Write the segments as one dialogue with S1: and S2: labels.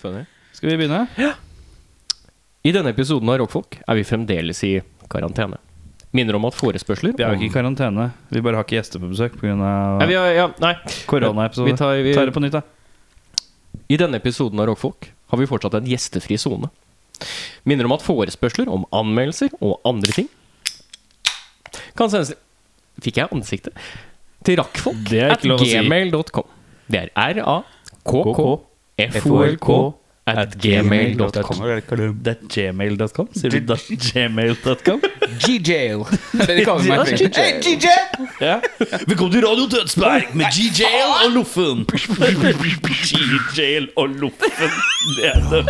S1: Skjønner.
S2: Skal vi begynne?
S1: I denne episoden av Rockfolk er vi fremdeles i karantene. Minner om at forespørsler
S2: Vi er jo ikke i
S1: om-
S2: karantene. Vi bare har ikke gjester på besøk
S1: Nei, vi
S2: pga.
S1: har, ja, nei.
S2: koronaepisode.
S1: Vi tar- vi-
S2: Ta det på nytt, da.
S1: I denne episoden av Rockfolk har vi fortsatt en gjestefri sone. Minner om at forespørsler om anmeldelser og andre ting kan sendes Fikk jeg ansiktet? Til rakkfolk
S3: Det er
S1: at
S3: ikke lov å si.
S1: gmail.com. Det er r-a-k-k-f-o-l-k at gmail.com.
S2: Det er gmail.com? Sier du da gmail.com?
S4: G-jail. Det de kaller meg. for. Hey, G-jail!
S2: Ja. Velkommen til Radio Tønsberg med G-jail og Loffen. G-jail og Loffen. Det er det.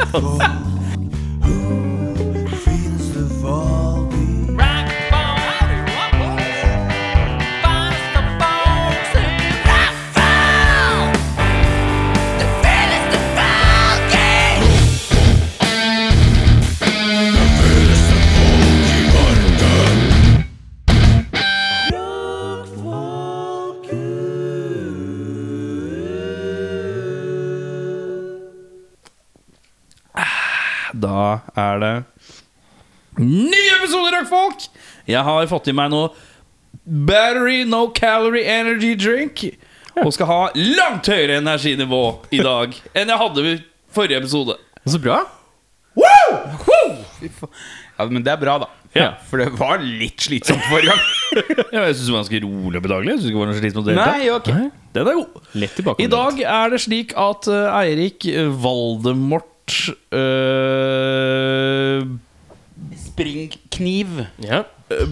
S2: Da er det ny episode Rockfolk! Jeg har fått i meg noe Battery No Calorie Energy Drink. Og skal ha langt høyere energinivå i dag enn jeg hadde ved forrige episode.
S1: Så bra.
S2: Woo! Woo!
S4: Ja, men det er bra, da.
S2: Ja.
S4: For det var litt slitsomt forrige gang.
S2: Ja, jeg syns det var ganske rolig og bedagelig. Jeg synes ikke det var noe slitsomt i det hele tatt.
S4: Nei, ok.
S2: Den er god.
S1: Lett tilbake.
S2: I dag er det slik at eh, Eirik eh, Valdemort eh,
S4: Springkniv.
S1: Ja.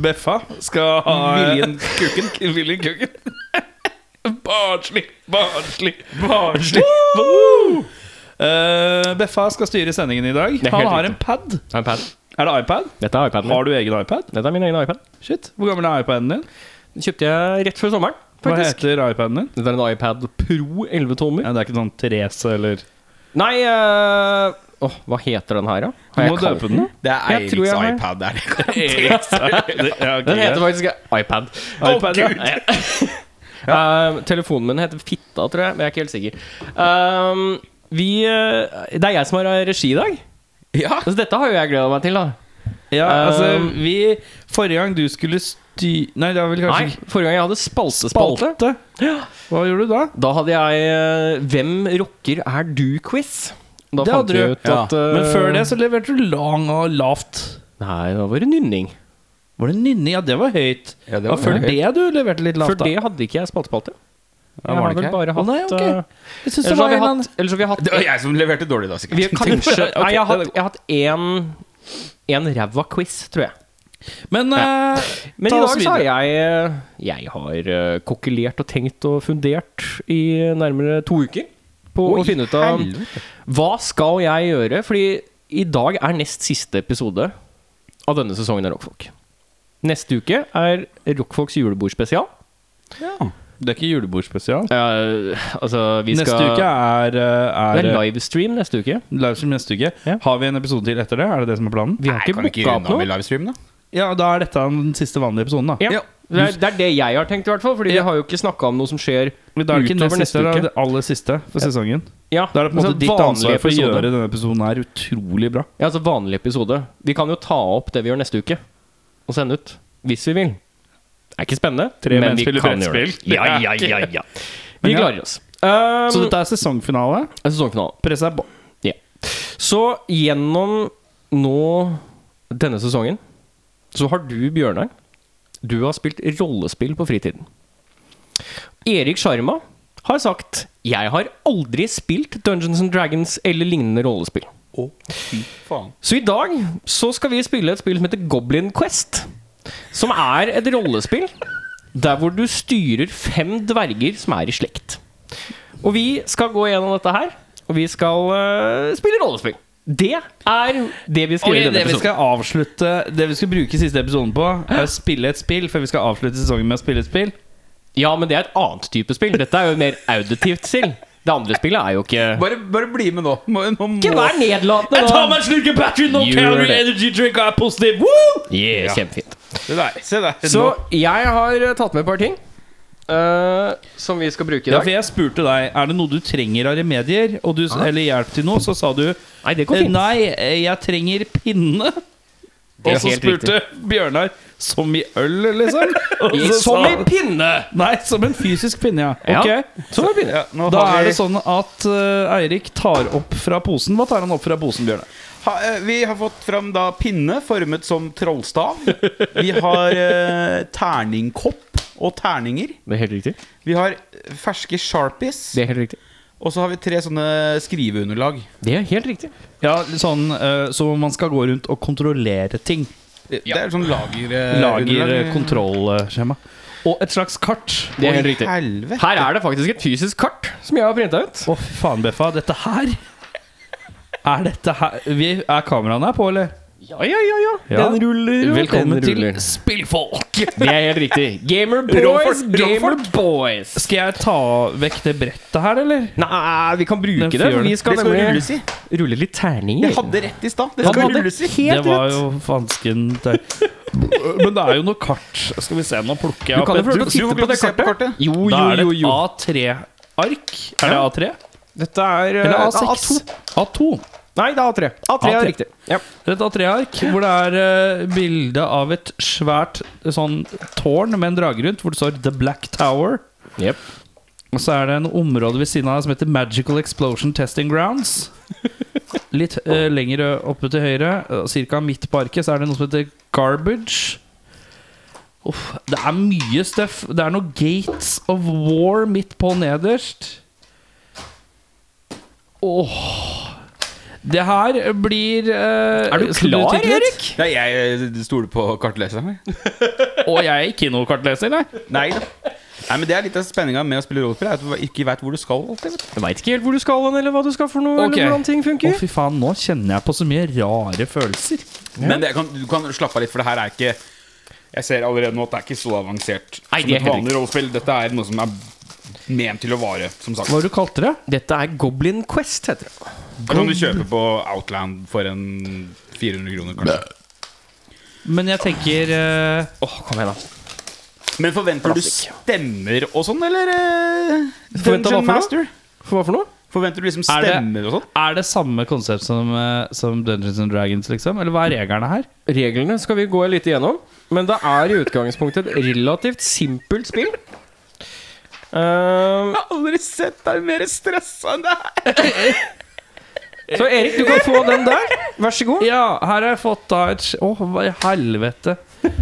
S2: Beffa skal ha
S4: Viljen
S2: Kuken. Viljen Kuken. barnslig, barnslig, barnslig. Woo! Eh, Beffa skal styre sendingen i dag.
S1: er
S2: Han
S1: helt
S2: har
S1: riktig. Mm.
S2: en pad.
S1: iPad.
S2: Er det iPad?
S1: Dette er iPaden
S2: Har
S1: min.
S2: du egen iPad?
S1: Dette er min egen iPad.
S2: Shit, Hvor gammel er iPaden din?
S1: Den kjøpte jeg rett før sommeren,
S2: Hva
S1: faktisk.
S2: heter iPaden din?
S1: Dette er en iPad Pro 11 tommer.
S2: Ja, det er ikke sånn Therese eller
S1: Nei eh, Åh, hva heter den her, da?
S2: Du
S1: Har jeg
S2: må
S1: kalt
S2: døpe den.
S4: Det er
S1: Mm. Jeg tror
S4: Eiriks
S1: jeg har-
S4: iPad der.
S2: Ja,
S1: Den
S2: ok, greit.
S1: heter faktisk iPad.
S2: iPad, ja.
S1: Eh, telefonen min heter Fitta, tror jeg, men jeg er ikke helt sikker. Eh, vi eh, Det er jeg som har regi i dag.
S4: Ja.
S1: Altså, dette har jo jeg gleda meg til, da.
S2: Ja,
S1: Um,
S2: altså vi Forrige gang du skulle sty... Nei, det var vel kanskje
S1: Nei,
S2: ikke
S1: forrige gang jeg hadde spaltespalte,
S2: Hva gjorde du da?
S1: da hadde jeg eh, 'Hvem rocker er du?'-quiz. Da fant
S2: Det hadde
S1: vi
S2: du.
S1: ut at eh,
S2: Men før det så leverte du lang og lavt.
S1: Nei, da var det nynning.
S2: Var det nynning? Ja, det var høyt.
S4: Ja, det
S2: Det var før
S4: høyt.
S2: det du leverte litt
S1: Før
S2: lavt, da.
S1: det hadde ikke jeg spaltespalte.
S4: var
S1: Jeg har
S4: det
S1: vel
S4: ikke
S1: bare
S2: Å,
S1: hatt
S2: nei, ok.
S1: eh,
S2: Jeg synes
S1: Ellers
S2: det
S1: har
S2: var
S1: vi
S2: en eller
S1: hatt,
S2: annen
S1: ellers har vi hatt
S4: Det var jeg som leverte dårlig, da,
S1: Vi
S4: sikkert.
S1: har kanskje
S2: Ok,
S1: Nei, jeg har
S2: det
S1: hatt, jeg har hatt en, en ræva quiz, tror jeg.
S2: Men eh,
S1: Men
S2: ta
S1: i
S2: oss
S1: dag så har
S2: videre.
S1: jeg Jeg har eh, kokkelert og tenkt og fundert i nærmere to uker på å finne ut av hva skal jeg gjøre? Fordi i dag er nest siste episode av denne sesongen av Rockfolk. Neste uke er Rockfolks julebordspesial.
S2: Det er ikke julebordspesial.
S1: Eh, altså, vi
S2: Neste
S1: skal
S2: uke er, eh,
S1: Det er
S2: er
S1: livestream neste uke.
S2: livestream neste uke.
S1: Ja.
S2: Har vi en episode til etter det? Er det det som er planen?
S1: Vi har ikke
S4: Kan vi ikke
S1: booka opp
S4: runde av
S1: noe.
S4: med livestream, da?
S2: Ja, da er dette den siste vanlige episoden, da.
S1: Ja. Det, er, det er det jeg har tenkt, i hvert fall. Fordi
S2: Ja.
S1: vi har jo ikke snakka om noe som skjer
S2: Men Da er det ikke
S1: utover
S2: neste,
S1: neste
S2: da er
S1: uke.
S2: det aller siste for sesongen.
S1: Ja,
S2: Da er det på en
S1: altså
S2: måte ditt
S1: vanlig
S2: ansvar for å
S1: episode.
S2: gjøre denne episoden her utrolig bra.
S1: Ja, altså vanlig episode. Vi kan jo ta opp det vi gjør neste uke, og sende ut. Hvis vi vil. Det er ikke spennende,
S2: Tre
S1: men
S2: menn
S1: vi
S2: spiller
S1: kan gjøre det.
S2: brettspill.
S1: Ja, ja, ja, ja. Vi
S2: Men ja.
S1: klarer oss. Um,
S2: Så dette er sesongfinale.
S1: sesongfinalen.
S2: Press er på.
S1: Så gjennom nå denne sesongen så har du, Bjørnar, du har spilt rollespill på fritiden. Erik Sjarma har sagt 'Jeg har aldri spilt Dungeons and Dragons eller lignende rollespill'.
S4: Å, fy faen.
S1: Så i dag så skal vi spille et spill som heter Goblin Quest. Som er et rollespill der hvor du styrer fem dverger som er i slekt. Og vi skal gå gjennom dette her, og vi skal eh, spille rollespill. Det er det vi skal gjøre i denne
S2: det vi
S1: episoden.
S2: skal avslutte Det vi skal bruke siste episoden på, er å spille et spill før vi skal avslutte sesongen med å spille et spill.
S1: Ja, men det er et annet type spill. Dette er jo mer auditivt spill. Det andre spillet er jo ikke
S4: Bare, bare bli med nå. Må, nå må.
S1: Ikke vær nedlatende,
S2: Jeg
S1: da!
S2: tar meg en slurk battery, no
S1: Gjør
S2: calorie
S1: det.
S2: energy drink, og er positiv! Woo!
S1: Yeah, Kjempefint.
S4: Se der. Se der.
S1: Så
S4: Nå.
S1: jeg har eh, tatt med et par ting. eh, som vi skal bruke i
S2: Ja,
S1: dag.
S2: for jeg spurte deg Er det noe du trenger av remedier og du, Eller hjelp til noe Så sa du
S1: Nei, det går fint.
S2: «Eh, Nei, eh, jeg trenger pinne
S1: er
S2: Og så
S1: helt
S2: spurte Bjørnar Som i øl, liksom Og
S1: I-
S2: så
S1: som
S2: sa
S1: en
S2: han,
S1: pinne!
S2: Nei, som en fysisk pinne, ja,
S1: Ja,
S2: Ok.
S1: som en pinne.
S4: nå
S2: Da
S4: har
S2: er
S4: vi-
S2: det sånn at eh, Eirik tar opp fra posen Hva tar han opp fra posen, Bjørnar?
S4: Ha, eh, vi har fått fram da pinne formet som trollstav. Vi har eh, terningkopp og terninger.
S1: Det er helt riktig.
S4: Vi har ferske sharpies.
S1: Det er helt riktig.
S4: Og så har vi tre sånne skriveunderlag.
S1: Det er helt riktig.
S2: Ja, sånn eh, Så man skal gå rundt og kontrollere ting
S4: Det det er sånn lager... eh, underlag.
S2: Lagerkontrollskjema Og et slags kart
S1: Det er
S4: Oi,
S1: helt riktig.
S4: helvete.
S1: Her er det faktisk et fysisk kart som jeg har printa ut.
S2: Å, fy faen, Beffa. Dette her Er dette her vi, Er kameraene her på, eller?
S1: Ja, ja, ja, ja.
S2: Ja.
S1: Den ruller. og
S2: Velkommen
S1: den ruller.
S2: til Spillfolk.
S1: Det er helt riktig. Gamer boys,
S4: Romfolk,
S1: gamer
S4: romfolk.
S1: boys.
S2: Skal jeg ta vekk det brettet her, eller?
S1: Nei, vi kan bruke
S2: Den
S1: det.
S2: fjøren.
S1: Vi skal,
S4: Det skal
S1: nemlig
S4: rulles i.
S1: rulle litt terninger.
S4: Jeg hadde rett i stad. Det
S1: Han
S4: skal
S1: hadde
S4: rulles i.
S1: helt
S2: det var
S1: rett.
S2: jo fansken der. Men det er jo noe kart. Skal vi se, nå plukker jeg
S1: Du kan jo
S2: opp
S1: prøve å
S4: du får
S1: titte
S4: ikke
S1: på det
S4: se på
S1: kartet.
S4: kartet.
S1: Jo,
S2: Da
S1: jo,
S2: er det
S1: jo,
S2: et
S1: jo.
S2: A3-ark. Er det A3?
S1: Dette er eh,
S2: Eller A6?
S1: A2.
S2: A2.
S1: Nei, det er A3. A3
S2: A3.
S1: er riktig. Ja.
S2: Et A3-ark hvor det er eh, bilde av et svært eh, sånn tårn med en drage rundt, hvor det står The Black Tower. Og så er det en område ved siden av som heter Magical Explosion Testing Grounds. Litt eh, lenger oppe til høyre, eh, cirka midt på arket, så er det noe som heter Garbage. Uff, det er mye støff. Det er noe Gates of War midt på nederst. Åh Det her blir eh,
S1: Er du
S2: skal
S1: klar,
S2: titte litt?
S1: Erik?
S4: Nei, jeg eh, stoler på kartleseren. jeg.
S2: Og jeg er ikke noe kartleser, nei.
S4: Nei da. Nei, men Det er litt av spenninga med å spille rollespill. er At du ikke vet hvor du skal. alltid vet du.
S1: Du veit ikke helt hvor du skal hen, eller hva du skal for noe,
S2: Ok.
S1: eller hvordan ting
S2: Å,
S1: funker.
S2: fy faen, nå kjenner jeg på så mye rare følelser.
S4: Men det kan, du kan slappe av litt, for det her er ikke Jeg ser allerede nå at det er ikke så avansert
S1: Nei,
S4: som
S1: det er
S4: et
S1: helt
S4: vanlig rollespill. Dette er noe som er ment til å vare, som sagt.
S2: Hva var det du kalte det?
S1: Dette er Goblin Quest, heter det.
S4: Det kan du kjøpe på Outland for en 400 kroner, kanskje.
S2: Men jeg tenker eh,
S1: Åh, kom igjen, da.
S4: Men forventer
S1: Plastikk.
S4: du stemmer og sånn, eller? eh,
S1: Forventer hva for noe?
S4: Dungeon Master?
S1: For hva for noe?
S4: Forventer du liksom
S2: Er det-
S4: stemmer og sånn?
S2: Er det samme konsept som, eh, som Dungeons and Dragons, liksom? Eller hva er reglene her?
S1: Reglene skal vi gå litt igjennom, men det er i utgangspunktet et relativt simpelt spill. Ehm,
S4: har aldri sett deg mer stressa enn det her.
S1: så Erik, du kan få den der. Vær så god.
S2: Ja, her har jeg fått da et Å, hva i helvete.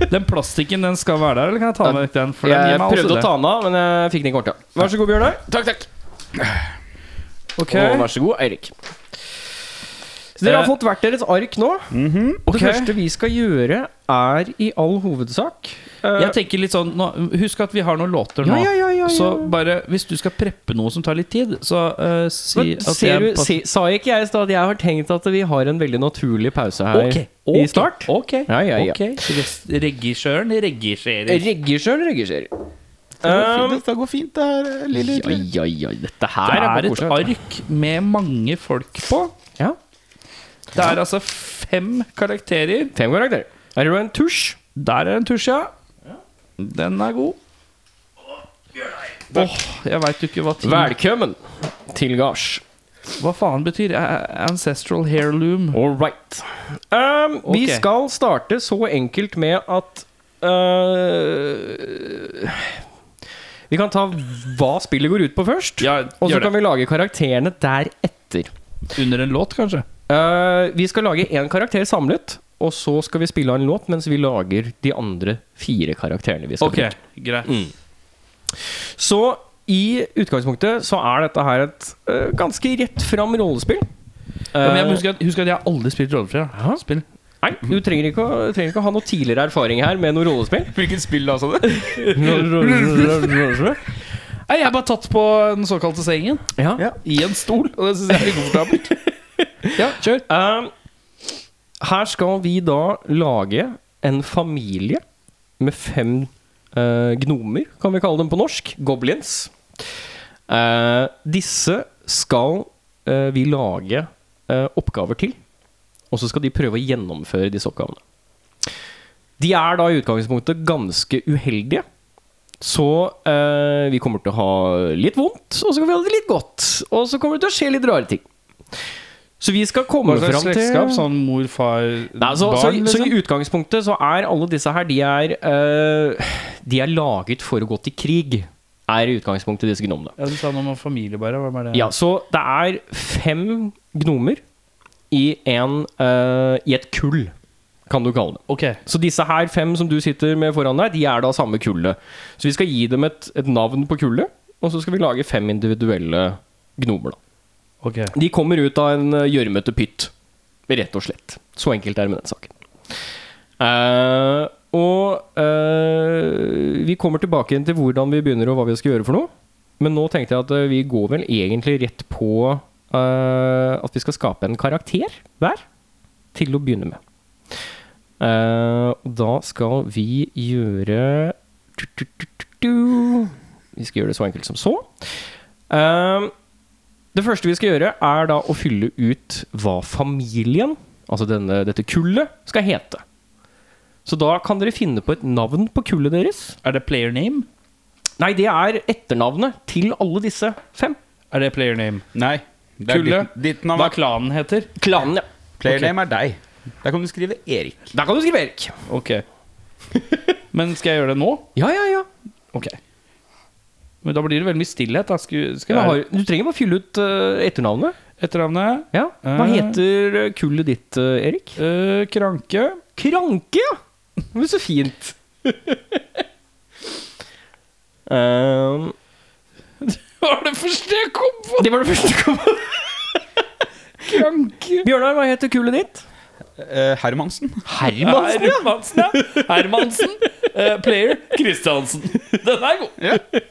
S2: Den plastikken, den skal være der, eller kan jeg ta med vekk den? For den
S1: Jeg
S2: gir meg
S1: prøvde å ta den av, men jeg fikk den ikke ordentlig. Vær så god, Bjørnar.
S4: Takk, takk.
S2: Ok,
S1: Og vær så god, Eirik. Så dere har
S2: Eh,
S1: fått hvert deres ark nå.
S2: ok.
S1: Det første vi skal gjøre, er i all hovedsak eh,
S2: Jeg tenker litt sånn nå, Husk at vi har noen låter nå.
S1: Ja, ja, ja, ja, ja.
S2: Så bare hvis du skal preppe noe som tar litt tid, så eh, si
S1: Men
S2: at
S1: ser
S2: jeg
S1: du,
S2: passer-
S1: se, sa ikke jeg i stad at jeg har tenkt at vi har en veldig naturlig pause her
S2: Ok,
S1: i
S2: ok,
S1: start?
S2: Ok.
S1: Ja, ja, ja.
S2: ok. Rest- Regissøren regisserer.
S1: Regissør, regissør.
S4: Det går
S1: Um,
S4: fint, det går fint det her, eh, lille
S1: Oi, oi, oi. Dette her
S2: Det er
S1: bare
S2: et
S1: koselig, vet du.
S2: ark med mange folk på.
S1: Ja.
S2: Det er altså fem karakterer.
S1: Fem karakterer. Her er det en tusj.
S2: Der er en tusj, ja. Den er god. Åh, jeg veit jo ikke hva ting
S1: Velkommen til gards.
S2: Hva faen betyr A- ancestral hairloom?
S1: All right. Um, Vi
S2: Ok.
S1: skal starte så enkelt med at eh, øh, Vi kan ta hva spillet går ut på først,
S2: Ja,
S1: og så
S2: gjør
S1: kan vi lage karakterene deretter.
S2: Under en låt, kanskje?
S1: Eh, vi skal lage én karakter samlet, og så skal vi spille av en låt mens vi lager de andre fire karakterene vi skal
S2: Ok, greit.
S1: bruke. Så i utgangspunktet så er dette her et eh, ganske rett fram rollespill.
S2: Ja, men jeg
S1: Eh,
S2: må huske at, husk at jeg har aldri spilt rollespill.
S1: Hæ?
S2: jeg. Spill.
S1: Nei, du trenger ikke, å, trenger ikke å ha noe tidligere erfaring her med noe rollespill.
S4: Hvilket spill da, sa du?
S1: ja.
S2: Nei, Jeg er bare tatt på den såkalte sengen. I en stol. Og det syns jeg er ukomfortabelt. ja, kjør.
S1: Um, her skal vi da lage en familie med fem eh, gnomer, kan vi kalle dem på norsk. Goblins. Eh, disse skal eh, vi lage eh, oppgaver til, og så skal de prøve å gjennomføre disse oppgavene. De er da i utgangspunktet ganske uheldige, Så eh, vi kommer til å ha litt vondt, og så kommer vi ha det litt godt. Og så kommer det til å skje litt rare ting. Så vi skal komme
S2: Hva slags
S1: fram til
S2: slektskap? Sånn mor, far,
S1: Nei, så, så,
S2: barn?
S1: så
S2: liksom?
S1: i utgangspunktet så er alle disse her De er, eh, de er laget for å gå til krig, er i utgangspunktet disse gnomene.
S2: ja, du sa noe om familie, bare. Hva var det?
S1: Ja, så det er fem gnomer i, en, eh, i et kull, kan du kalle det.
S2: Ok.
S1: Så disse her fem som du sitter med foran deg, de er da samme kullet. Så vi skal gi dem et, et navn på kullet, og så skal vi lage fem individuelle gnomer, da.
S2: ok
S1: De kommer ut av en eh, gjørmete pytt. Rett og slett. Så enkelt er det med den saken. Eh, og eh, vi kommer tilbake igjen til hvordan vi begynner og hva vi skal gjøre for noe. Men nå tenkte jeg at eh, vi går vel egentlig rett på eh, at vi skal skape en karakter hver til å begynne med. Eh, og da skal vi gjøre Vi skal gjøre det så enkelt som så. Eh, det første vi skal gjøre, er da å fylle ut hva familien, altså denne, dette kullet, skal hete. Så da kan dere finne på et navn på kullet deres.
S2: Er det player name?
S1: Nei, det er etternavnet til alle disse fem.
S2: Er det player name?
S4: Nei. Det er
S2: Kulle.
S4: ditt, ditt navn
S2: Hva
S4: er
S2: klanen heter?
S1: Klanen, ja.
S4: Playername er deg. Der kan du skrive Erik.
S1: Der kan du skrive Erik.
S2: Ok. Men skal jeg gjøre det nå?
S1: Ja, ja, ja.
S2: Ok. Men da blir det veldig mye stillhet. Da. Skal,
S1: Du,
S2: skal jeg
S1: har, du trenger bare å fylle ut eh, etternavnet.
S2: ha etternavnet?
S1: Ja. Hva
S2: Eh.
S1: heter eh, kullet ditt, eh, Erik?
S2: Eh, kranke.
S1: Kranke, ja! Det blir så fint. Ehm,
S2: Var det første jeg kom på?
S1: det var det første som kom.
S2: Kranke.
S1: Bjørnar, hva heter kullet ditt?
S4: Eh, Hermansen.
S1: Hermansen, ja!
S2: Hermansen, ja. Hermansen. Eh, player Kristiansen. Den er god.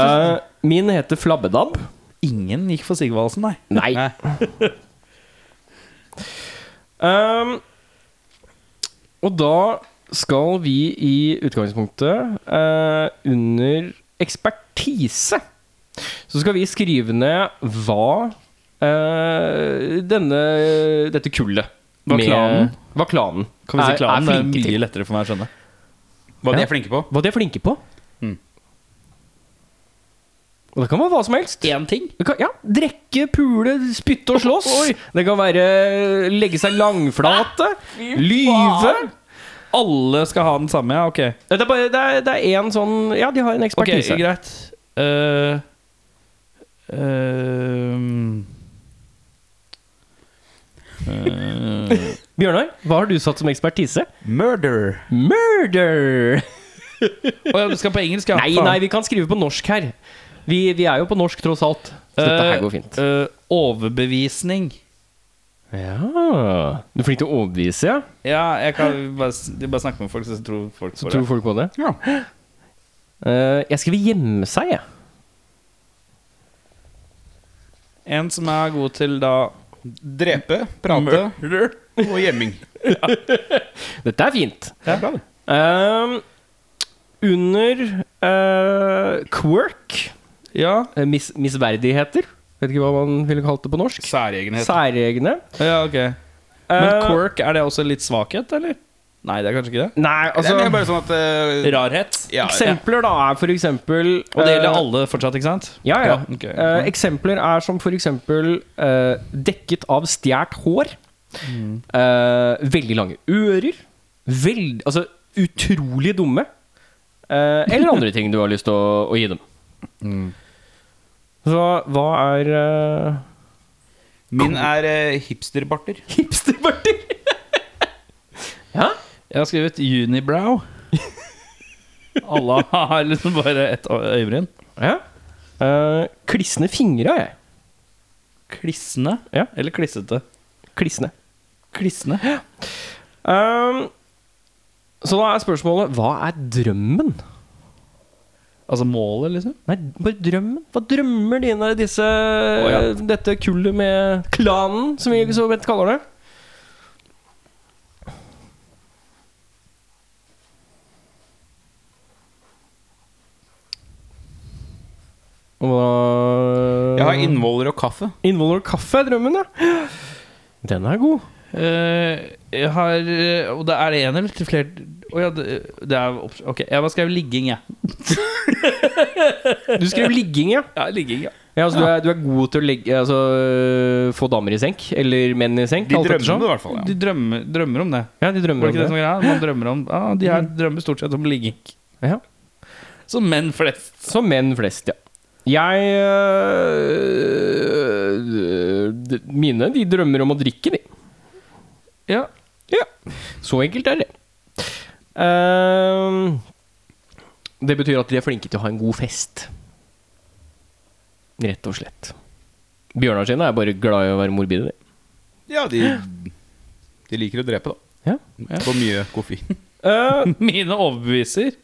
S1: Eh, min heter Flabbedabb.
S2: Ingen gikk for Sigvaldsen, nei.
S1: Nei.
S4: Nei.
S1: Um, og da skal vi i utgangspunktet, eh, under ekspertise, så skal vi skrive ned hva eh, denne, dette kullet
S2: Hva
S1: med-
S2: klanen?
S1: Hva klanen,
S2: Kan vi si
S1: er-
S2: klanen?
S1: er
S2: Det er
S1: flinke
S2: mye
S1: til.
S2: lettere for meg å skjønne.
S4: Hva de
S1: Ja.
S4: er flinke på.
S1: Hva de er flinke på.
S4: Mm.
S1: Og det kan være hva som helst.
S2: Én ting.
S1: Det kan, ja, Drekke, pule, spytte og slåss. Det kan være eh, legge seg langflate. Lyve.
S2: Alle skal ha den samme, ja. Ok.
S1: Det er bare- det er- det er én sånn Ja, de har en
S2: Ok,
S1: ekspertise.
S2: greit. Eh, ehm, eh,
S1: Bjørnar, hva har du satt som ekspertise?
S4: Murder.
S1: Murder!
S2: Å ja, du skal på engelsk, ja.
S1: Nei,
S2: Faen.
S1: nei, vi kan skrive på norsk her. Vi, vi er jo på norsk, tross alt. Så dette her
S2: Eh,
S1: går fint.
S2: eh, overbevisning.
S1: Ja Du er flink til å overbevise, ja?
S2: Ja, jeg kan bare, s- bare snakke med folk, så tror folk
S1: Så
S2: på
S1: tror
S2: det.
S1: folk på det?
S4: Ja.
S1: Eh, jeg skriver gjemme seg, jeg.
S2: En som er god til da
S4: Drepe, prate
S2: murder.
S4: og gjemming.
S1: Dette er fint.
S4: Det er bra, det.
S1: Ehm, under eh, quirk
S2: Ja.
S1: Eh, mis misverdigheter. Vet ikke hva man ville kalt det på norsk.
S4: Særegenhet.
S1: Særegne.
S2: ja, ok. Men
S1: Eh,
S2: quirk, er det også litt svakhet, eller? Nei, det er kanskje ikke det.
S1: Nei, altså
S4: det er bare sånn at eh,
S2: Rarhet.
S4: ja, ja.
S1: Eksempler da er for eksempel
S2: Og det gjelder
S1: eh,
S2: alle fortsatt, ikke sant?
S1: Ja, ja.
S2: Ja, ok.
S1: Eh, eksempler er som for eksempel eh, dekket av stjålet hår. eh, veldig lange ører. Veld, altså utrolig dumme. eh, eller andre ting du har lyst til å, å gi dem. Så hva er eh,
S4: Min er eh, hipsterbarter.
S1: hipsterparty? ja?
S2: Jeg har skrevet unibrow. Alle har liksom bare ett ø- øyebryn.
S1: Ja. Eh, klissende fingre har jeg.
S2: Klissende?
S1: Ja.
S2: Eller klissete?
S1: Klissende.
S2: Klissende?
S1: Ehm, så da er spørsmålet hva er drømmen?
S2: Altså målet, liksom?
S1: Nei, bare drømmen. Hva drømmer dine disse
S2: ja.
S1: Dette kullet med klanen, som vi så vidt kaller det? Og da
S4: Eh, Jeg har innvoller og kaffe.
S1: Innvoller kaffe er drømmen, ja. Den er god.
S2: Eh, jeg har eh, Og det er det én eller til flere Å ja, det, det er opps- Ok, jeg bare skrev ligging, jeg.
S1: Du skrev ligging, ja.
S2: Ja, ligging, ja.
S1: ja altså, du, er, du er god til å legge, altså, få damer i senk. Eller menn i senk.
S4: De
S1: alt
S4: drømmer
S1: ettersom.
S4: om det, i hvert fall.
S2: De
S4: Ja.
S2: drømmer, drømmer om det.
S1: Ja, de
S2: Var
S1: drømmer Mm.
S2: det ikke det
S1: om
S2: som
S1: det.
S2: var greia? Man drømmer om ah, De her drømmer stort sett om ligging.
S1: Ja.
S2: Som menn flest.
S1: Som menn flest, ja. Jeg øh, d- Mine, de drømmer om å drikke, de.
S2: Ja.
S1: Ja. Så enkelt er det. Ehm, det betyr at de er flinke til å ha en god fest. Rett og slett. Bjørnar sine er bare glad i å være morbide, de.
S4: ja, de, de liker å drepe, da.
S1: Ja.
S4: For mye koffein.
S1: Eh,
S2: Mine overbeviser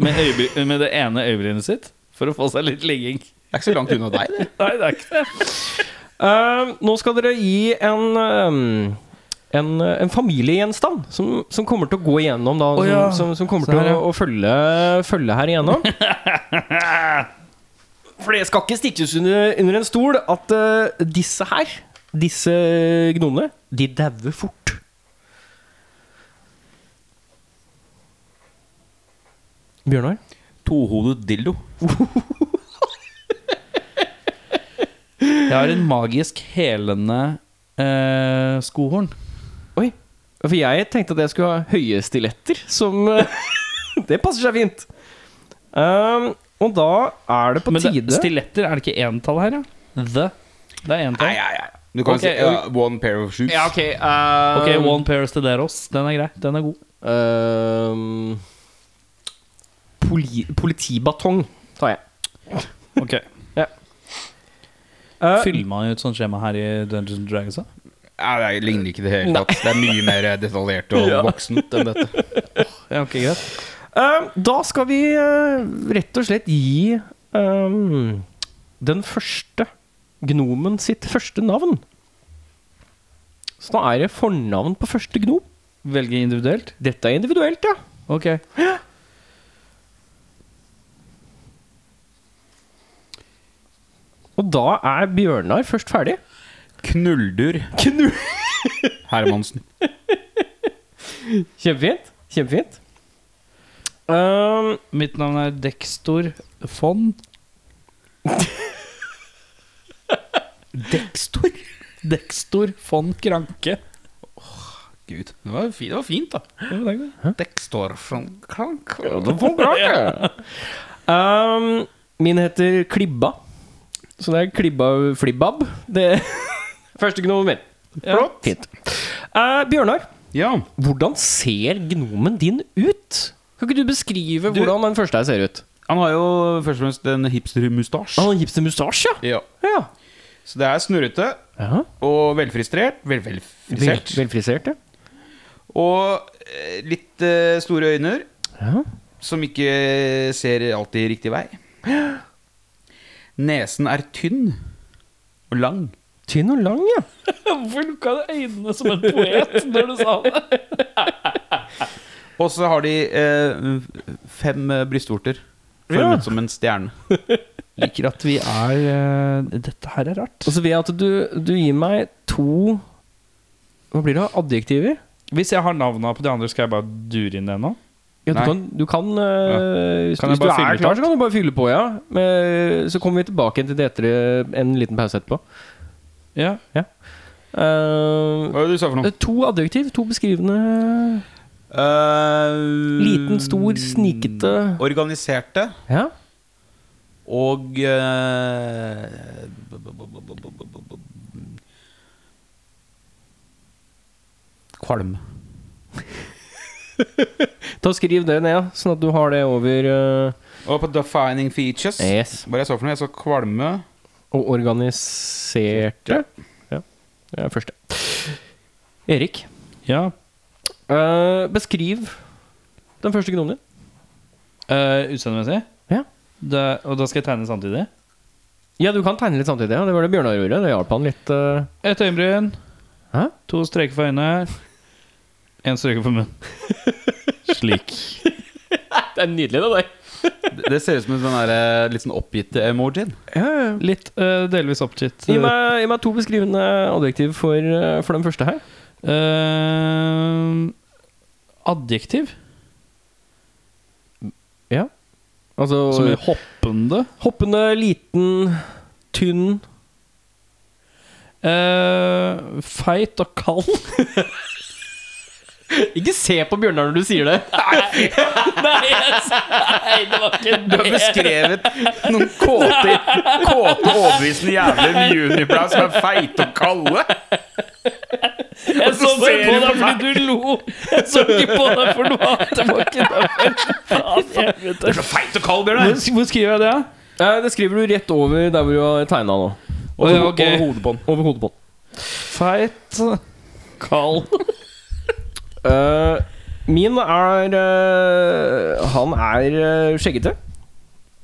S2: med, øyebry- med det ene øyebrynet sitt for å få seg litt ligging.
S4: Det er ikke så langt unna deg, det.
S2: Nei, det er ikke det.
S1: eh, nå skal dere gi en ehm, en, eh, en familiegjenstand som, som kommer til å gå igjennom, da.
S2: Å ja.
S1: som, som, som kommer
S2: Se her,
S1: til
S2: ja.
S1: å, å følge, følge her igjennom. For det skal ikke stikkes under, under en stol at eh, disse her, disse gnomene, de dauer fort. Bjørnar?
S4: Tohodet dildo.
S2: Jeg har en magisk helende eh, skohorn.
S1: Oi. For jeg tenkte at jeg skulle ha høye stiletter, som eh, Det passer seg fint. Um, og da er det på
S2: Men det,
S1: tide
S2: stiletter, er det ikke entall her, ja? The. Det er
S4: Nei,
S2: entall.
S4: ja, ja. Du kan
S2: Ok,
S4: si ja, one pair of shoes.
S1: ok. Um,
S2: Ok, One Pair Stederos. Den er grei. Den er god.
S1: um, poli, Politibatong tar jeg.
S2: Ok
S1: Uh,
S2: Fyller man ut sånt skjema her i Dungeons and Dragons? da?
S4: Nei, det ligner ikke i det hele tatt. Det er mye mer eh, detaljert og voksent enn dette.
S2: Ja, ok, greit
S1: Eh, da skal vi eh, rett og slett gi ehm, den første gnomen sitt første navn. Så da er det fornavn på første gnom.
S2: Velge individuelt?
S1: Dette er individuelt, ja.
S2: Ok.
S1: Og da er Bjørnar først ferdig.
S4: Knulldur
S1: Knu-
S4: Hermansen.
S1: Kjempefint. Kjempefint. Ehm,
S2: Mitt navn er Dextor Fond.
S4: Dextor.
S2: Dextor von Kranke.
S4: Gud, det var, fint, det var fint, da. Dextor von Krank.
S1: ja, det var bra, det. Ehm, min heter Klibba. Så det er Klibba Flibbab. Det første gnomen min.
S2: Flott.
S1: Fint. Eh, Bjørnar,
S4: Ja.
S1: hvordan ser gnomen din ut? Kan ikke du beskrive hvordan den første her ser ut?
S4: Han har jo først og fremst en hipstermustasje.
S1: Han har gipset mustasje,
S4: Ja.
S1: ja.
S4: Så det er snurrete
S1: ja.
S4: og velfristrert. Vel,
S1: Vel,
S4: velfrisert.
S1: velfrisert, ja.
S4: Og eh, litt eh, store øyne
S1: ja.
S4: som ikke ser alltid riktig vei. Nesen er tynn og lang.
S1: Tynn og lang, ja.
S2: Hvorfor lukka du øynene som en poet når du sa det?
S4: Og så har de eh, fem eh, brystvorter
S1: Ja.
S4: formet som en stjerne.
S2: Liker at vi er eh, Dette her er rart.
S1: Og så vil jeg at du, du gir meg to Hva blir det? Adjektiver?
S2: Hvis jeg har navna på de andre, skal jeg bare dure inn det nå?
S1: Ja, du
S4: Nei.
S1: kan, du kan, eh, hvis,
S2: Kan jeg
S1: hvis du
S2: bare fylle
S1: er
S2: ut
S1: klar,
S2: alt?
S1: så kan du bare fylle på, ja. Men, eh, så kommer vi tilbake til det etter en liten pause etterpå.
S2: Ja.
S1: Eh,
S4: Hva var det du sa for noe?
S1: to adjektiv, to beskrivende
S4: Eh,
S1: Liten, stor, snikete.
S4: Mm. Organiserte
S1: Ja.
S4: og eh, b- b- b- b- b- b- b- b- Kvalm.
S1: Ta og Skriv det ned, sånn at du har det over eh,
S4: Og på defining features
S1: Yes.
S4: Hva var det jeg sa for noe? Jeg sa kvalme.
S1: Og organiserte. Ja. Det er første. Erik,
S2: ja.
S1: eh, beskriv den første gnomen din.
S2: Eh, Utseendemessig?
S1: Ja.
S2: Det- Og da skal jeg tegne samtidig?
S1: Ja, du kan tegne litt samtidig. Ja. Det var det Bjørnar gjorde. Det hjalp han litt. eh.
S2: Et øyenbryn.
S1: Hæ?
S2: To streker for øynene. Én streke for munnen. Slik.
S1: Det er nydelig, det der.
S4: Det det ser ut som en sånn der, eh, litt sånn oppgitte emojien.
S1: Ja, ja.
S2: Litt eh, delvis oppgitt.
S1: Gi meg, gi meg to beskrivende adjektiv for, eh, for den første her.
S2: Eh, adjektiv?
S1: Ja. Altså
S2: Som i hoppende?
S1: hoppende, liten, tynn
S2: Eh, feit og kald?
S1: Ikke se på Bjørnar når du sier det!
S2: Nei, yes. Nei, det var ikke
S4: Du har beskrevet noen kåte, kåte overbevisende jævler med juniorplass som er feite og kalde.
S2: Jeg så
S4: ser
S2: bare på deg
S4: du på
S2: fordi du lo. Jeg så ikke på deg for noe annet. Det var ikke derfor. Faen, helvete.
S4: Så feit og kald, Bjørnar!
S2: Hvor hvor skriver jeg det, da?
S1: Eh, Det skriver du rett over der hvor du har tegna nå.
S2: Å, ja, ok.
S1: Over hodet på den. Over hodet på den.
S2: Feit, kald
S1: Eh, min er eh, Han er eh, skjeggete.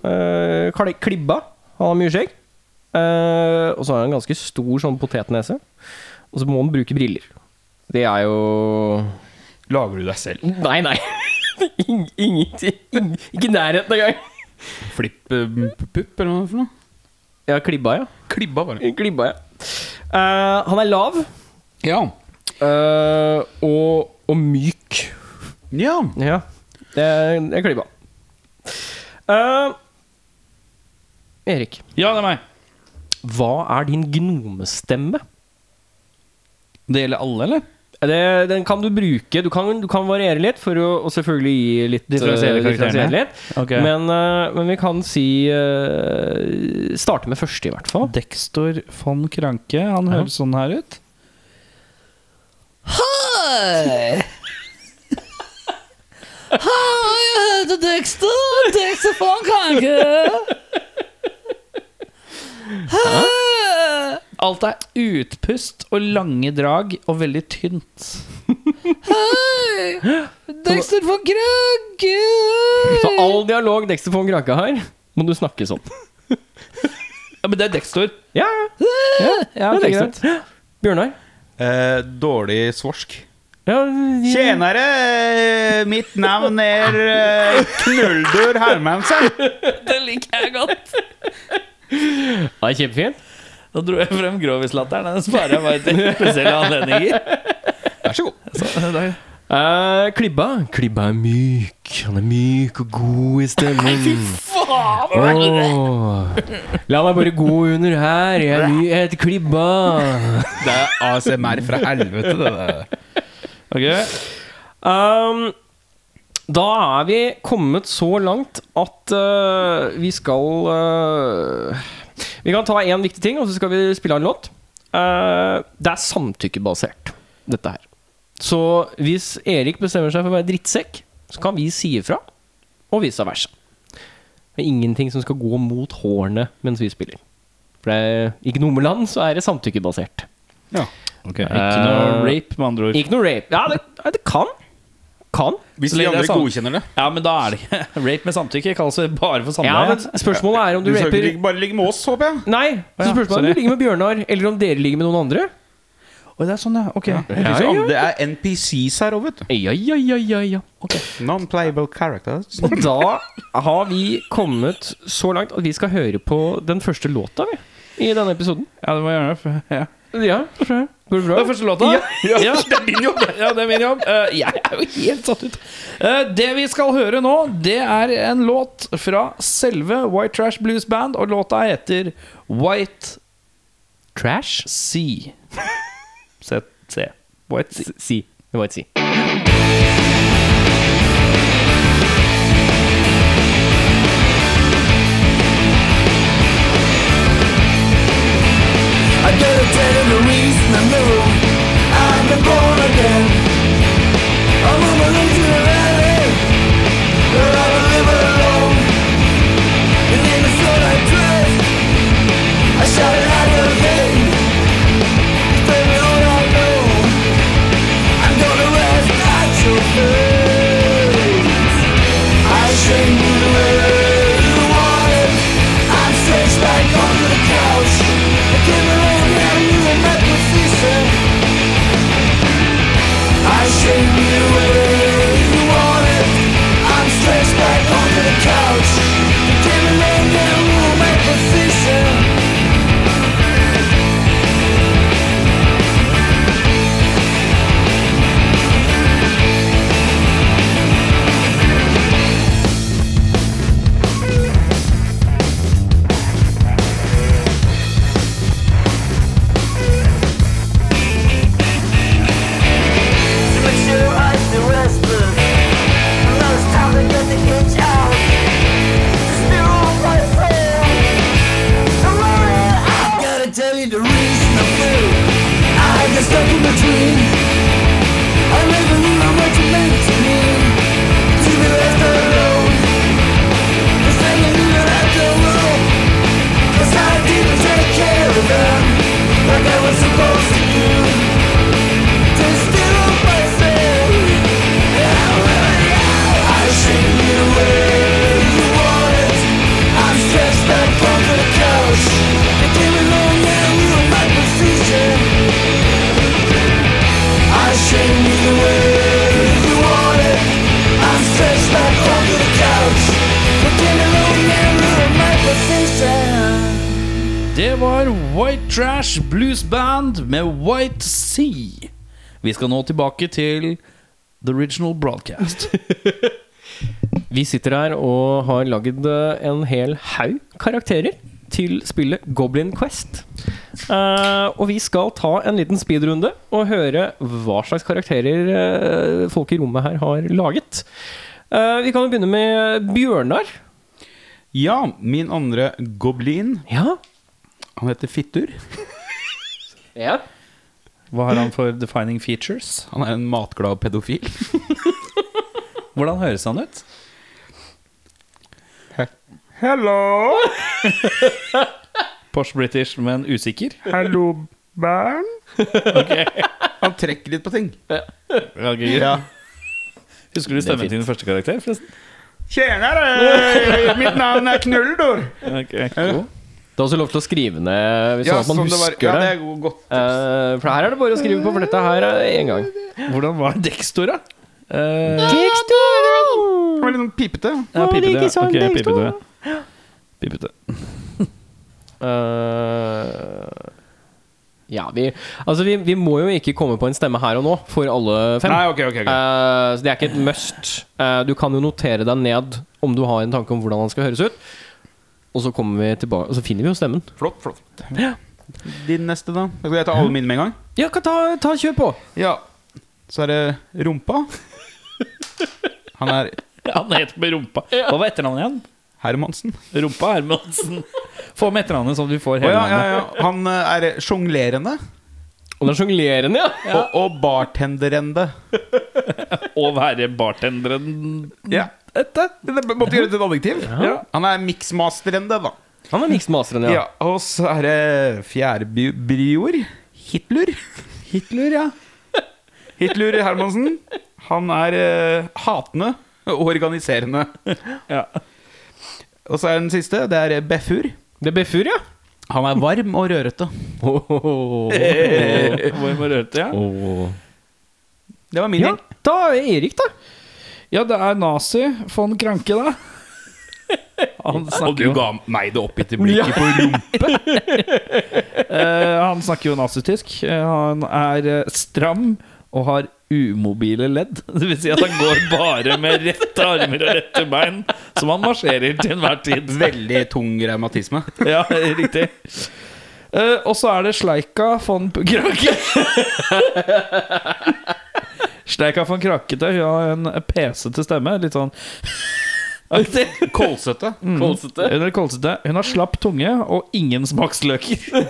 S1: Eh, kli- klibba. Han har mye skjegg. Eh, og så har han en ganske stor sånn potetnese. Og så må han bruke briller. Det er jo
S4: Lager du deg selv?
S1: Nei, nei. Ing- Ingenting. Ing- Ikke i nærheten engang.
S4: Flipp eh, pupp, eller noe for noe?
S1: Ja, klibba, ja.
S4: Klibba, bare.
S1: Klibba, ja. Eh, han er lav
S4: Ja.
S1: eh, og, og myk.
S4: ja.
S1: Ja. Det er, det er klibba. Eh, Erik,
S2: Ja, det er meg.
S1: hva er din gnomestemme?
S2: Det gjelder alle, eller?
S1: Er Det, den kan du bruke. Du kan, du kan variere litt for å og selvfølgelig gi litt
S2: Differensiere
S1: eh,
S2: karakterene.
S1: litt.
S2: Ok.
S1: Men, eh, men vi kan si eh, Starte med første, i hvert fall.
S2: Dextor von Kranke. Han høres sånn her ut.
S3: Hei! Hei, jeg heter Dexter. Dexter von Kranke. Hei!
S2: Alt er utpust og lange drag og veldig tynt.
S3: Hei! Dexter von Kranke.
S1: Så all dialog Dexter von Kranke har, må du snakke sånn.
S2: Ja, Men det er Dextor.
S1: Ja, ja.
S2: Ja,
S1: det er
S2: ok,
S1: Dexter. Bjørnar?
S4: Eh, dårlig svorsk.
S1: Ja,
S4: Tjenere! eh, Mitt navn er eh, Knulldør Hermansen.
S2: Det liker jeg godt.
S1: det er kjempefint.
S2: Da dro jeg frem grovislatteren. Den sparer jeg bare til spesielle anledninger.
S4: Vær så god.
S2: Så, der.
S1: Eh, klibba. Klibba er myk. Han er myk og god i stemmen. Fy faen! La meg bare gå under her. Jeg, er my jeg heter Klibba.
S4: Det er ASMR fra helvete, det der.
S2: Ok.
S1: Um, da er vi kommet så langt at eh, vi skal eh, Vi kan ta én viktig ting, og så skal vi spille av en låt. Eh, det er samtykkebasert, dette her. Så hvis Erik bestemmer seg for å være drittsekk, så kan vi si ifra, og vice versa. Det er ingenting som skal gå mot hårene mens vi spiller. For det er, i Gnomeland så er det samtykkebasert.
S4: Ja.
S2: Ikke noe
S1: Eh,
S2: rape, med andre ord.
S1: Ikke noe rape. Ja, det, ja, det kan. Kan.
S4: Hvis
S2: Så
S4: de
S2: lenge det er
S4: andre
S2: sant.
S4: godkjenner det.
S2: Ja, men da er det ikke Rape med samtykke kalles det bare for
S1: Ja,
S2: samleie.
S1: men spørsmålet er om
S4: Du
S1: du
S4: skal ikke
S1: raper
S4: ligge, bare ligge med oss, håper jeg.
S1: Nei, så
S2: ja,
S1: spørsmålet er om
S2: sorry.
S1: du ligger med Bjørnar, eller om dere ligger med noen andre.
S2: Oi, det er sånn, ja. Ok.
S4: Det,
S1: Ja,
S4: finnes
S1: ja.
S4: jo andre- det er NPCs her òg, vet du.
S1: Ja, ja, ja, ja, ja.
S4: Non-playable characters.
S1: Og da har vi kommet så langt at vi skal høre på den første låta, vi. I denne episoden.
S2: Ja, det må jeg gjøre. for- Ja.
S1: Ja, går det
S2: Det
S1: bra?
S2: er første låta. Ja, det er din jobb. Ja, det er min jobb. Eh, jeg er jo helt satt ut. Eh, det vi skal høre nå, det er en låt fra selve White Trash Blues Band, og låta heter White
S1: Trash?
S2: Sea. Se, se. White Sea.
S1: Si. Det var et si.
S5: I gotta tell you the reason I know I've been born again I'm on my way to the valley Where I will live alone And in the sun I dress I shout it out your name Baby, all I know I'm gonna rest at your feet I sing where you want it I'm stretched back onto the couch I can't believe how you met the feast
S2: var White Trash Blues Band med White Sea. Vi skal nå tilbake til the original broadcast.
S1: Vi sitter her og har lagd eh, en hel haug karakterer til spillet Goblin Quest. Eh, og vi skal ta en liten speedrunde og høre hva slags karakterer eh, folk i rommet her har laget. Eh, vi kan jo begynne med Bjørnar.
S4: Ja, min andre goblin,
S1: Ja.
S4: han heter Fittur.
S1: ja.
S2: Hva har han for defining features?
S4: Han er en matglad pedofil.
S2: Hvordan høres han ut?
S4: Hello!
S2: Posh British, men usikker.
S4: Hallo, Bern. Han trekker litt på ting. Ja.
S2: Husker du stemmen til din første karakter, forresten?
S4: Tjenere! Mitt navn er Knuldor.
S2: Okay.
S1: Du har også lov til å skrive ned hvis
S4: Ja,
S1: sånn at man
S4: sånn det var.
S1: husker
S4: Ja, det
S1: det.
S4: er go- godt.
S1: Eh, for her er det bare å skrive på, for dette her er én gang.
S2: Hvordan var Dextor, da? Uh,
S4: Det var litt sånn pipete.
S2: ja, pipete. ja. Ok, pipete. pipete.
S1: Eh, ja, vi Altså, vi, vi må jo ikke komme på en stemme her og nå for alle fem.
S4: Nei, ok, ok. ok.
S1: Eh, så det er ikke et must. Eh, du kan jo notere deg ned om du har en tanke om hvordan han skal høres ut. Og så kommer vi tilbake Og så finner vi jo stemmen.
S4: Flott, flott. Din neste, da? Skal jeg ta alle mine med en gang?
S1: Ja, kan ta, ta kjør på!
S4: Ja. Så er det rumpa. Han er
S2: Han het med rumpa. Hva var etternavnet igjen?
S4: Hermansen.
S2: Rumpa Hermansen. Få med etternavnet, sånn at du får
S4: Å
S2: hele
S4: ja, ja,
S2: navnet.
S4: ja. Han eh, er sjonglerende
S1: Og det er sjonglerende, ja!
S4: og, og bartenderende.
S2: Og være bartenderen
S4: Ja. Dette. Det måtte gjøre det til et adjektiv. Ja. Han er miksmasterende, da.
S1: Han er miksmaseren, ja.
S4: Ja, og så er det fjærbrior. Hitler. Hitler, ja. Hitler Hermansen. Han er eh, hatende og organiserende.
S2: Ja.
S4: Og så er den siste. Det er Beffur.
S1: Det er Befur, ja.
S4: Han er varm og rørete.
S2: Hvor må rørte jeg?
S4: Oh. Det var min
S1: ja.
S4: gjeng.
S1: Da er Erik, da.
S2: Ja, det er nazi von Kranke, da. Han snakker, jo,
S4: ga meg det oppgitte blikket på rumpa.
S2: eh, han snakker jo nazitysk. Eh, Han er eh, stram og har umobile ledd. Det vil si at han går bare med rette armer og rette bein, som han marsjerer til enhver tid.
S4: Veldig tung revmatisme.
S2: Ja, riktig. Eh, og så er det Sleika von P- Krake. Sleika von Krakete. Hun har en pesete stemme. Litt sånn aktig.
S4: Mm. Kålsøtte.
S1: Kolsete.
S2: Hun er kolsete. Hun har slapp tunge og ingen smaksløker.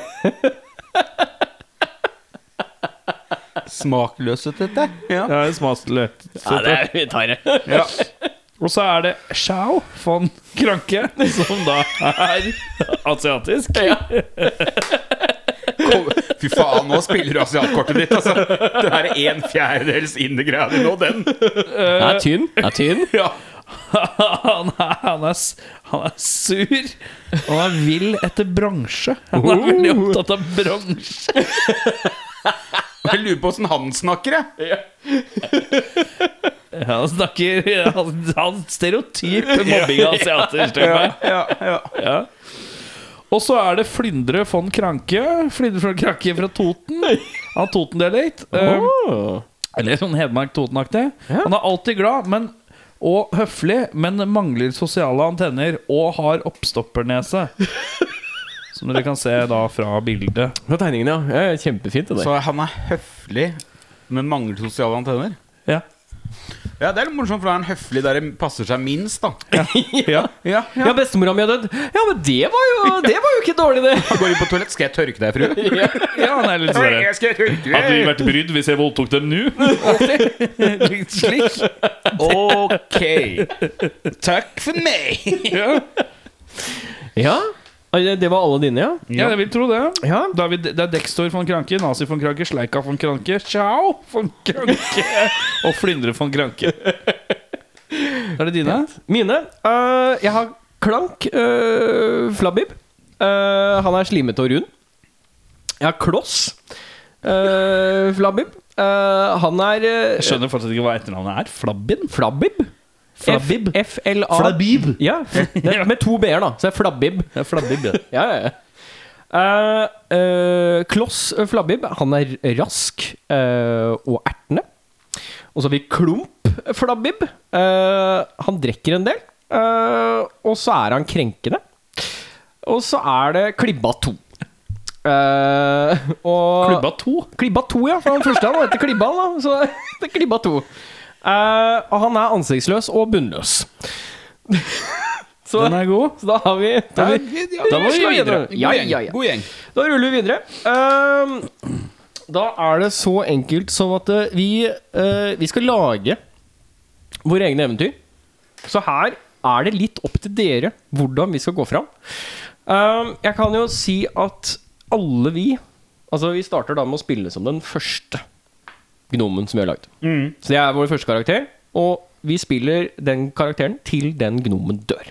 S4: Smakløsete. Ja.
S2: Ja, smaksløk.
S1: Ja, det er, vi tar det.
S2: Ja. Og så er det Shao von Kranke, som da er asiatisk.
S4: Kål- Fy faen, nå spiller du asiatkortet ditt, altså. Det her er en fjerdedels inn i greia di nå, den.
S1: Den er tynn. Den er tynn.
S4: Ja.
S2: Han er, han, er, s- han er sur, og han er vill etter bransje. Han er veldig opptatt av bransje.
S4: Jeg lurer på åssen han snakker, jeg.
S2: Han snakker Han, han stereotype mobbing av asiater. stemmer meg.
S4: Ja, ja.
S2: Ja. Og så er det Flyndre von Kranke. Flyndre von Kranke fra Toten. Han har Toten-dialekt. Um,
S1: Åh.
S2: Eller sånn Hedmark-Toten-aktig. Han er alltid glad men, og høflig, men mangler sosiale antenner og har oppstoppernese. Som dere kan se da fra bildet.
S1: Fra tegningen, ja. ja. ja, Kjempefint. det der.
S4: Så han er høflig, men mangler sosiale antenner.
S2: Ja.
S4: Ja, Det er litt morsomt, for da er han høflig der det passer seg minst, da.
S2: Ja.
S4: Ja,
S1: Ja, bestemora mi har dødd. Ja, men det var jo, det var jo ikke dårlig, det.
S4: Han går inn på toalett. Skal jeg tørke deg, frue?
S2: han er litt sånn
S4: Jeg skal tørke
S2: Hadde vi vært brydd hvis jeg voldtok dem nå? Litt slik.
S4: Ok. Takk for meg.
S2: Ja.
S1: Ja, det det var alle dine, ja?
S2: ja, jeg vil tro det.
S1: Ja.
S2: Da er vi, det er Dextor von Kranke, Nazi von Kranke, Sleika von Kranke, Ciao von Kranke og Flyndre von Kranke. Er det dine?
S1: Mine. eh, jeg har Klank. eh, flabbib. Eh, han er slimete og rund. Jeg har Kloss. eh, flabbib. Eh, han er eh,
S2: Jeg skjønner fortsatt ikke hva etternavnet er. Flabbin?
S1: Flabbib.
S2: Flabbib.
S1: F- FLA
S2: Flabbib.
S1: Ja, det, er med to b-er, da. Så det er Flabbib.
S2: Det er Flabbib, ja.
S1: Ja, ja, ja. Eh, eh, Kloss eh, Flabbib, han er rask eh, og ertende. Og så har vi Klump Flabbib. Eh, han drikker en del. eh, og så er han krenkende. Og så er det Klibba 2. Eh, og
S2: Klubba to.
S1: Klibba 2, ja. For han første han heter Klibba, da. Så det er Klibba 2. Eh, og han er ansiktsløs og bunnløs. så,
S2: Den er god.
S1: så da har vi Da, har vi,
S2: Da må vi
S1: slår
S2: videre.
S1: gjennom. Ja, ja, ja.
S4: God gjeng.
S1: Da ruller vi videre. Ehm, da er det så enkelt som at eh, vi, eh, vi skal lage våre egne eventyr. Så her er det litt opp til dere hvordan vi skal gå fram. Ehm, jeg kan jo si at alle vi Altså, vi starter da med å spille som den første gnomen som vi har lagd. Så det er vår første karakter. Og vi spiller den karakteren til den gnomen dør.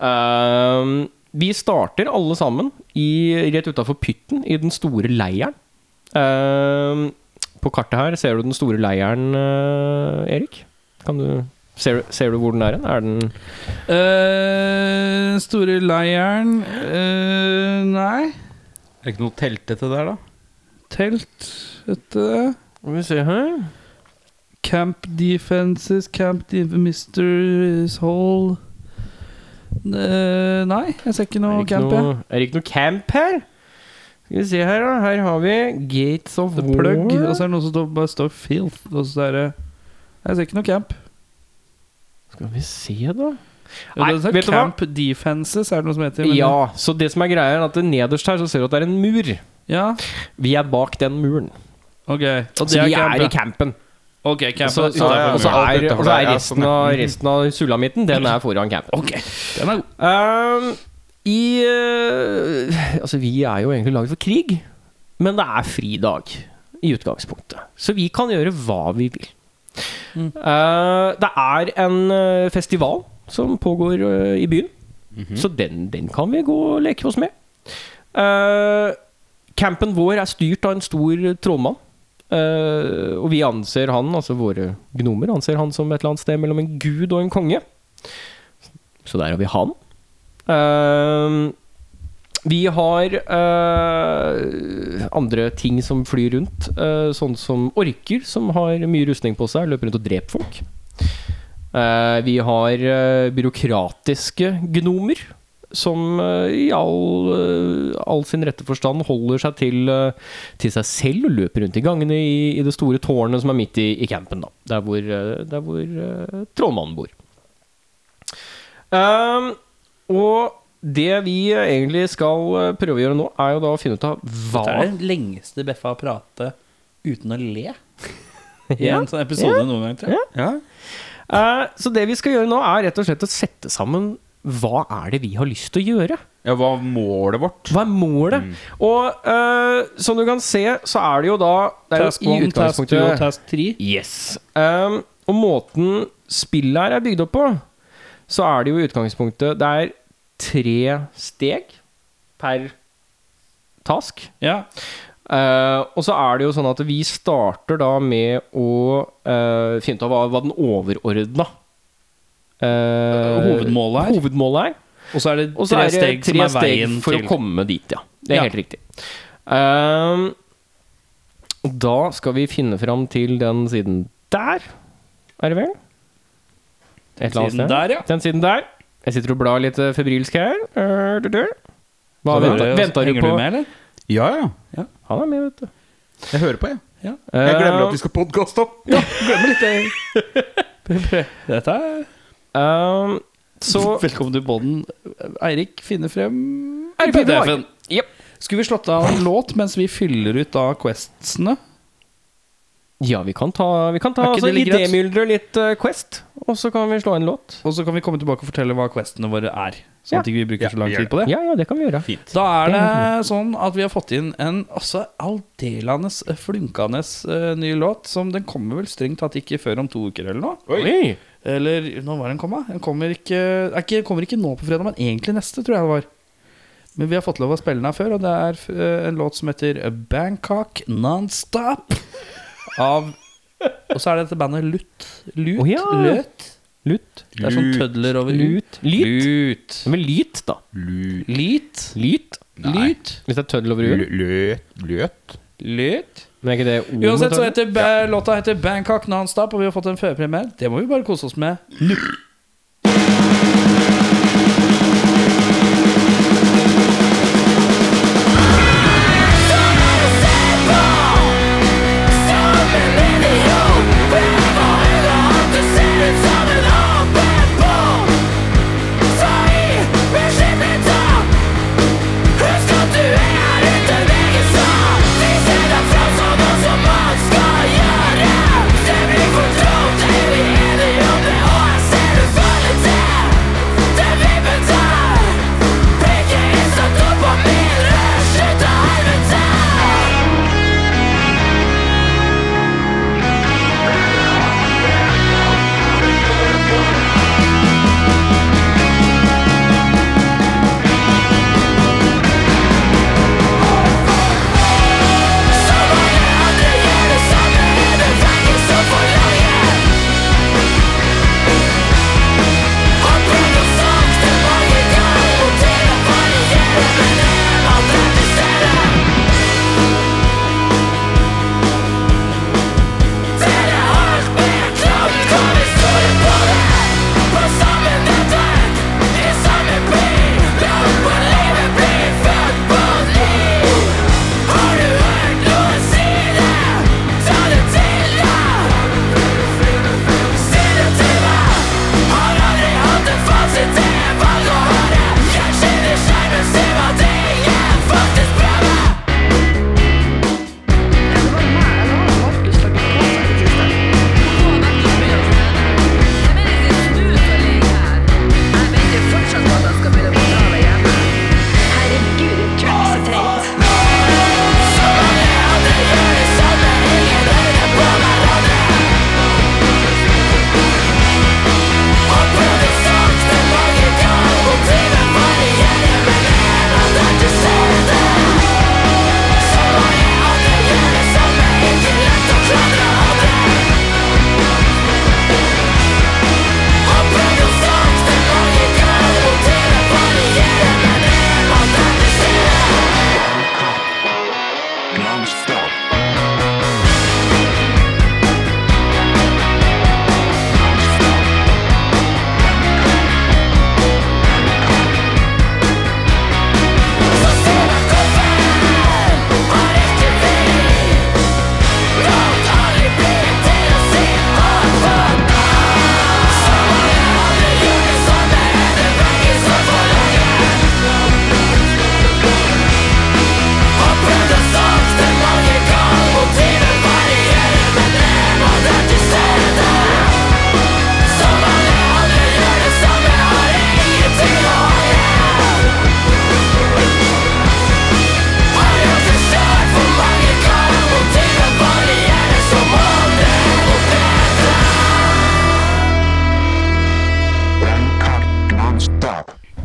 S1: Ehm, vi starter alle sammen i, rett utafor Pytten, i den store leiren. Ehm, på kartet her ser du den store leiren, eh, Erik. Kan du ser, du- ser du hvor den er hen? Er den
S2: Eh, Den store leiren eh, Nei.
S4: Er det ikke noe teltete der, da?
S2: Telt etter
S1: Skal vi se her
S2: Camp defenses, camp de mysteries hall Eh, Nei, jeg ser ikke
S1: Er det
S2: noe
S1: ikke
S2: camp, jeg.
S1: noe, er det ikke noe camp her? Skal vi se her, da. Her har vi Gates of
S2: The plug, altså.
S1: War.
S2: og så er det noe som står- bare står filth. Og så er det Jeg ser ikke noe camp.
S1: Skal vi se, da.
S2: Jo,
S1: Nei,
S2: det står
S1: vet du hva?
S2: camp defenses, er det noe som heter. men-
S1: Ja, så det som er greia, er at det nederst her så ser du at det er en mur.
S2: ja.
S1: Vi er bak den muren.
S2: Ok. Og det
S1: Så vi
S2: er camp.
S1: er i
S2: ja.
S1: campen.
S2: Ok, camp.
S1: Så,
S2: er
S1: så,
S2: utenfor
S4: ja, ja.
S1: og så
S2: muren.
S1: er, og så er
S4: Ja,
S1: resten, av, resten av sulamitten Den er foran campen.
S2: Ok, den er god.
S1: Ehm, I eh, Altså, vi er jo egentlig laget for krig, men det er fridag i utgangspunktet. Så vi kan gjøre hva vi vil. Eh, det er en eh, festival som pågår eh, i byen, så den, den kan vi gå og leke oss med. Eh, campen vår er styrt av en stor trollmann. Eh, og vi anser han, altså våre gnomer, anser han som et eller annet sted mellom en gud og en konge. Så der har vi han. Ehm, vi har eh, andre ting som flyr rundt, eh, sånn som orker, som har mye rustning på seg, løper rundt og dreper folk. Eh, vi har eh, byråkratiske gnomer, som eh, i all, eh, all sin rette forstand holder seg til, eh, til seg selv og løper rundt i gangene i, i det store tårnet som er midt i, i campen, da, der hvor, eh, der hvor eh, trollmannen bor. Ehm, og det vi egentlig skal eh, prøve å gjøre nå, er jo da å finne ut av hva
S6: Det er den lengste Beffa har pratet uten å le.
S2: I en sånn episode noen gang, tror jeg.
S1: Eh, Så det vi skal gjøre nå, er rett og slett å sette sammen hva er det vi har lyst til å gjøre?
S4: Ja, hva var målet vårt?
S1: Hva er målet? Og eh, som du kan se, så er det jo da det er
S2: Task
S1: jo i
S2: 1, task 2 og
S1: utgangspunktet
S2: task 3.
S1: Yes. Ehm, og måten spillet her er bygd opp på, så er det jo i utgangspunktet Det er tre steg per task.
S2: Ja.
S1: Eh, og så er det jo sånn at vi starter da med å eh, finne ut av hva, hva den overordna eh,
S2: Hovedmålet er.
S1: hovedmålet er.
S2: Og så er det
S1: Og så
S2: tre
S1: er det
S2: steg som
S1: tre
S2: er veien
S1: steg for
S2: til.
S1: å komme dit, ja. Det er
S2: Ja.
S1: helt riktig. Ehm, og da skal vi finne fram til den siden der, er det vel? Et eller annet
S2: siden
S1: sted.
S2: der, ja.
S1: Den siden der. Jeg sitter og blar litt eh, febrilsk her. Eh, du, du. Hva
S2: Så
S1: venta,
S2: hører jeg-
S1: venta du
S2: henger
S1: på?
S2: med, eller?
S4: Ja, ja.
S1: Han er med, vet du.
S4: Jeg hører på, jeg.
S1: Eh,
S4: Jeg glemmer at vi skal podkaste opp.
S2: Dette er
S1: ehm, så
S2: Velkommen til podden. Eirik finner frem
S1: Er det fint i dag?
S2: PDF-en.
S1: Jep.
S2: Skulle vi slått av en låt mens vi fyller ut da questsene?
S1: Ja, vi kan ta, vi kan ta
S2: Er ikke
S1: altså,
S2: det litt greit?
S1: idémyldre litt eh, Quest, og så kan vi slå en låt.
S2: Og så kan vi komme tilbake og fortelle hva questene våre er. Sånn
S1: Ja.
S2: at ikke vi bruker
S4: Ja,
S2: så lang
S4: vi
S2: tid
S4: gjør
S2: på det.
S1: Ja, ja, det kan vi gjøre.
S2: Da er det sånn at vi har fått inn en altså aldeles flunkende eh, ny låt. Som den kommer vel strengt tatt ikke før om to uker eller noe.
S1: Oi.
S2: Eller når var den komma? Den kommer ikke, er ikke, kommer ikke nå på fredag, men egentlig neste, tror jeg det var. Men vi har fått lov å spille den her før, og det er eh, en låt som heter Bangkok Nonstop. Av Og så er det dette bandet Lut. Lut?
S1: Å ja.
S2: Løt?
S1: Lut.
S2: Det er sånn tødler over
S1: Lut. Lyt.
S2: Lut.
S1: Men lyt, da.
S2: Lit.
S1: Lyt.
S3: Lyt?
S1: Hvis det er tøddel over huet.
S4: Løt? Løt?
S3: Lyt?
S1: Men er ikke det ordet med
S3: Uansett så
S1: tøddel?
S3: heter ba- låta heter Bangkok Nonstop, og vi har fått en førpremiere. Det må vi bare kose oss med.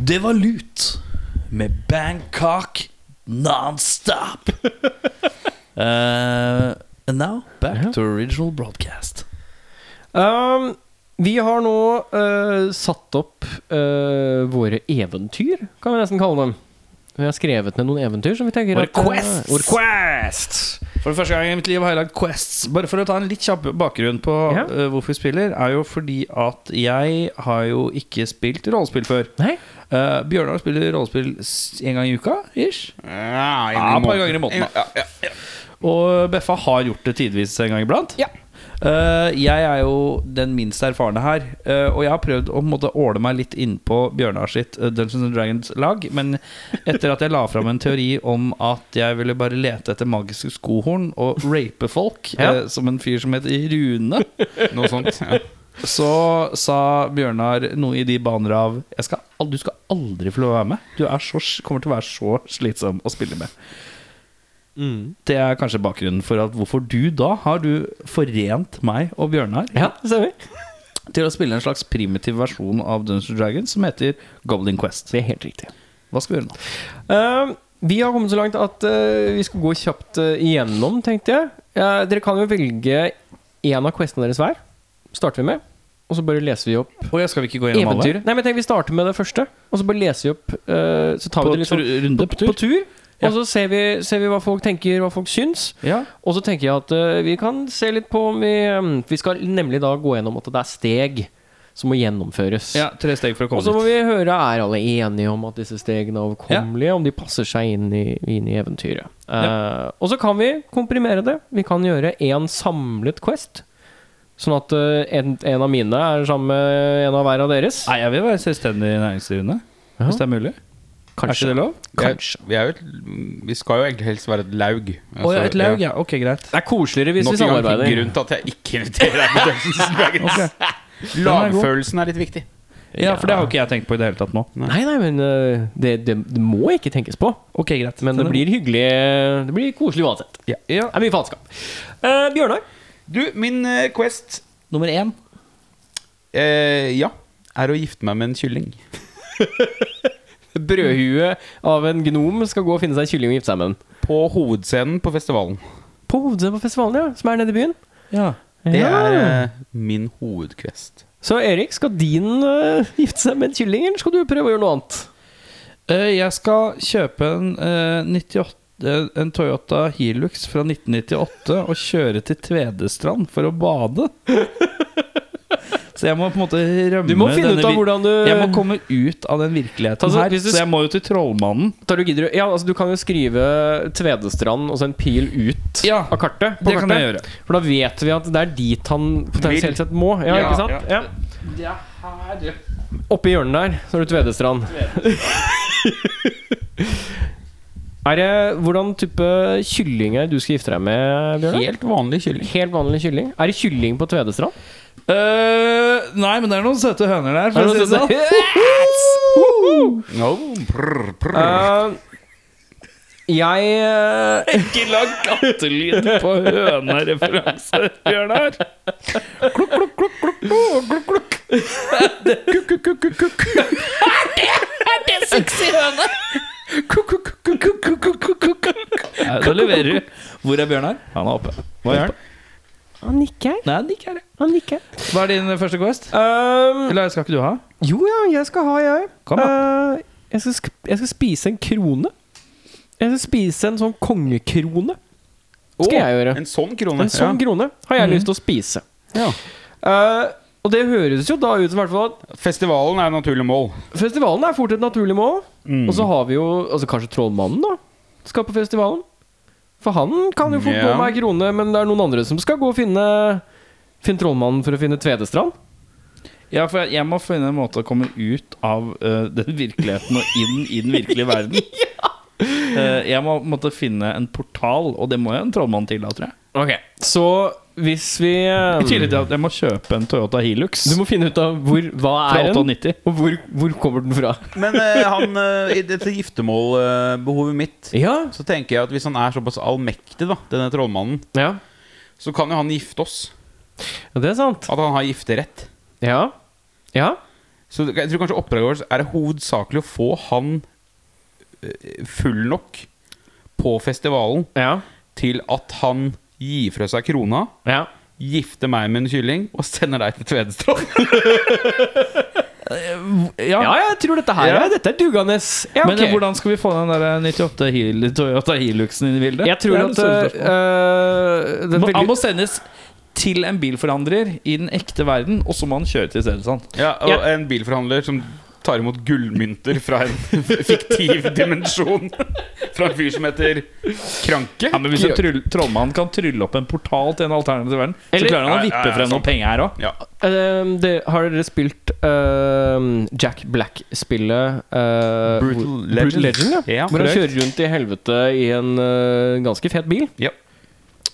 S3: Det var Lut med Bangkok Nonstop. Eh, and now back to original broadcast.
S1: Um, vi har nå eh, satt opp eh, våre eventyr, kan vi nesten kalle dem. Vi har skrevet ned noen eventyr som vi tenker
S3: Våre
S1: at, eh,
S3: quests.
S1: våre quests.
S3: For det første gang i mitt liv har jeg lagd Quests. Bare for å ta en litt kjapp bakgrunn på
S1: Ja.
S3: eh, hvorfor vi spiller, er jo fordi at jeg har jo ikke spilt rollespill før.
S1: Nei.
S3: Eh, Bjørnar spiller rollespill s- en gang i uka, ish.
S4: Ja, en gang
S3: Ja, et par
S4: i måneden.
S3: ganger i måneden. da. Og Beffa har gjort det tidvis en gang iblant. Eh, jeg er jo den minst erfarne her, eh, og jeg har prøvd å på en måte, åle meg litt innpå Bjørnar sitt eh, Dungeons and Dragons-lag. Men etter at jeg la fram en teori om at jeg ville bare lete etter magiske skohorn og rape folk,
S1: Ja.
S3: eh, som en fyr som heter Rune,
S4: Noe sånt. Ja.
S3: så sa Bjørnar noe i de baner av jeg skal, al- Du skal aldri få lov å være med. Du er så, s- kommer til å være så slitsom å spille med. Det er kanskje bakgrunnen for at hvorfor du da har du forent meg og Bjørnar
S1: Ja, det stemmer.
S3: til å spille en slags primitiv versjon av Dungeons and Dragons som heter Goblin Quest.
S1: Det er helt riktig.
S3: Hva skal vi gjøre nå?
S1: Eh, vi har kommet så langt at eh, vi skal gå kjapt eh, igjennom, tenkte jeg. Eh, dere kan jo velge én av questene deres hver. Starter vi med. og så bare leser vi opp
S2: Og jeg skal vi ikke gå gjennom alle?
S1: eventyret. Nei, men tenk, Vi starter med det første, og så bare leser vi opp eh, Så tar
S2: På
S1: vi det litt sånn
S2: tur- runde på
S1: på
S2: tur?
S1: tur.
S2: Ja.
S1: Og så ser vi, ser vi hva folk tenker, hva folk syns.
S2: Ja.
S1: Og så tenker jeg at eh, vi kan se litt på om vi eh, Vi skal nemlig da gå gjennom at det er steg som må gjennomføres.
S2: ja. Tre steg for å
S1: Og
S2: komme
S1: så må
S2: dit.
S1: vi høre er alle enige om at disse stegene er overkommelige, om de passer seg inn i, inn i eventyret. Eh, og så kan vi komprimere det. Vi kan gjøre én samlet quest. Sånn at eh, en, en av mine er sammen med en av hver av deres.
S2: Nei, jeg vil være selvstendig næringsdrivende. Hvis det er mulig. Er ikke det lov?
S4: Kanskje. Vi, er jo et, vi skal jo egentlig helst være et laug. Altså,
S2: Å ja, et laug, ja. Ok, greit.
S1: Det er koseligere hvis vi
S4: Nok en gang
S1: samarbeider.
S4: grunn til at jeg ikke inviterer deg på Dungeons Dragons. Lagfølelsen er litt viktig.
S2: Ja, for det har jo ikke jeg tenkt på i det hele tatt nå.
S1: Nei, nei, men øh, det, det, det må ikke tenkes på.
S2: Ok, greit.
S1: Men det
S2: Den er
S1: blir hyggelig Det blir koselig uansett.
S2: god. ja.
S1: Det er mye faenskap. Eh, Bjørnar,
S4: Du, min eh, quest
S7: Nummer én.
S4: eh, Ja. Er å gifte meg med en kylling.
S1: brødhue av en gnom skal gå og finne seg en kylling og gifte seg med den.
S4: På hovedscenen på festivalen.
S1: På hovedet på festivalen, ja. Som er nede i byen.
S2: Ja.
S4: Det
S1: Ja.
S4: er eh, min hovedquest.
S1: Så Erik, skal din øh, gifte seg med en kylling, eller skal du prøve å gjøre noe annet?
S2: Eh, jeg skal kjøpe en, eh, 98, eh, en Toyota Hilux fra 1998 og kjøre til Tvedestrand for å bade. Så jeg må på en måte rømme
S1: Du må finne
S2: denne
S1: ut av
S2: vir-
S1: hvordan du
S2: Jeg må komme ut av den virkeligheten
S1: Altså,
S2: her,
S1: hvis du
S2: så jeg må jo til Trollmannen.
S1: Tar du, gidder, du- ja, altså, du kan jo skrive Tvedestrand og så en pil ut
S2: Ja,
S1: av kartet. på
S2: det kan
S1: kartet.
S2: jeg gjøre.
S1: For da vet vi at det er dit han potensielt sett må. Ja, ikke sant? Ja. Oppe i hjørnet der så har du Tvedestrand. er det Hvordan type kylling er det du skal gifte deg med, Bjørnar?
S4: Helt vanlig kylling.
S1: Helt vanlig kylling. Er det kylling på Tvedestrand?
S2: Eh, nei, men det er noen søte høner der. For
S1: Er
S2: å si
S1: det
S2: det
S1: noe
S2: sånn.
S1: sånt?
S4: Oh, prr, prr.
S1: Eh, jeg eh,
S2: Ikke lag kattelyd på hønereferanser, Bjørnar. Klukk, klukk, klukk, klukk, klukk, klukk, klukk. Nei, Da leverer du. Hvor er Bjørnar? Han er oppe. Hva gjør han?
S1: Han nikker.
S2: Nei, han nikker. Um,
S1: Han nikker.
S2: Hva er din første quest?
S1: Eh,
S2: Eller skal ikke du ha?
S1: jo ja, jeg skal ha, jeg.
S2: Kom, da.
S1: Eh, jeg, skal, sk- jeg skal spise en krone. Jeg skal spise en sånn kongekrone. Skal
S4: Å,
S1: jeg gjøre.
S4: En sånn krone.
S1: En sånn krone har
S2: Mhm.
S1: jeg lyst til å spise.
S4: Ja.
S1: Eh, og det høres jo da ut som i hvert fall at
S4: ja. Festivalen er naturlig mål.
S1: festivalen er fort et naturlig mål.
S4: Mm.
S1: Og så har vi jo altså kanskje trollmannen da skal på festivalen. For han kan jo fort gå
S4: Ja.
S1: med ei krone, men det er noen andre som skal gå og finne Finne trollmannen for å finne Tvedestrand.
S2: Ja, for jeg, jeg må finne en måte å komme ut av eh, den virkeligheten og inn i den virkelige verden. Eh, jeg må måtte finne en portal, og det må jeg en trollmann til, da, tror jeg.
S1: Så hvis vi eh,
S2: I tillegg til at jeg må kjøpe en Toyota Hilux
S1: Du må finne ut av hvor Hva
S2: fra
S1: er den,
S2: 98.
S1: og hvor, hvor kommer den fra?
S4: Men eh, han, eh, i dette giftermålbehovet mitt
S1: Ja.
S4: så tenker jeg at hvis han er såpass allmektig, da, denne trollmannen,
S1: ja.
S4: så kan jo han gifte oss.
S1: Det er sant.
S4: At han har gifterett.
S1: Ja. Ja.
S4: Så jeg tror kanskje oppdraget vårt er hovedsakelig å få han eh, full nok på festivalen
S1: Ja.
S4: til at han gir fra seg krona,
S1: ja.
S4: gifter meg med en kylling og sender deg til Tvedestrand.
S1: Ja, jeg tror dette her
S4: Ja.
S1: er Dette er dugende. eh, Ja,
S2: Men eh,
S1: ok.
S2: hvordan skal vi få den der 98 Hil Toyota Hiluxen inn i bildet?
S1: Jeg tror
S2: Det er
S1: at
S2: det store
S1: øh,
S2: spørsmålet.
S1: det er
S2: Må- Han
S1: veldig,
S2: må sendes til en bilforhandler i den ekte verden, og så må han kjøre til Stedsand.
S4: Ja, og en bilforhandler som tar imot gullmynter fra en fiktiv dimensjon. Fra en fyr som heter Kranke.
S2: Ja, men hvis en tryll, trollmann kan trylle opp en portal til en alternativ verden,
S1: Eller-
S2: så klarer han å
S4: Nei,
S2: vippe
S4: nei,
S2: frem noen
S4: sant.
S2: penger her òg.
S4: Ja.
S1: øh, det, Har dere spilt øh, Jack Black-spillet øh, hvor- Brutal Legend? Ja.
S4: Ja,
S1: Hvor han
S4: korrekt.
S1: kjører rundt i helvete i en øh, ganske fet bil.
S4: Ja.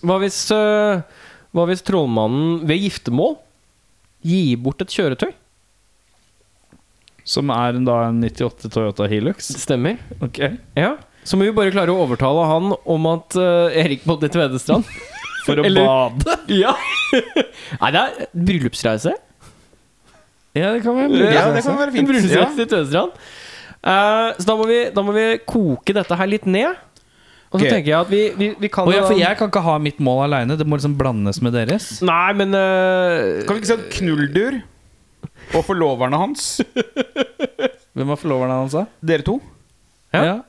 S1: Hva hvis, øh, hva hvis trollmannen ved giftermål gir bort et kjøretøy?
S2: Som er da en 98 Toyota Hilux.
S1: Stemmer.
S2: Ok
S1: Ja. Så må vi bare klare å overtale han om at øh, Erik bodde i Tvedestrand.
S2: For å
S1: Eller-
S2: bade.
S1: ja. Nei, det er bryllupsreise.
S2: Ja, det kan være mulig.
S4: ja, det kan være
S1: En
S4: fint. Ja.
S1: brunstrøm til Tvedestrand. Eh, så da må, vi, da må vi koke dette her litt ned. Og så
S4: Ok.
S1: tenker jeg at vi, vi, vi kan
S2: Å ja, for
S1: da-
S2: jeg kan ikke ha mitt mål aleine. Det må liksom blandes med deres.
S1: Nei, men eh,
S4: Kan vi ikke si at knulldur og forloverne hans,
S2: Hvem var forloveren hans, da?
S4: dere to,
S1: Ja.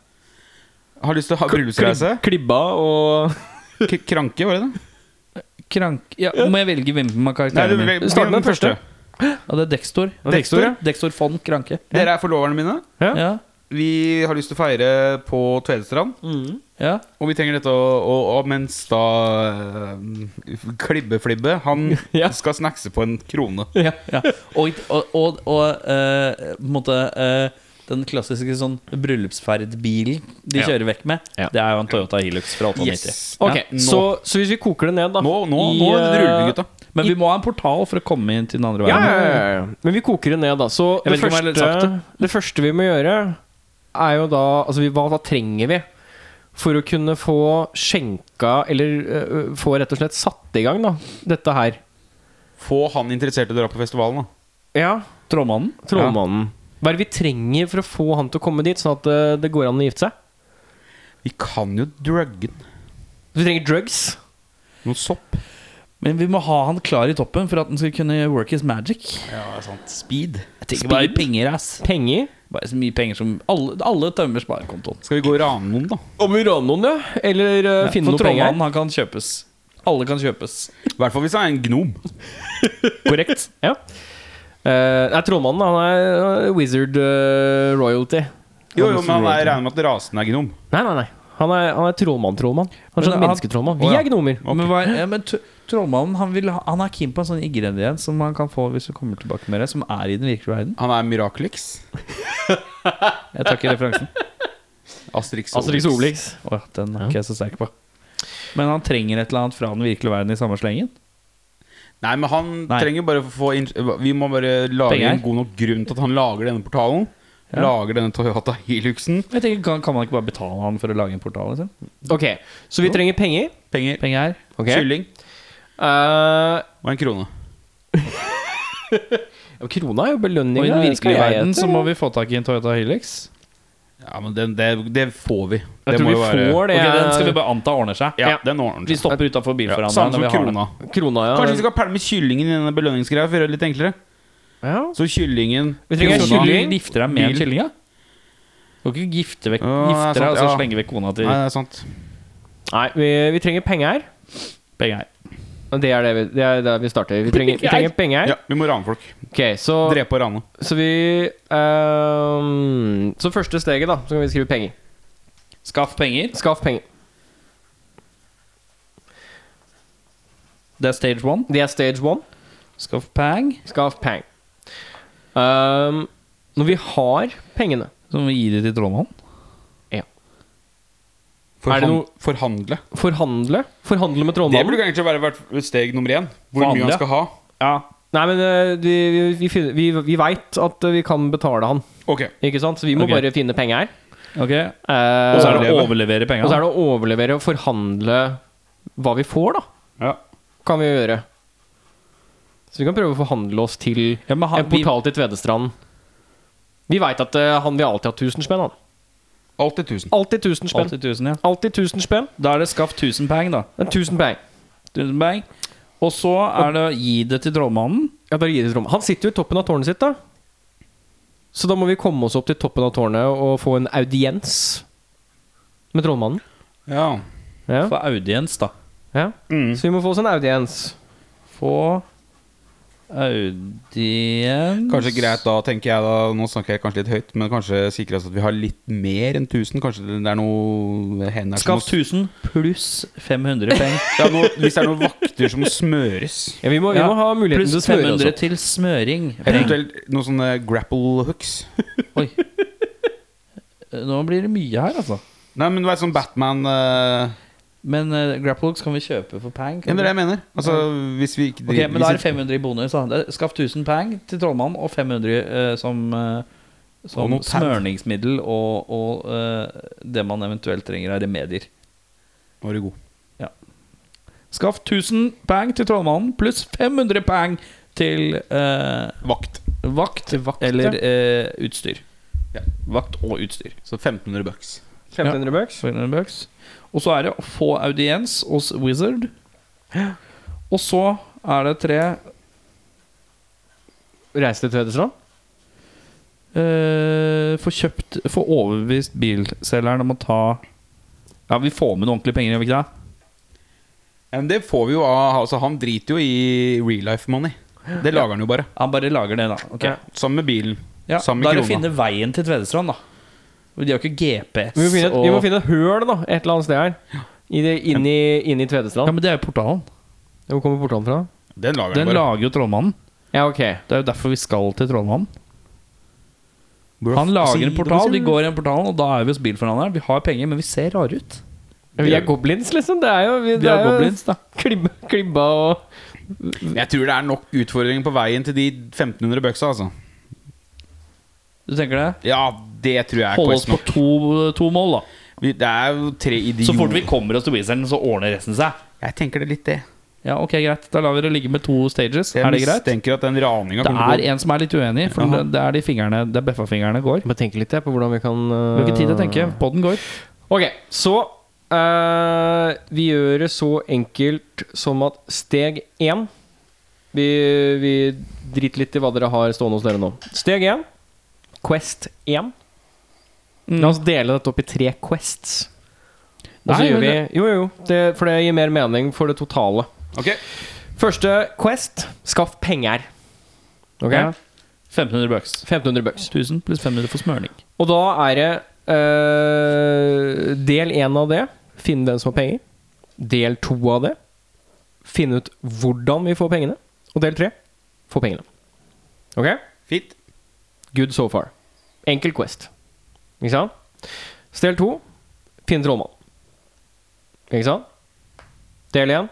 S4: har lyst til å ha bryllupsreise.
S1: Klibba og
S4: K kranke, var det det?
S2: Krank... Ja, Må jeg velge hvem som er
S4: Nei, du,
S2: karakteren min?
S4: vi-
S1: Start med den første.
S2: Ja, det er Dextor.
S1: Dextor, ja.
S2: Dextor von Kranke.
S4: Dere er forloverne mine.
S1: Ja.
S2: Ja.
S4: Vi har lyst til å feire på Tvedestrand.
S1: Mm.
S2: ja.
S4: Og vi trenger dette å, å, å Mens da eh, Klibbeflibbe, han
S1: Ja.
S4: skal snackse på en krone.
S2: ja. Og, og, og, og eh, på en måte eh, den klassiske sånn bryllupsferdbilen de
S1: Ja.
S2: kjører vekk med,
S1: Ja.
S2: det er jo en Toyota Hilux fra 98.
S1: Ok,
S2: Ja.
S1: så, så hvis vi koker det ned, da
S4: Nå, nå,
S1: i,
S4: nå ruller vi,
S1: eh,
S4: gutta.
S2: Men vi må ha en portal for å komme inn til den andre
S1: Ja,
S2: veien.
S1: ja, ja, ja. Men vi koker det ned, da. Så
S2: Jeg
S1: det
S2: vet ikke om jeg har sagt
S1: første, det første vi må gjøre, er jo da Altså, vi, hva da trenger vi for å kunne få skjenka Eller øh, få rett og slett satt i gang, da, dette her?
S4: Få han interessert i å dra på festivalen, da.
S1: Ja,
S2: Trollmannen.
S1: trollmannen. Hva er det vi trenger for å få han til å komme dit, sånn at øh, det går an å gifte seg?
S4: Vi kan jo drugge den.
S1: Vi trenger drugs.
S4: Noe sopp.
S2: Men vi må ha han klar i toppen for at han skal kunne work his magic.
S4: Speed.
S2: Jeg tenker bare penger, ass.
S1: Penger.
S2: Bare så mye penger som Alle, alle tømmer sparekontoen.
S4: Skal vi gå og rane noen, da?
S1: Om vi raner noen, ja. Eller øh, finne
S2: for
S1: noe penger.
S2: trollmannen, han kan kjøpes. Alle kan kjøpes.
S4: I hvert fall hvis han er en gnom.
S1: Korrekt. ja. Eh, nei, trollmannen han er øh, wizard øh, royalty. Han
S4: Jo, jo,
S1: er
S4: men han
S1: royalty.
S4: er, regner med at rasen er gnom.
S1: Nei, nei, nei. Han er, han er trollmann-trollmann. Han er
S2: Men
S1: sånn
S2: han-
S1: mennesketrollmann. Vi
S4: Å, ja.
S1: er gnomer.
S2: Men, hva, ja, men t- trollmannen han, vil, ha- han er keen på en sånn ingrediens som han kan få hvis du kommer tilbake med det, som er i den virkelige verden.
S4: Han er Miraculix.
S2: Jeg tar ikke referansen.
S4: Asterix
S2: Altså,
S1: Asterix Obelix.
S2: Åh, den er ikke jeg så sterk på. Men han trenger et eller annet fra den virkelige verden i samme slengen.
S4: Nei, men han
S2: Nei.
S4: trenger jo bare å få inn- Vi må bare lage
S2: Penger.
S4: en god nok grunn til at han lager denne portalen.
S2: Ja.
S4: Lager denne Toyota Hiluxen.
S2: Jeg tenker, kan, kan man ikke bare betale han for å lage en portal? Liksom?
S1: Ok, så vi trenger penger.
S4: Penger.
S2: Penger.
S1: Ok.
S4: Kylling.
S1: Eh,
S4: Og en krone.
S1: ja, krona er jo
S2: Og
S1: belønninga.
S2: i den
S1: skal jeg
S2: virkelige verden
S1: hete.
S2: så må vi få tak i en Toyota Hilux.
S4: Ja, men den, det, det får vi.
S1: Jeg
S4: Det
S1: tror
S4: må
S1: vi
S4: jo være
S1: får det.
S2: Ok, Den skal vi bare anta ordner seg.
S4: Ja,
S1: Ja.
S4: den ordner
S2: Vi
S4: seg.
S2: stopper utafor
S4: Ja,
S2: bilforhandleren.
S4: Samme som
S2: når vi har den.
S4: krona.
S1: Krona, ja.
S4: Kanskje vi skal pælme kyllingen i denne belønningsgreia for å gjøre det litt enklere.
S1: ja.
S4: Så kyllingen
S1: Vi trenger
S2: Krona.
S1: kylling.
S2: Du Gifter deg med en
S4: Bil.
S2: kylling, ja? Du kan ikke gifte, vekk,
S4: Ja, det er
S2: gifte deg
S4: sant,
S2: og så
S4: ja.
S2: slenge vekk kona til
S4: Nei, det er sant.
S1: Nei, vi, vi trenger penger.
S2: penger.
S1: Det er det vi, det er der vi starter. Vi trenger, vi trenger penger.
S4: Ja, vi må rane folk.
S1: Ok, så,
S4: Drepe og rane.
S1: så vi ehm, Så første steget, da, så kan vi skrive penger.
S2: Skaff penger.
S1: Skaff penger.
S2: Det er stage one.
S1: Det er stage one.
S2: Skaff pang.
S1: Skaff peng. Ehm, når vi har pengene
S2: Så må vi gi det til trollmannen.
S1: Er det
S4: Forhan
S1: noe-
S4: forhandle.
S1: Forhandle. Forhandle med
S4: Det
S1: trollmannen.
S4: burde kanskje være vært steg nummer én. Hvor
S2: Forhandle.
S4: mye han skal ha.
S2: Ja.
S1: Nei, men eh, vi, vi, vi, finner- vi, vi veit at eh, vi kan betale han,
S4: Ok,
S1: ikke sant? Så vi må
S2: Ok.
S1: bare finne penger.
S2: Ok.
S1: Eh,
S2: Og så er det å
S1: og så er
S2: overlevere
S4: Overleve.
S2: pengene.
S1: det å overlevere og forhandle hva vi får, da.
S4: Ja.
S1: Kan vi gjøre. Så vi kan prøve å forhandle oss til
S2: Ja, men han,
S1: en
S2: vi,
S1: portal til Tvedestrand. Vi veit at eh, han vil alltid ha 1000 spenn, han.
S4: Alt i tusen.
S1: Alltid 1000 spenn.
S2: alltid tusen, ja.
S1: Alltid 1000 spenn.
S2: Da er det skaff 1000 pang, da.
S1: En 1000 peng.
S2: 1000 pang. Og så er det å gi det til trollmannen.
S1: Ja, bare gi det til rommet. Han sitter jo i toppen av tårnet sitt, da. Så da må vi komme oss opp til toppen av tårnet og få en audiens med trollmannen.
S4: Ja.
S1: Ja.
S2: For audiens, da.
S1: Ja.
S4: Mm.
S1: Så vi må få oss en audiens.
S2: Få audiens
S4: Kanskje greit da, tenker jeg da Nå snakker jeg kanskje litt høyt, men kanskje sikre oss at vi har litt mer enn 1000. Kanskje det er noe hender som
S2: Skaff 1000 pluss 500 peng.
S4: Det er noe, Hvis det er noen vakter som må smøres.
S1: Ja, vi, må, vi
S2: Ja,
S1: må ha muligheten
S2: Pluss altså.
S1: til å smøre oss
S2: 500
S1: opp.
S2: til smøring. Peng.
S4: Eventuelt noen sånne grapple hooks.
S2: Nå blir det mye her, altså.
S4: Nei, men du vet sånn Batman eh,
S2: Men uh, grapplehooks kan vi kjøpe for pang.
S4: Ja,
S2: Kan
S4: men det
S2: vi?
S4: er det jeg mener. Altså, hvis vi ikke
S2: Ok, men da er det
S4: hvis vi-
S2: 500 i bonus. Da. Det er- Skaff 1000 pang til trollmannen og 500 eh, som, eh,
S4: Og
S2: som
S4: noe pad.
S2: smørningsmiddel og, og eh, det man eventuelt trenger av remedier.
S4: Nå er du god.
S2: Skaff 1000 pang til trollmannen pluss 500 pang til eh,
S4: Vakt.
S2: vakt, eller eh, utstyr. Vakt og utstyr.
S4: Så 1500 bucks.
S1: 1500 bucks.
S2: Så 500 bucks. Og så er det å få audiens hos Wizard. Og så er det tre
S1: Reise til Tvedestrand?
S2: Eh, få kjøpt Få overbevist bilselgeren om å ta Ja, vi får med noen ordentlige penger, gjør vi ikke det?
S8: Ja, men det får vi jo av altså, Han driter jo i real life money. Det lager han jo bare.
S2: Han bare lager det, da. Ok.
S8: Ja. Sammen med bilen.
S2: Ja,
S8: Sammen
S2: da
S8: med
S2: er det å
S8: krona.
S2: finne veien til Tvedestrand, da. De har jo ikke GPS.
S1: Vi må finne et, vi må
S2: og-
S1: finne et høl da, et eller annet sted her. I det, inn, i, inn i
S2: Ja,
S1: Tvedestrand.
S2: Men det er jo portalen.
S1: Hvor kommer portalen fra?
S8: Den lager
S2: Den
S8: han bare.
S2: lager jo trollmannen.
S1: Ja, ok.
S2: Det er jo derfor vi skal til trollmannen. Han
S4: altså,
S2: lager en portal, vi går i den portalen, og da er vi hos bilforhandleren. Vi har penger, men vi ser rare ut.
S1: Vi er goblins, liksom. Det er jo, vi,
S2: Vi
S1: det
S2: har
S1: er jo
S2: goblins, da.
S1: Klibba, klibba og
S8: Jeg tror det er nok utfordringer på veien til de 1500 bøksa, altså.
S2: Du tenker det?
S8: Ja, det tror jeg er
S2: Holde oss
S8: quest
S2: på
S8: nok.
S2: to, to mål, da.
S8: Vi- Det er jo tre idioter
S2: Så fort vi kommer oss til Wizarden, så ordner resten seg.
S8: Jeg tenker det litt, det.
S2: Ja, ok, greit. Da lar vi det ligge med to stages.
S8: Jeg
S2: er det greit?
S8: tenker at den raninga
S2: Det
S8: kommer
S2: er
S8: til å gå
S2: en som er litt uenig, for det, det er de fingrene, det er beffafingrene går.
S1: Bare tenke litt jeg, på hvordan vi kan eh,
S2: Vi har ikke tid til å tenke. Podden går.
S1: Ok, så eh, Vi gjør det så enkelt som at steg én vi, vi driter litt i hva dere har stående hos dere nå. Steg én, Quest 1.
S2: Mm.
S1: La oss dele dette opp i tre quests. Og så
S2: Nei,
S1: gjør vi
S2: men
S1: Jo, jo, jo. Det, for det gir mer mening for det totale.
S8: Ok.
S1: Første quest skaff penger. Ok?
S2: Ja. 1500 bucks.
S1: 1500 bucks.
S2: 1000 pluss 500 for smørning.
S1: Og da er det eh, Del én av det finne den som har penger. Del to av det finne ut hvordan vi får pengene. Og del tre få pengene. Ok?
S8: Fint.
S1: Good so far. Enkel quest. Ikke sant? Så del to finne trollmannen. Ikke sant? Del én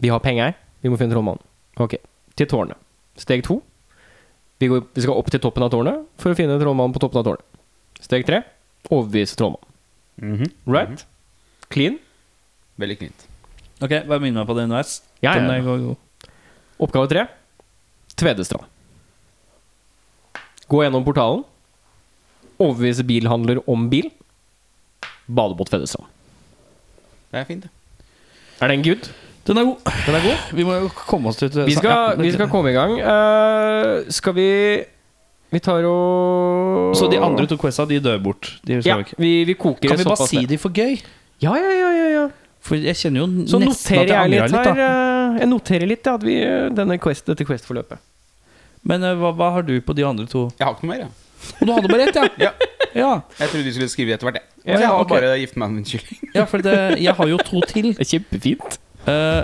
S1: vi har penger, vi må finne trollmannen. Ok. Til tårnet. Steg to vi, går, vi skal opp til toppen av tårnet for å finne trollmannen på toppen av tårnet. Steg tre overbevise trollmannen. Right? Clean.
S8: Veldig knint.
S2: Ok, bare minn meg på det underveis.
S1: Ja, ja, ja.
S2: Den går god.
S1: Oppgave tre Tvedestrand. Gå gjennom portalen. Overbevise bilhandler om bil. Badebåt Tvedestrand.
S8: Det er fint, det.
S1: Er den good?
S2: Den er god. Vi må jo komme oss til
S1: Vi skal, vi skal komme i gang. Eh, skal vi Vi tar og
S2: Så de andre to questa, de dør bort. De skal
S1: ja,
S2: vi ikke.
S1: vi, vi koker
S2: Kan vi
S1: det
S2: bare
S1: såpass
S2: si
S1: ned.
S2: de for gøy?
S1: Ja, ja, ja, ja, ja.
S2: For jeg kjenner jo
S1: Så
S2: nesten at
S1: noterer
S2: jeg
S1: jeg
S2: angrer
S1: litt
S2: litt.
S1: her.
S2: da
S1: eh, Jeg noterer litt ja, at vi, eh, denne quest, dette Quest-forløpet.
S2: Men eh, hva, hva har du på de andre to?
S8: Jeg har ikke noe mer, jeg.
S2: Og du hadde bare ett, ja. ja.
S8: Jeg trodde de skulle skrive det etter hvert, jeg. Så
S2: Ja,
S8: jeg har
S2: ok.
S8: bare gift meg med en kylling.
S2: Ja, for det, jeg har jo to til.
S1: Det er kjempefint.
S2: Eh,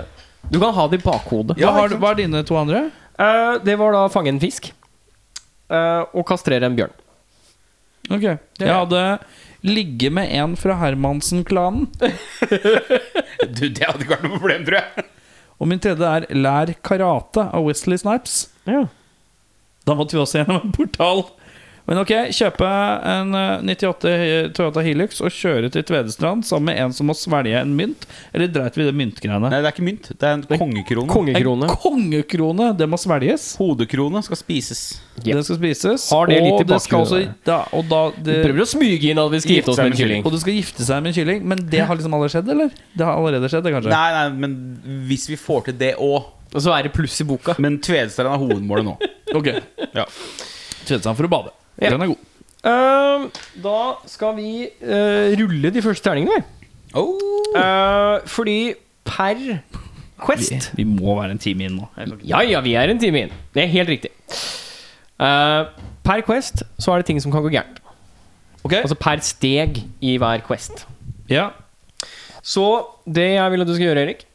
S1: Du kan ha det i bakhodet.
S2: hva, har, hva er dine to andre?
S1: Eh, det var da fange en fisk eh, og kastrere en bjørn.
S2: Ok Jeg hadde ligge med en fra Hermansen-klanen.
S8: Du, det hadde ikke vært noe problem, tror jeg.
S2: Og min tredje er lær karate av Wesley Snipes.
S1: Ja.
S2: Da måtte vi også gjennom en portal. Men ok, kjøpe en eh, 98 Hi- Toyota Hilux og kjøre til Tvedestrand sammen med en som må svelge en mynt. Eller dreit vi i det myntgreiene?
S8: Nei, det er ikke mynt. Det er en kongekrone.
S1: Kongekrone.
S2: En kongekrone! Det må svelges.
S8: Hodekrone skal spises.
S1: Ja.
S2: Den skal spises.
S1: Har det litt i
S2: og det skal også
S1: bakhodet.
S2: da, og, da, det,
S1: Prøver å smyge inn at vi skal gifte oss med en kylling.
S2: og du skal gifte seg med en kylling. Men det har liksom allerede skjedd, eller? Det har allerede skjedd, det, kanskje?
S8: Nei, nei, men hvis vi får til det òg
S1: Og så er det pluss i boka.
S8: Men Tvedestrand er hovedmålet nå.
S2: Ok.
S8: Ja.
S2: Tvedestrand for å bade.
S1: Ja.
S2: Den er god.
S1: Ehm, da skal vi eh, rulle de første terningene, vi.
S8: Oh.
S1: Eh, fordi per Quest
S2: Vi må være en time inn nå. Jeg kan ikke-
S1: Ja ja, vi er en time inn. Det er helt riktig. Eh, per Quest så er det ting som kan gå gærent.
S2: Ok.
S1: Altså per steg i hver Quest.
S2: Ja.
S1: Så det jeg vil at du skal gjøre, Erik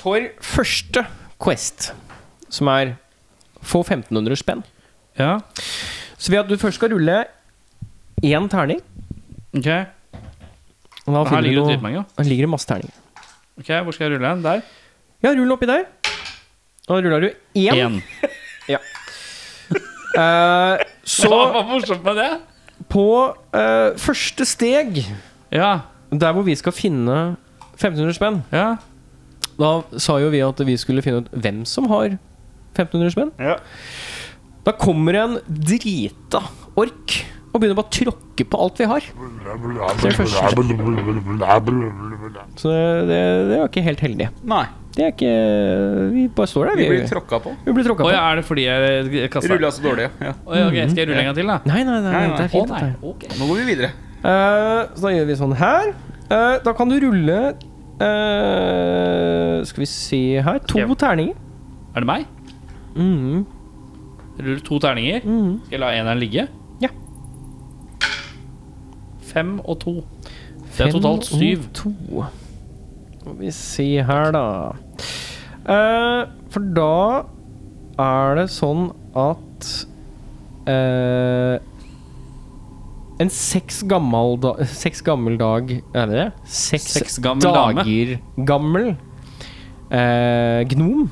S1: For første Quest, som er få 1500 spenn
S2: ja.
S1: Så ved at du først skal rulle én terning og
S2: Ok.
S1: da
S2: Her
S1: finner
S2: ligger det
S1: noe-
S2: dritmange.
S1: Her ligger det masse terninger.
S2: Ok, Hvor skal jeg rulle den? Der?
S1: Ja, rull den oppi der. Da ruller du én.
S2: Én.
S1: Eh, så
S2: var morsomt med det?
S1: på eh, første steg,
S2: Ja.
S1: der hvor vi skal finne 1500 spenn
S2: ja.
S1: Da sa jo vi at vi skulle finne ut hvem som har 1500 spenn. Da kommer en drita ork og begynner bare å tråkke på alt vi har. Så det, første. Så det, det, det var ikke helt heldig.
S8: Nei.
S1: Det er ikke Vi bare står der,
S8: Vi blir
S1: vi.
S8: tråkka på.
S1: Vi blir tråkka
S2: Å
S1: på.
S2: ja, er det fordi jeg kasta
S8: Rulla så altså dårlig. Ja.
S2: Skal jeg rulle en gang til, da?
S1: Nei, nei, nei,
S8: Nei, nei.
S1: det er fint.
S6: Å,
S1: dette her.
S6: nei, ok.
S8: Nå går vi videre.
S1: Eh, så da gjør vi sånn her. Eh, da kan du rulle eh, Skal vi se her To terninger.
S2: Er det meg?
S1: Mhm.
S2: Jeg ruller to terninger.
S1: mm.
S2: Skal jeg la eneren ligge?
S1: Ja.
S2: Fem og to. Det er totalt
S1: Fem og
S2: syv.
S1: To. Skal vi se her, da. Eh, for da er det sånn at eh, En seks gammel, da, seks gammel dag Er det det? Seks,
S2: Seks gammel dame.
S1: dager gammel eh, gnom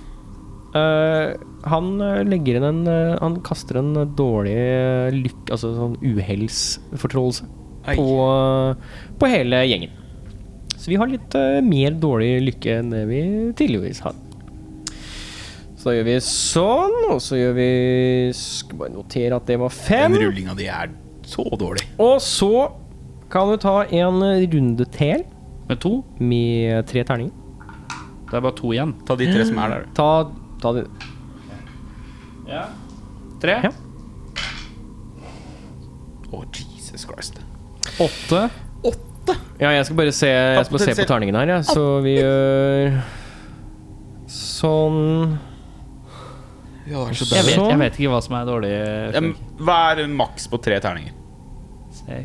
S1: eh, Han eh, legger inn en eh, Han kaster en eh, dårlig eh, lykke Altså sånn uhellsfortrådelse på, på hele gjengen. Så vi har litt eh, mer dårlig lykke enn det vi tidligvis har. Så da gjør vi sånn, og så gjør vi Skal bare notere at det var fem.
S8: rullinga di er så dårlig.
S1: Og så kan du ta en runde til
S2: Med to.
S1: med tre terninger.
S2: Det er bare to igjen.
S8: Ta de tre som er der.
S1: Ta, ta det
S2: Tre.
S1: Ja.
S8: Å, Jesus Christ.
S2: Åtte.
S1: Ja, jeg skal bare se, jeg skal bare se på terningen her, jeg. Så vi gjør sånn.
S8: Ja, det er så
S2: Jeg vet,
S1: Sånn.
S2: jeg vet ikke hva som er dårlig. eh,
S8: Ja, men Hva er maks på tre terninger?
S2: Se.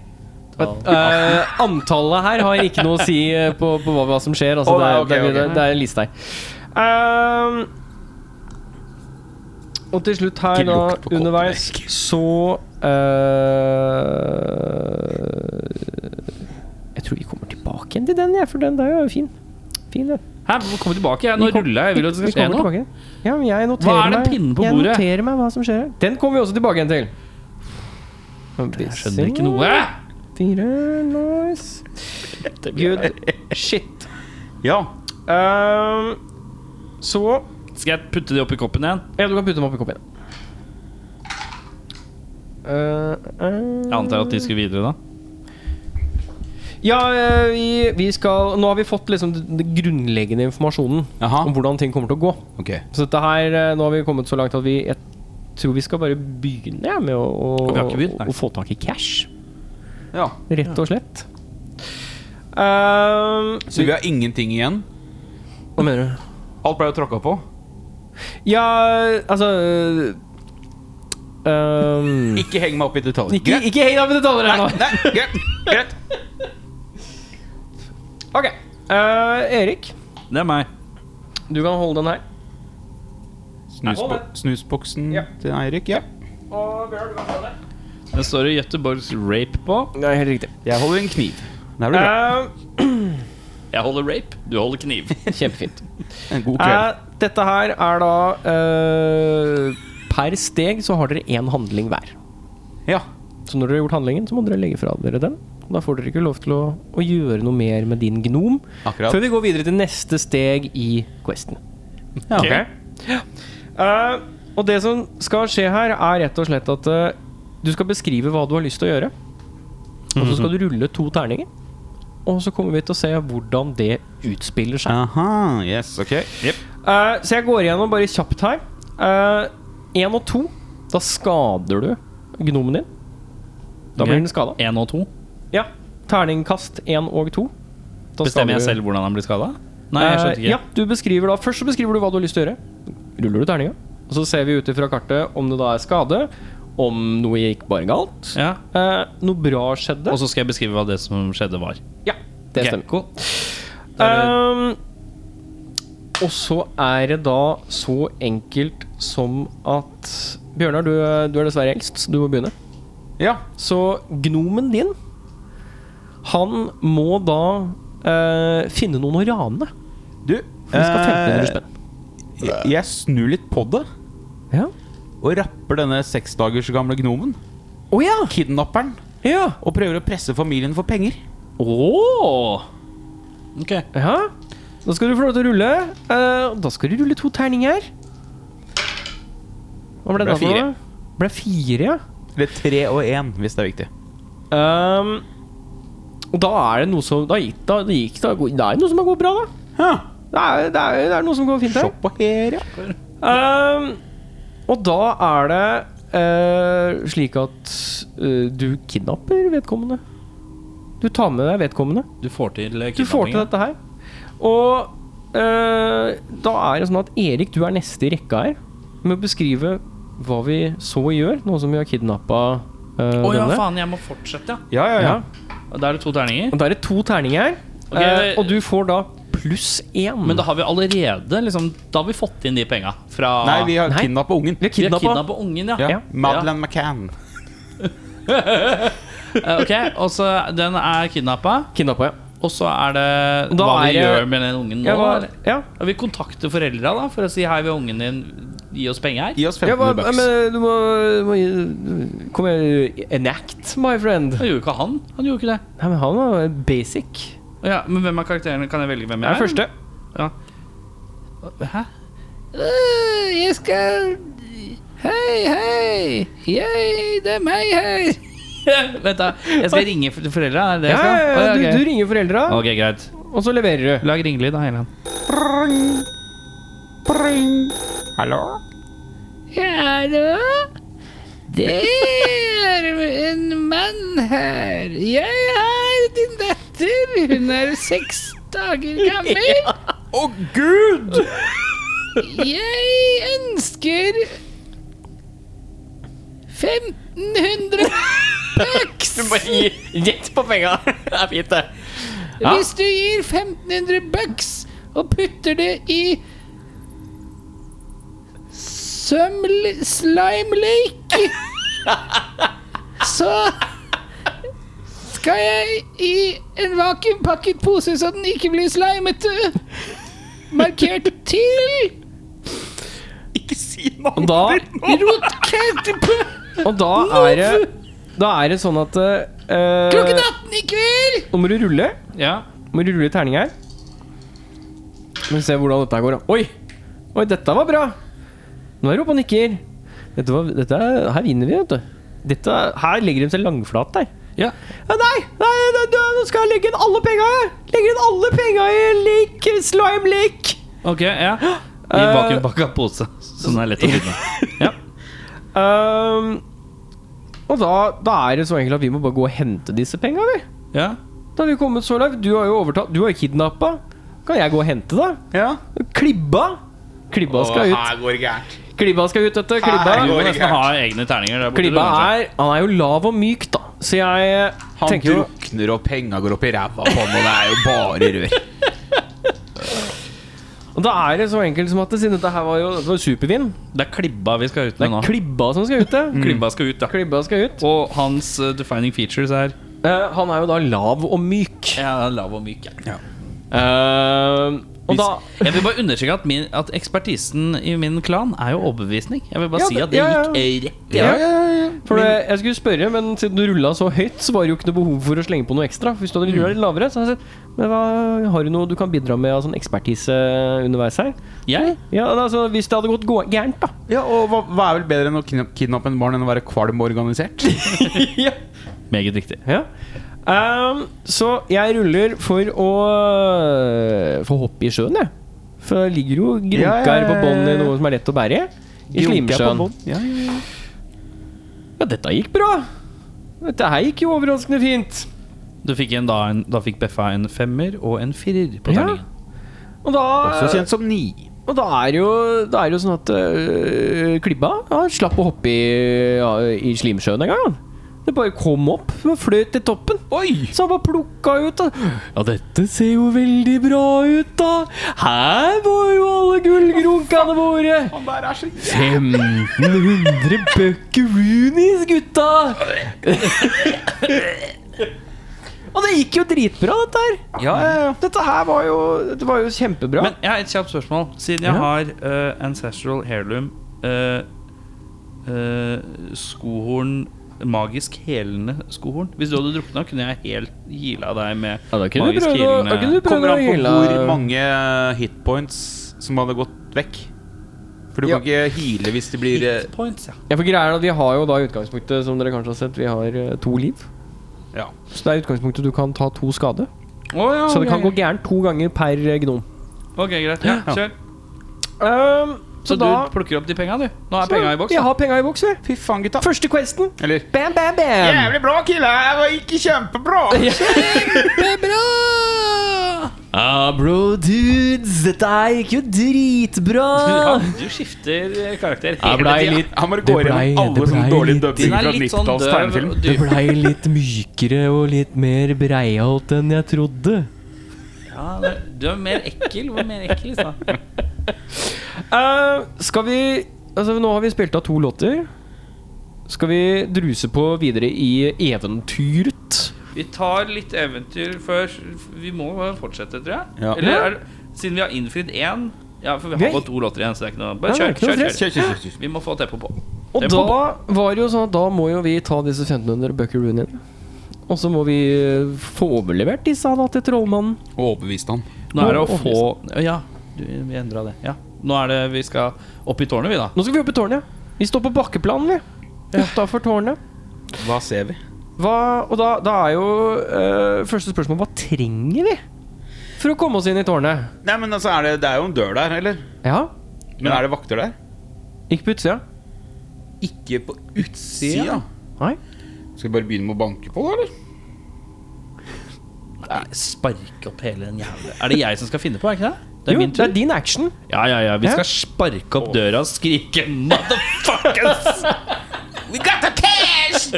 S1: Eh, antallet her har ikke noe å si eh, på, på hva, hva som skjer. Altså,
S8: Å,
S1: det,
S8: nei,
S1: er,
S8: ok,
S1: det, er-
S8: ok.
S1: det, er- det er en liste her. Ehm, og til slutt her,
S8: Ikke
S1: da,
S8: lukt på koppen,
S1: underveis, så eh, Jeg tror vi kommer tilbake igjen til den, jeg, for den der er jo fin. Fin, den.
S2: Hæ, men kom tilbake. Jeg. Nå ruller jeg. Jeg vil at det skal
S1: Vi
S2: skje
S1: kommer
S2: noe.
S1: tilbake. Ja, men jeg noterer
S2: Hva er den
S1: meg-
S2: pinnen på
S1: jeg
S2: bordet?
S1: noterer meg hva som skjer her. Den kommer vi også tilbake igjen til.
S2: Jeg skjønner ikke noe.
S1: Fire, nice. Good shit.
S8: Ja.
S1: Ehm, så
S2: Skal jeg putte det oppi koppen igjen?
S1: Ja, du kan putte dem opp i koppen. Uh,
S2: Jeg antar at de skulle videre, da.
S1: Ja, eh, vi, vi skal Nå har vi fått liksom den den grunnleggende informasjonen
S2: Ah.
S8: Aha.
S1: om hvordan ting kommer til å gå.
S8: Ok.
S1: Så dette her eh, Nå har vi kommet så langt at vi Jeg tror vi skal bare begynne ja, med å, å,
S2: Og vi har ikke begynt, nei.
S1: å få tak i cash.
S8: Ja.
S1: Rett og slett. Ehm,
S8: Så vi har ingenting igjen?
S1: hva mener du?
S8: Alt ble jo tråkka på.
S1: Ja, altså ehm,
S8: Ikke heng meg opp i detaljer.
S1: Ikke, ikke heng deg opp i detaljer her nå.
S8: Nei, greit. greit.
S1: Ok. eh, Erik,
S2: Det er meg.
S1: du kan holde den her.
S8: Snusbo snusboksen
S1: Ja.
S8: til Eirik. Ja.
S1: Og Bjørn, du kan holde den.
S2: Det står det Göteborgs rape på.
S1: Det er helt riktig.
S8: Jeg holder en kniv. Der blir det bra.
S2: Jeg holder rape, du holder kniv.
S1: kjempefint.
S8: En god kveld.
S1: Eh, dette her er da eh, Per steg så har dere én handling hver.
S8: Ja.
S1: Så når dere har gjort handlingen, så må dere legge fra dere den. Og da får dere ikke lov til å, å gjøre noe mer med din gnom
S8: Akkurat.
S1: før vi går videre til neste steg i questen.
S8: Ja, ok.
S1: Eh, og det som skal skje her, er rett og slett at eh, du skal beskrive hva du har lyst til å gjøre. Og så skal du rulle to terninger. Og så kommer vi til å se hvordan det utspiller seg.
S8: Aha, yes, ok.
S1: Eh, så jeg går igjennom bare kjapt her. Én og to. Da skader du gnomen din. Da blir
S2: Ok.
S1: den skada.
S2: Én og to.
S1: Ja. Terningkast én og to. Da
S2: Bestemmer jeg
S1: skader du-
S2: selv hvordan han blir skada? Nei, jeg skjønte
S1: Eh, Ja,
S2: ikke.
S1: du beskriver da Først så beskriver du hva du har lyst til å gjøre. Ruller du terninga, og så ser vi ut ifra kartet om det da er skade, om noe gikk bare galt,
S2: Ja.
S1: eh, noe bra skjedde.
S2: Og så skal jeg beskrive hva det som skjedde, var.
S1: ja, det
S2: Ok,
S1: stemmer.
S2: cool.
S1: Ehm, og så er det da så enkelt som at Bjørnar, du, er- du er dessverre eldst, så du må begynne.
S8: Ja.
S1: Så gnomen din, han må da eh, finne noen å rane.
S8: Du,
S1: For vi skal ha
S8: eh,
S1: 1500 spenn.
S8: jeg- jeg snur litt på det
S1: Ja.
S8: og rapper denne seks dagers gamle gnomen.
S2: Eh,
S1: Å ja!
S8: Kidnapperen.
S1: ja.
S8: Og prøver å presse familien for penger.
S1: Åh
S2: Ok.
S1: Ja. Da skal du få lov til å rulle. Eh, og da skal du rulle to terninger. Hva ble
S8: Ble
S1: det for
S8: fire.
S1: noe? Ble fire, ja.
S8: Eller tre og én, hvis det er viktig.
S1: Ehm, og da er det noe som Da gikk da, det gikk, da, det er noe som har gått bra, da.
S8: Ja.
S1: Det er, det er, det er noe som går fint her.
S4: Oppå her, ja.
S1: Ehm, og da er det eh, slik at eh, du kidnapper vedkommende. Du tar med deg vedkommende.
S2: Du får til eh,
S1: Du får til
S2: kidnappingen.
S1: dette her. Og eh, da er det sånn at Erik, du er neste i rekka her med å beskrive hva vi så gjør, nå som vi har kidnappa
S2: Å ja,
S1: denne.
S2: faen, jeg må fortsette, ja.
S4: Ja, ja, ja.
S1: Ja.
S2: Da er det to terninger.
S1: Og da er det to terninger her.
S2: Ok,
S1: eh,
S2: det-
S1: og du får da pluss én.
S2: Men da har vi allerede liksom, Da har vi fått inn de penga fra
S4: Nei, vi har
S1: Nei.
S4: kidnappa ungen.
S1: vi har
S2: vi har
S1: kidnappa.
S2: kidnappa ungen, ja.
S4: Ja.
S1: Ja.
S4: Madeleine McCann.
S2: Eh, Ok, og så Den er kidnappa,
S1: Kidnappa, ja.
S2: og så er det
S1: Da
S2: hva
S1: er
S2: vi
S1: det-
S2: gjør med den ungen nå.
S1: Ja, hva-
S2: eller?
S1: ja.
S2: Ja, vi kontakter foreldra da for å si hei, vi har ungen din, gi oss penger her.
S4: Gi oss
S1: Ja, hva,
S4: 1500 bucks.
S1: men eh, du må, du må gi- Kom igjen Enact, my friend.
S2: Det gjorde ikke han. Han gjorde ikke det.
S1: Nei, men han er basic.
S2: Å Ja, men hvem er karakterene? Kan jeg velge hvem
S1: Det
S2: jeg
S1: er
S2: er?
S1: første.
S2: Hæ? Øh,
S9: Jeg skal Hei, hei! Yay, det er meg her!
S2: Vent, da. Jeg skal ringe for- foreldra? Er det det
S1: Ja,
S2: jeg skal?
S1: ja, ja,
S2: Å,
S1: du,
S2: ja, ok.
S1: du ringer foreldra,
S2: Ok, greit.
S1: og så leverer du.
S2: Lag ringelyd, da, Helland.
S4: Hallo?
S9: Hallo? Det er en mann her. Jeg har din datter. Hun er seks dager gammel. Å, gud! Jeg ønsker 1500 bucks.
S1: Gjett på penga. Det er fint, det.
S9: Hvis du gir 1500 bucks og putter det i Søml... Slime Lake, så skal jeg i en vakuumpakket pose så den ikke blir slimete. Markert til
S1: Og da, og da er det Da er det sånn at eh,
S9: klokken 18 i kveld.
S1: Nå må du rulle.
S2: Ja.
S1: Må du rulle terning her. Skal vi se hvordan dette går. da. Oi! Oi, dette var bra! Nå er du oppe og nikker. Dette var, dette, er- her vinner vi, vet du. Dette, her legger de seg langflat der.
S2: Ja.
S1: Ja, Nei, nei, nei, nei, nå skal jeg legge inn alle penga, jeg! Legger inn alle penga i lake, slime lake!
S2: Ok, ja. I
S1: Eh,
S2: vakuumpakka pose, så den er lett å finne.
S1: Ehm, og da, da er det så enkelt at vi må bare gå og hente disse penga, vi.
S2: Ja.
S1: Da har vi kommet så langt. Du har jo overtatt, du har jo kidnappa. Kan jeg gå og hente, da?
S4: Ja.
S1: Klibba! Klibba skal ut.
S10: Her går det gærent.
S1: Klibba skal ut, dette. Klibba,
S2: Du må
S10: Går ikke
S2: nesten ha egne terninger der borte.
S1: Klibba
S2: du, kanskje.
S1: er Han er jo lav og myk, da. Så jeg eh,
S10: Han
S1: tenker jo
S10: drukner, og penga går opp i ræva på han, og det er jo bare rør.
S1: Og Da er det så enkelt som at det, siden dette her var jo det var supervin
S2: Det er klibba vi skal ut
S1: Det
S2: med
S1: er
S2: nå.
S1: Klibba som skal ut, det.
S2: Mm. Klibba skal ut, da.
S1: Klibba skal ut.
S2: Og hans eh, defining features er
S1: Eh, han er jo da lav og myk.
S2: Ja, lav og myk. Ja.
S1: Eh, og da
S2: Jeg vil bare understreke at, min, at ekspertisen i min klan er jo overbevisning. Jeg vil bare
S1: Ja,
S2: si
S1: det-
S2: at det
S1: ja, ja.
S2: gikk eh, rett
S1: Ja,
S2: igjen.
S1: ja, For det, jeg skulle spørre, men siden du rulla så høyt, så var det jo ikke noe behov for å slenge på noe ekstra. For Hvis du hadde rulla
S2: Mm.
S1: litt lavere, så hadde jeg sett Men hva, har du noe du kan bidra med av sånn ekspertise underveis her?
S2: Jeg?
S1: Ja, altså Hvis det hadde gått gå- gærent, da.
S4: ja, og hva, hva er vel bedre enn å kidna- kidnappe en barn enn å være kvalm og organisert?
S2: Meget riktig.
S1: Ja. Ehm, så jeg ruller for å få hoppe i sjøen, jeg. For det ligger jo grunker
S4: Ja, ja, ja,
S1: på bånn i
S4: ja.
S1: noe som er lett å bære i. I slimsjøen.
S4: Ja, ja, ja.
S1: Ja, dette gikk bra. Dette her gikk jo overraskende fint.
S2: Du fikk en, da, en, da fikk Beffa en femmer og en firer på
S1: Ja.
S2: terningen.
S1: Og da
S4: Også kjent som ni.
S1: Og da er det jo, da er det jo sånn at øh, Klibba ja, slapp å hoppe i, ja, i slimsjøen en gang. han. Det bare kom opp og fløt til toppen.
S4: Oi!
S1: Så han bare plukka ut. Da. Ja, dette ser jo veldig bra ut, da. Her var jo alle gullgrunkene våre.
S4: Han der er så
S1: 1500 buckaroonies, gutta! Og det gikk jo dritbra, dette her.
S4: Ja, ja, ja.
S1: Dette her var jo, dette var jo kjempebra.
S2: Men jeg har et kjapt spørsmål. Siden
S1: Ja.
S2: jeg har eh, ancestral heirloom, eh, eh, skohorn Magisk helende skohorn. Hvis du hadde drukna, kunne jeg helt heala deg med
S1: ja, da kunne du
S2: magisk eh,
S1: prøvd å- da kunne du prøvd
S4: Kommer
S1: å
S4: an på
S1: heale-
S4: hvor mange hitpoints som hadde gått vekk. For du
S1: Ja.
S4: kan ikke hile hvis det blir eh,
S2: points, ja.
S1: Ja, for greia er at Vi har jo da i utgangspunktet, som dere kanskje har sett, vi har eh, to liv.
S4: Ja.
S1: Så det er i utgangspunktet du kan ta to skade.
S2: Å, ja,
S1: Så det
S2: ok.
S1: kan gå gærent to ganger per eh, gnom.
S2: Ok, greit. Ja, kjør.
S1: Um,
S2: Så,
S1: så, da
S2: du plukker opp de penga, du? Nå er penga i boks?
S1: Jeg har penga i boks, jeg.
S4: Fy faen, gutta.
S1: Første questen.
S4: Eller-
S1: Bam, bam, bam.
S4: Jævlig bra, killa. Jeg var ikke kjempebra.
S1: Ah, bro, dudes. Dette her gikk jo dritbra.
S2: Ja, du skifter eh, karakter
S1: Jeg
S2: hele
S1: blei
S2: tida.
S1: litt
S11: Han bare
S1: Det
S11: går
S1: blei-
S11: gjennom alle
S1: det
S11: sånne
S1: blei
S11: dårlige
S1: litt-
S2: Den
S11: dubbinger
S2: er
S11: fra
S2: litt sånn
S11: 90-talls
S2: døv.
S11: tegnefilm.
S2: og
S1: Det
S2: dyp.
S1: blei litt mykere og litt mer breialt enn jeg trodde.
S2: Ja, det- du er mer ekkel. Hvor mer ekkel i stad?
S1: Eh, skal vi Altså, nå har vi spilt av to låter. Skal vi druse på videre i eventyret?
S2: Vi tar litt eventyr før Vi må fortsette, tror jeg.
S11: Ja.
S2: Eller er, det- siden vi har innfridd én Ja, for vi
S1: Vi-
S2: har bare to låter igjen, så det er ikke noe Bare
S1: Nei, det
S2: kjør.
S1: er ikke noe
S2: kjør,
S1: stress.
S2: kjør, kjør. Vi må få tempo på.
S1: Og
S2: Tempo
S1: da var det jo sånn at da må jo vi ta disse 1500 buckeroonene. Og så må vi eh, få overlevert disse da til trollmannen.
S11: Og overbevist han.
S2: Nå er det å få Ja, du, vi endra det. Ja. Nå er det vi skal opp i tårnet, vi, da.
S1: Nå skal vi opp i tårnet. Vi står på bakkeplan, vi. Utafor tårnet.
S11: Hva ser vi?
S1: Hva, og da, da er jo eh, første spørsmål Hva trenger vi for å komme oss inn i tårnet?
S4: Nei, men altså, er det, det er jo en dør der, eller?
S1: Ja,
S4: Men er det vakter der?
S1: ikke på utsida.
S4: Ikke på utsida.
S1: Nei.
S11: Skal vi bare begynne med å banke på, da, eller?
S2: Nei, Sparke opp hele den jævla Er det jeg som skal finne på, er ikke det? Det er
S1: Jo,
S2: min
S1: det
S2: tur.
S1: er din action.
S2: Ja, ja, ja. Vi
S1: Ja.
S2: skal sparke opp døra og skrike 'motherfuckers'! We got the cash!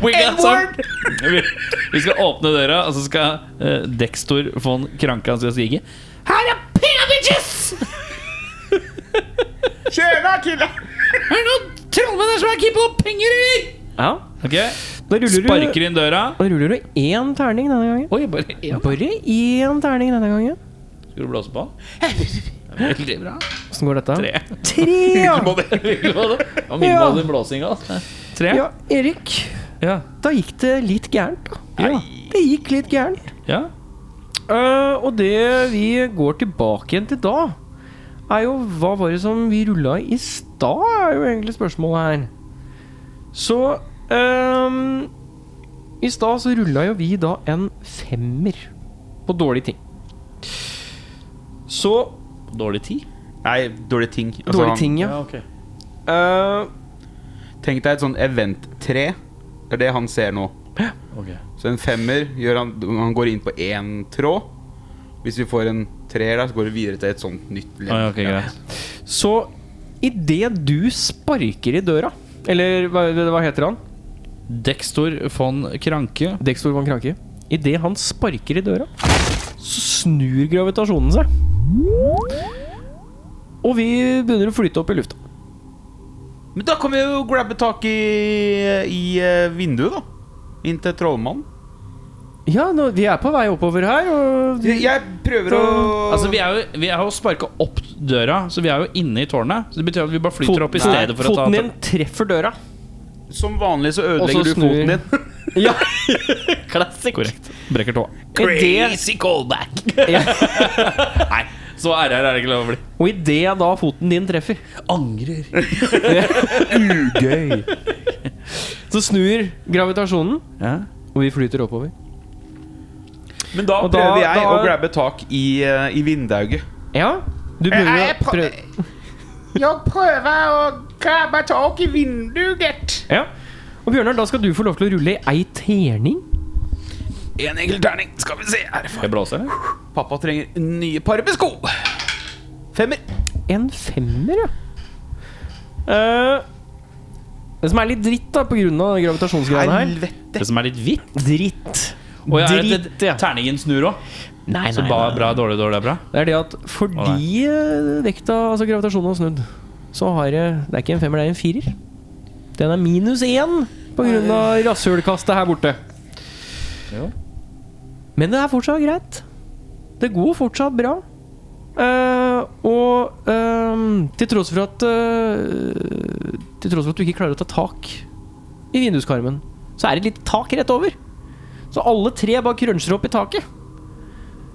S2: We got some vi, vi skal åpne døra, og så skal eh, Dextor von Krankan skal skrike Her er penga, bitches! Kjør da, killa! Er det noen trollmenn her som er keen på penger, eller?
S1: Ja.
S2: Ok,
S1: Da ruller du
S2: Sparker inn døra.
S1: da ruller du én terning denne gangen.
S2: Oi, bare én.
S1: Bare én terning denne gangen.
S2: Skal du blåse på den? Det er Veldig bra.
S1: Åssen går dette?
S2: Tre.
S1: Tre ja.
S2: Det var min
S1: Ja.
S2: mål i blåsinga. altså. Tre.
S1: ja, Erik.
S2: Ja.
S1: Da gikk det litt gærent, da.
S2: Ja.
S1: Det gikk litt gærent.
S2: ja.
S1: Eh, og det vi går tilbake igjen til da, er jo hva var det som vi rulla i stad, er jo egentlig spørsmålet her. Så ehm, I stad så rulla jo vi da en femmer på dårlige ting. Så
S2: Dårlig tid.
S4: Nei, dårlige ting. Altså,
S1: Dårlige ting, ja.
S2: ok
S1: Eh,
S4: Tenk deg et sånn event-tre. Det er det han ser nå. Så en femmer gjør han, han går inn på én tråd. Hvis vi får en treer der, så går det videre til et sånt nytt ledd.
S2: Ah, ja, ok, greit.
S1: så idet du sparker i døra Eller hva, hva heter han?
S2: Dextor von Kranke.
S1: Dextor van Kranke. Idet han sparker i døra, så snur gravitasjonen seg. Og vi begynner å flyte opp i lufta.
S4: Men da kan vi jo grabbe tak i, i eh, vinduet, da. Inn til trollmannen.
S1: Ja, nå, vi er på vei oppover her, og
S4: Jeg jeg prøver å
S2: Altså, vi er jo, vi er jo sparka opp døra, så vi er jo inne i tårnet. Så det betyr at vi bare flyter opp i stedet for å ta
S1: foten din treffer døra.
S4: Som vanlig så
S1: Og så
S4: ødelegger du
S1: snur-
S4: foten din.
S1: Ja,
S2: Classic. Korrekt. Brekker tåa.
S1: Idet-
S2: callback.
S1: Ja.
S2: Nei, så RR er det ikke lov å bli.
S1: Og idet da foten din treffer
S2: Angrer.
S1: Ugøy. Så snur gravitasjonen,
S2: Ja.
S1: og vi flyter oppover.
S4: Men da
S1: Og da-
S4: prøver jeg
S1: da-
S4: å grabbe tak i, eh, i vindauget.
S1: Ja, du begynner å prøve
S12: Jeg prøver å grabbe tak i vinduet.
S1: Ja. Og Bjørnar, da skal du få lov til å rulle ei terning.
S4: En enkel terning. Skal vi se her.
S2: Skal jeg blåse, eller?
S4: Pappa trenger nye par med sko. Femmer.
S1: En femmer, ja. Eh, det som er litt dritt, da, på grunn av gravitasjonsgreiene her
S4: Helvete.
S2: Det som er litt hvitt.
S1: Dritt.
S2: Og ja, er det-
S1: dritt, ja.
S2: Terningen snur òg.
S1: Nei,
S2: Så ba, bra, dårlig, dårlig, bra.
S1: Det er det at fordi eh, vekta, altså gravitasjonen, har snudd, så har det Det er ikke en femmer, det er en firer. Den er minus én på grunn av rasshølkastet her borte. Men det er fortsatt greit. Det går fortsatt bra. Eh, og eh, til tross for at eh, Til tross for at du ikke klarer å ta tak i vinduskarmen, så er det litt tak rett over. Så alle tre bare krønsjer opp i taket.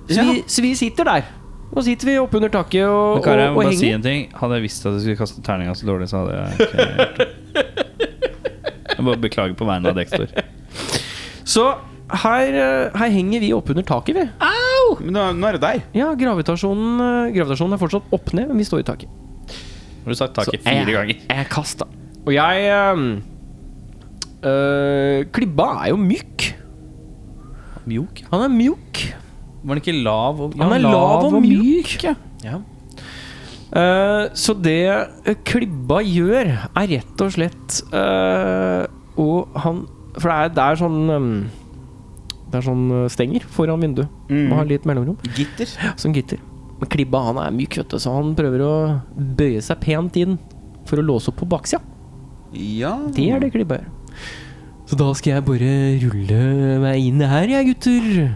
S1: Så, vi, så vi sitter der. Nå sitter vi oppunder taket og,
S2: Men Kari, jeg
S1: og,
S2: må
S1: og
S2: bare si
S1: henger.
S2: en ting. Hadde jeg visst at jeg skulle kaste terninga så dårlig, så hadde jeg ikke gjort det. Jeg bare beklager på vegne av Dextor.
S1: Så her, eh, her henger vi oppunder taket, vi. Au!
S4: Men nå, nå er det deg.
S1: Ja, gravitasjonen, eh, gravitasjonen er fortsatt opp ned, men vi står i taket.
S6: Har du sagt taket
S1: Så jeg-
S6: fire ganger?
S1: Jeg kasta. Og jeg ehm, øh, Klibba er jo myk.
S6: Mjuk?
S1: Han er mjuk.
S6: Var den ikke lav og
S1: Han
S6: Ja,
S1: er lav og myk.
S6: Ja.
S1: Eh, så det eh, Klibba gjør, er rett og slett eh, Og han For det er, det er sånn ehm, Det er sånn eh, stenger foran vinduet. Man har litt mellomrom.
S2: Gitter.
S1: Som gitter. Men Klibba han er myk, vet du, så han prøver å bøye seg pent inn for å låse opp på baksida.
S2: Ja.
S1: Det er det klibba gjør. Så da skal jeg bare rulle meg inn her, jeg, gutter.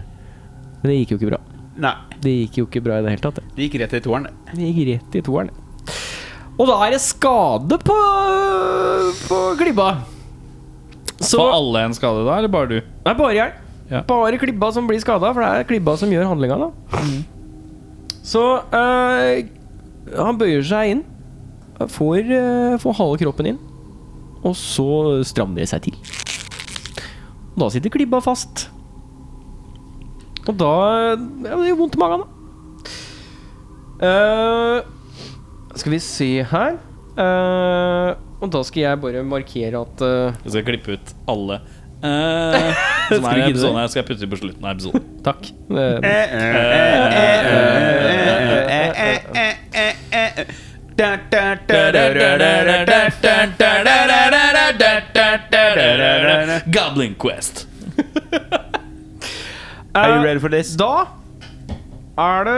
S1: Men det gikk jo ikke bra.
S4: Nei.
S1: Det gikk jo ikke bra i det hele tatt. det.
S4: Det gikk rett i toeren. det.
S1: Det gikk rett i toeren. det. Og da er det skade på, på klibba. Så
S6: Får alle en skade da, eller bare du?
S1: det er bare jeg.
S6: Ja.
S1: Bare klibba som blir skada, for det er klibba som gjør handlinga, da. Så eh, han bøyer seg inn. Får, eh, får halve kroppen inn. Og så strammer det seg til. Da sitter klibba fast. Og da ja, Det gjør vondt i magen, da. Eh, skal vi se her Eh, Og da skal jeg bare markere at eh,
S6: Jeg skal klippe ut alle. eh, som
S1: Skal du
S6: er i
S1: gidde det?
S6: episoden her, skal jeg putte på slutten av episoden.
S1: Takk. Eh,
S6: Goblin Quest.
S4: Are you ready for this?
S1: Da er det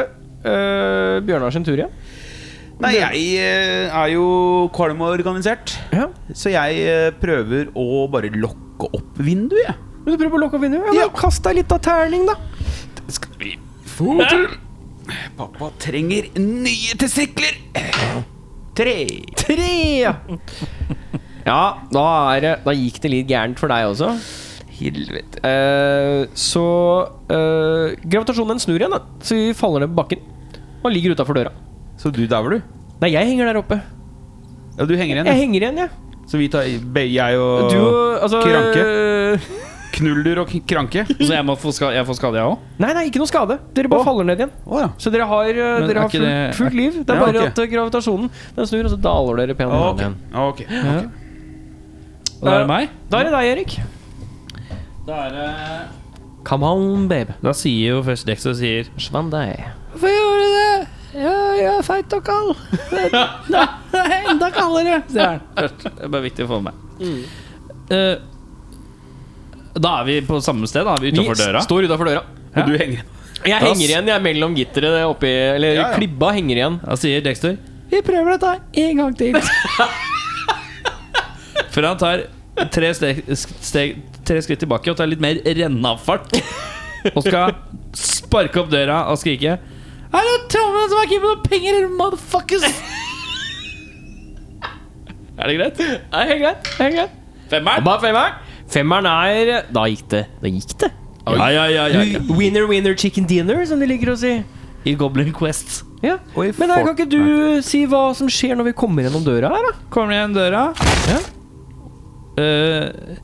S1: uh, Bjørnar sin tur igjen.
S4: Nei, jeg eh, er jo kvalm og organisert.
S1: Ja.
S4: Så jeg eh, prøver å bare lokke opp vinduet, jeg.
S1: Men du prøver å lukke opp vinduet? Ja,
S4: Ja.
S1: men Kast deg litt av terning, da.
S4: Skal vi få til Pappa trenger nye testikler! Tre.
S1: Tre! Ja, da, er det, da gikk det litt gærent for deg også.
S4: Helvete.
S1: Eh, så eh, gravitasjonen den snur igjen, da. så vi faller ned på bakken. Og ligger utafor døra.
S4: Så du dauer, du?
S1: Nei, jeg henger der oppe.
S4: Ja, du henger igjen.
S1: Jeg
S4: ja.
S1: henger igjen, jeg.
S4: Så vi tar be- jeg og
S1: Du og altså eh,
S4: Kranke? Knuldur og k- Kranke.
S6: Så jeg, må få skade, jeg får skade, jeg òg?
S1: Nei, nei, ikke noe skade. Dere bare faller ned igjen.
S4: Å ja.
S1: Så dere har, eh,
S6: Men er
S1: dere har
S6: ikke
S1: fullt,
S6: det-
S1: fullt liv. Det er
S4: Ja,
S1: bare
S4: ok.
S1: at eh, gravitasjonen den snur, og så daler dere pent ned
S4: Ok.
S1: igjen.
S4: ok.
S6: Og da er det meg?
S1: Da er det deg, Erik.
S6: Da, er det...
S1: Come on, babe.
S6: da sier jo først Dexter sier
S1: Svann deg.
S3: Hvorfor gjorde du det? Ja, jeg er feit og kald. Det er enda kaldere.
S6: Det er den først. Det er bare viktig å få med. Eh, da er vi på samme sted, da. Er vi utafor døra?
S1: står utafor døra.
S4: Og du henger igjen.
S1: Jeg henger igjen jeg er mellom gitteret oppi Eller
S4: Ja, ja.
S1: klibba henger igjen.
S6: Da sier Dexter
S3: Vi prøver dette en gang til.
S6: Før han tar tre, steg, steg, tre skritt tilbake og tar litt mer rennafart og skal sparke opp døra og skrike
S3: Er det trommene som har ikke noen penger, motherfuckers?
S6: Er det greit?
S1: Nei, helt greit. Helt greit.
S6: Femmeren?
S1: Bare femmeren. Femmeren er Da gikk det. Da gikk det.
S6: Ja, ja, ja, ja, ja.
S1: Winner, winner, chicken dinner, som de liker å si.
S6: I Goblin Quest.
S1: Ja.
S4: Oi,
S1: Men her, kan
S4: fuck.
S1: ikke du si hva som skjer når vi kommer gjennom døra her, da?
S6: Kommer igjen døra.
S1: Ja.
S6: Eh,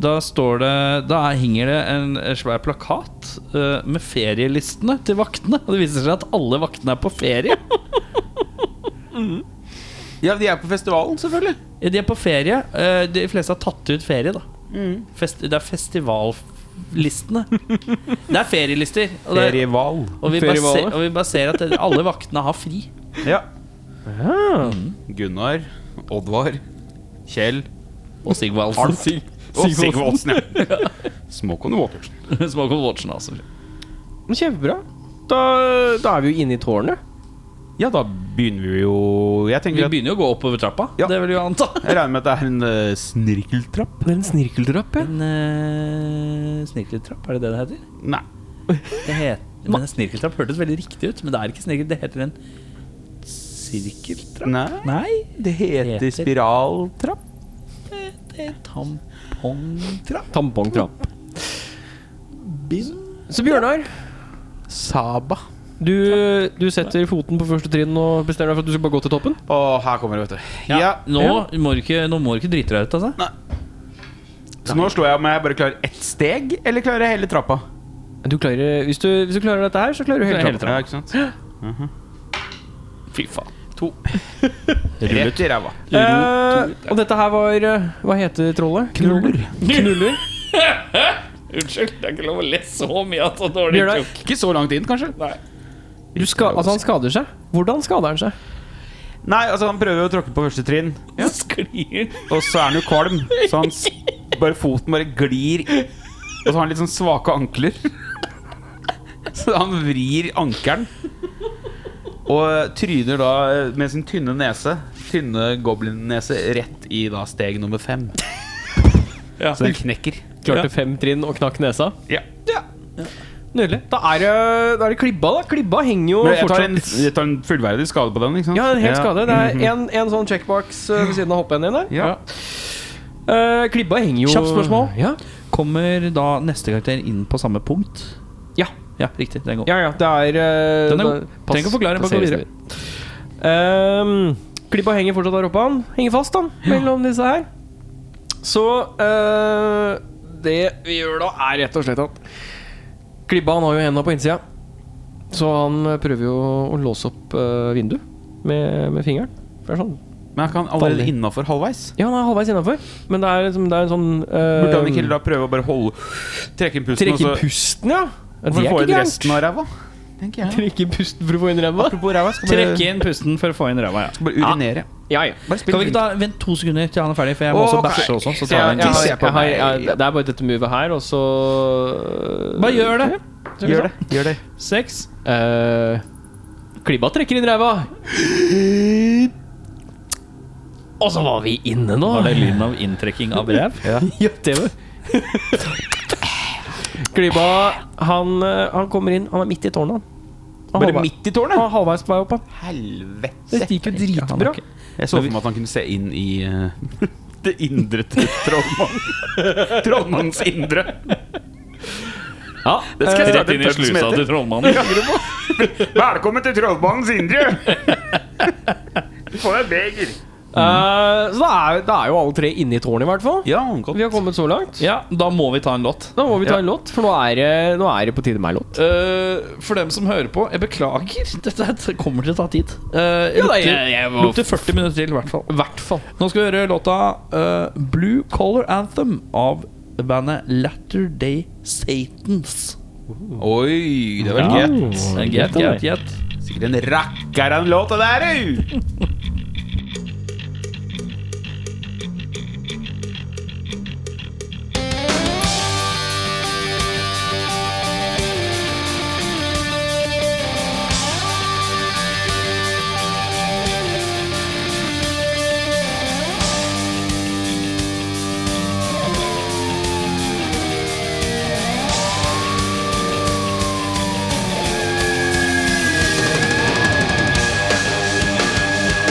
S6: da står det Da henger det en svær plakat eh, med ferielistene til vaktene. Og det viser seg at alle vaktene er på ferie.
S4: Ja, de er på festivalen, selvfølgelig.
S6: De er på ferie. eh, De fleste har tatt ut ferie, da. Fest, det er festivallistene. Det er ferielister. Og, det,
S4: Ferival.
S6: og, vi, bare ser,
S1: Ferievaler.
S6: og vi bare ser at alle vaktene har fri.
S4: Ja. Mm.
S1: Ja.
S4: Gunnar, Oddvar, Kjell
S6: Og Sigvaldsen.
S4: og Sigvaldsen. Ja. Smoke on the water.
S6: Smoke Watchen, altså.
S1: Men Kjempebra. Da, da er vi jo inne i tårnet.
S4: Ja, da begynner vi jo Jeg
S6: Vi
S4: tenker at
S6: begynner jo å gå oppover trappa.
S4: Ja.
S6: Det vil jeg anta.
S4: jeg regner med at det er en eh, snirkeltrapp?
S1: Det er en snirkeltrapp, ja.
S6: En uh, snirkeltrapp, er det det det heter?
S4: Nei.
S6: Det het, men en snirkeltrapp hørtes veldig riktig ut, men det er ikke snirkel, det heter en sirkeltrapp.
S4: Nei.
S6: Nei,
S4: Det heter
S6: Heter-
S4: spiraltrapp.
S6: det er tampongtrapp.
S1: Tampongtrapp. Så Bjørnar,
S4: Saba.
S1: du, du setter foten på første trinn og bestemmer deg for at du skal bare gå til toppen?
S4: Og her kommer det, vet du. Ja.
S6: Nå må du ikke, nå må du ikke drite deg ut, altså.
S4: Så nå slår jeg om jeg bare klarer ett steg, eller klarer jeg hele trappa?
S1: Du klarer, hvis, du, hvis du klarer dette her, så klarer du hele trappa.
S4: Ja, ikke sant? Mhm.
S6: Fy faen.
S4: Rett i ræva.
S1: Eh, og dette her var eh, Hva heter trollet? Knuller. Knuller.
S6: Unnskyld, det er ikke lov å le så mye av så dårlig
S1: Bjørnar,
S6: joke.
S4: Ikke så langt inn, kanskje?
S1: du skal, altså han skader seg. Hvordan skader han seg?
S4: Nei, altså han prøver jo å tråkke på første trinn,
S6: Sklir.
S4: og så er han jo kvalm. Så han s bare foten bare glir. Og så har han litt sånn svake ankler. Så han vrir ankelen. Og tryner da eh, med sin tynne nese, tynne goblin-nese, rett i da steg nummer fem.
S6: Ja.
S4: Så den knekker.
S1: Klarte fem trinn og knakk nesa.
S4: Ja.
S1: Nydelig. Da er det, da er det klibba, da. Klibba henger jo
S4: Men jeg tar,
S1: fortsatt
S4: en, jeg tar en fullverdig skade på den, ikke sant?
S1: Ja, en hel skade. Det
S6: Mhm.
S1: er en, en sånn checkbox eh, ved siden av hoppen din der.
S4: Ja.
S1: Eh, klibba henger jo
S6: Kjapt spørsmål.
S1: Ja.
S6: Kommer da neste karakter inn på samme punkt?
S1: Ja.
S6: Ja, riktig. Den går.
S1: Ja, ja, det er eh,
S6: Den er
S1: da-
S6: god. Trenger ikke å forklare, bare gå
S1: passeres
S6: videre.
S1: videre. Ehm, klippa henger fortsatt der oppe, han. Henger fast, han, mellom disse her. Så eh, Det vi gjør da, er rett og slett at Klibba han har jo hendene på innsida, så han eh, prøver jo å låse opp eh, vinduet med, med fingeren. For det er sånn
S4: Men han kan allerede innafor halvveis.
S1: Ja, han er halvveis innafor, men det er, liksom, det er en sånn eh,
S4: Burde han ikke da prøve å bare holde Trekke inn pusten,
S1: Trekke i
S4: og så
S1: pusten, ja? Ja, Det er
S4: Hvorfor får
S1: ikke
S4: du
S1: gærent.
S4: resten av ræva? Tenker jeg.
S1: Trekke i pusten for å få inn ræva?
S4: Apropos ræva, skal bare,
S6: Trekke inn pusten for å få inn ræva, ja.
S4: skal bare urinere.
S1: Ja, ja.
S4: Bare
S6: Kan
S4: spill
S6: vi ikke
S4: rundt.
S6: ta Vent to sekunder til han er ferdig, for jeg må også
S4: Ok.
S6: bæsje også. Så
S1: Ja,
S6: tar vi en
S1: jeg har,
S6: tiss.
S1: jeg har, jeg, det er bare dette movet her, og så
S6: Bare gjør det.
S4: Gjør det. Gjør det.
S6: Seks.
S1: Eh, klibba trekker inn ræva. Og så var vi inne nå.
S6: Var det lyden av inntrekking av ræv?
S1: Ja, det var Klibba, han, eh, han kommer inn. Han er midt i tårnet, han. han.
S4: Bare
S1: halvvei-
S4: midt i
S1: han
S4: tårnet?
S1: er halvveis på vei opp. han.
S4: Helvete.
S1: Det gikk jo dritbra.
S4: Jeg så for meg at han kunne se inn i eh, det indre til trollmannen. Trollmannens indre.
S1: Ja,
S4: Det skal jeg
S6: Rett
S4: starte
S6: inn
S4: en pub
S6: i
S4: som
S6: slusa
S4: heter
S6: til trollmannen.
S4: Velkommen til trollmannens indre! Få deg beger.
S1: eh, så da er, da er jo alle tre inne i tårnet, i hvert fall.
S4: Ja, godt.
S1: Vi har kommet så langt.
S6: Ja, da må vi ta en låt.
S1: Da må vi ta en låt, for nå er det, nå er det på tide med en låt.
S6: Eh, for dem som hører på, jeg beklager. Dette her kommer til å ta tid.
S2: Eh,
S6: Uh,
S1: Ja, da, jeg- jeg må-
S6: lukter 40 minutter til, i hvert fall.
S1: I hvert fall.
S6: Nå skal vi høre låta eh, Blue Collar Anthem av bandet Latter Day Satans.
S4: Oi, det var gøy.
S2: Mm.
S6: Gjett, gjett, gjett.
S4: Sikkert en rakker av en låt, det der, au!
S5: Thank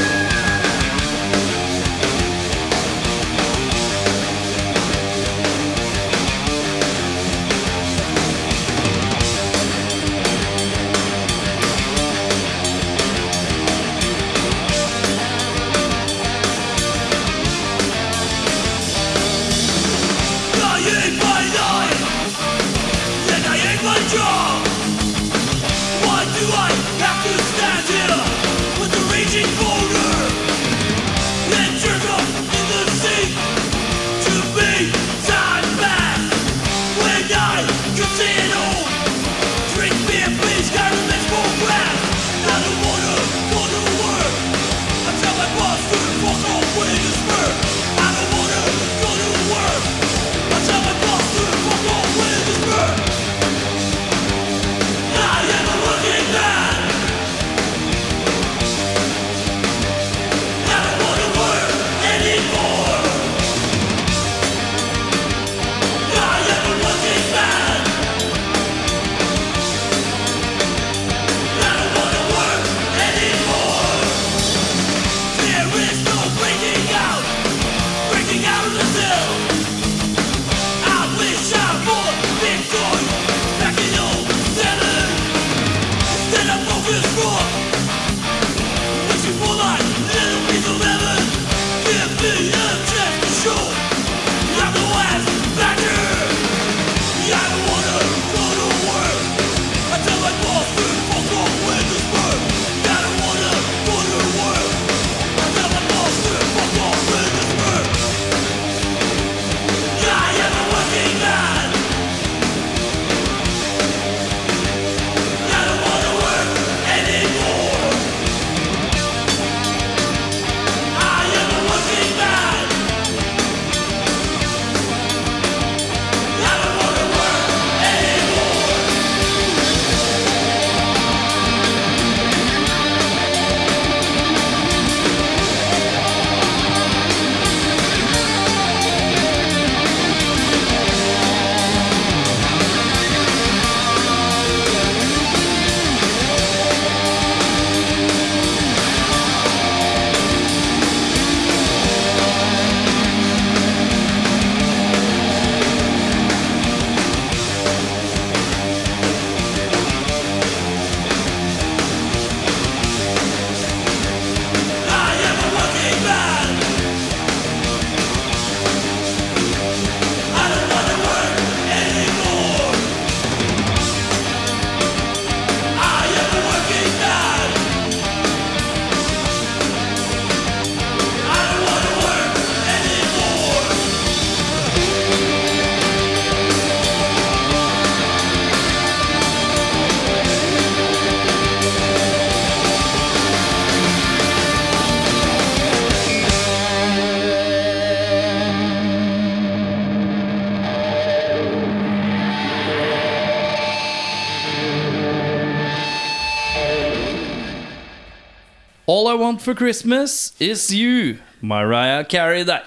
S2: All I want for Christmas is you, Mariah Carey der.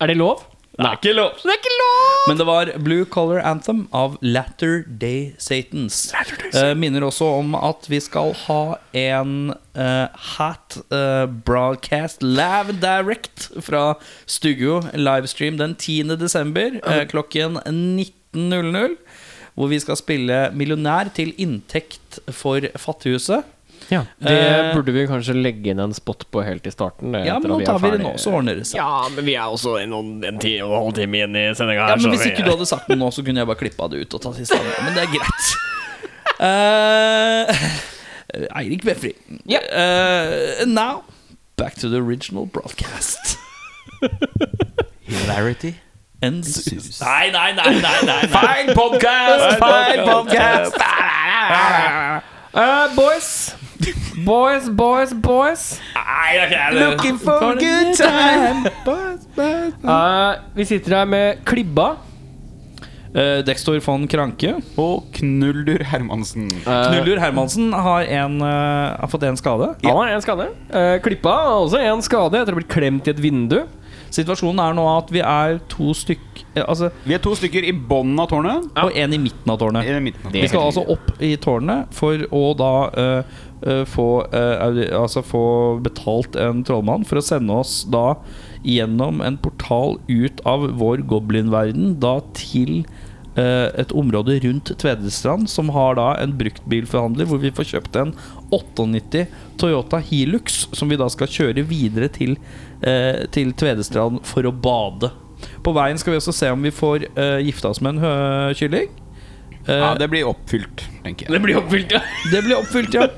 S1: Er det lov?
S2: Det er ikke lov. Det er ikke lov! Men det var Blue Color Anthem av Latter Day Satans. Eh, minner også om at vi skal ha en eh, hat eh, broadcast live direct fra Studio livestream den 10. desember eh, klokken 19.00. Hvor vi skal spille millionær til inntekt for Fattighuset.
S1: Ja, det
S2: Eh,
S1: burde vi kanskje legge inn en spot på helt i starten. eh,
S2: Ja, men nå tar vi det nå, så ordner det seg.
S1: Ja, men vi er også en, en ti og en halv time inn i sendinga
S2: Ja, men Hvis ikke du hadde sagt noe nå, så kunne jeg bare klippa det ut. og tatt siste andre, Men det er greit. Eh, Eirik Befri. Eh, and now, back to the original broadcast.
S4: Hilarity.
S2: And sus. Nei, nei, nei, nei, nei, nei.
S1: Feil podkast! Feil podkast! Eh, boys. Boys, boys, boys. Looking for a good time.
S2: Mm.
S1: Eh, vi sitter her med Klibba.
S2: Eh, Dextor von Kranke.
S4: Og Knuldur Hermansen.
S2: Knullur Hermansen har, en, eh, har fått en skade.
S1: Han har én skade. Eh, Klippa har også én skade etter å ha blitt klemt i et vindu.
S2: Situasjonen er nå at vi er to stykk eh, Altså,
S4: Vi er to stykker i bunnen av tårnet.
S2: og en i midten av tårnet.
S4: I midten av
S2: Vi skal altså opp i tårnet for å da eh, eh, få, eh, audi- altså få betalt en trollmann for å sende oss da gjennom en portal ut av vår goblinverden da til eh, et område rundt Tvedestrand som har da en bruktbilforhandler hvor vi får kjøpt en 98 Toyota Hilux som vi da skal kjøre videre til, eh, til Tvedestrand for å bade. På veien skal vi også se om vi får eh, gifta oss med en hø- kylling. Eh,
S4: Ja, det blir oppfylt, tenker jeg.
S2: det blir oppfylt, ja.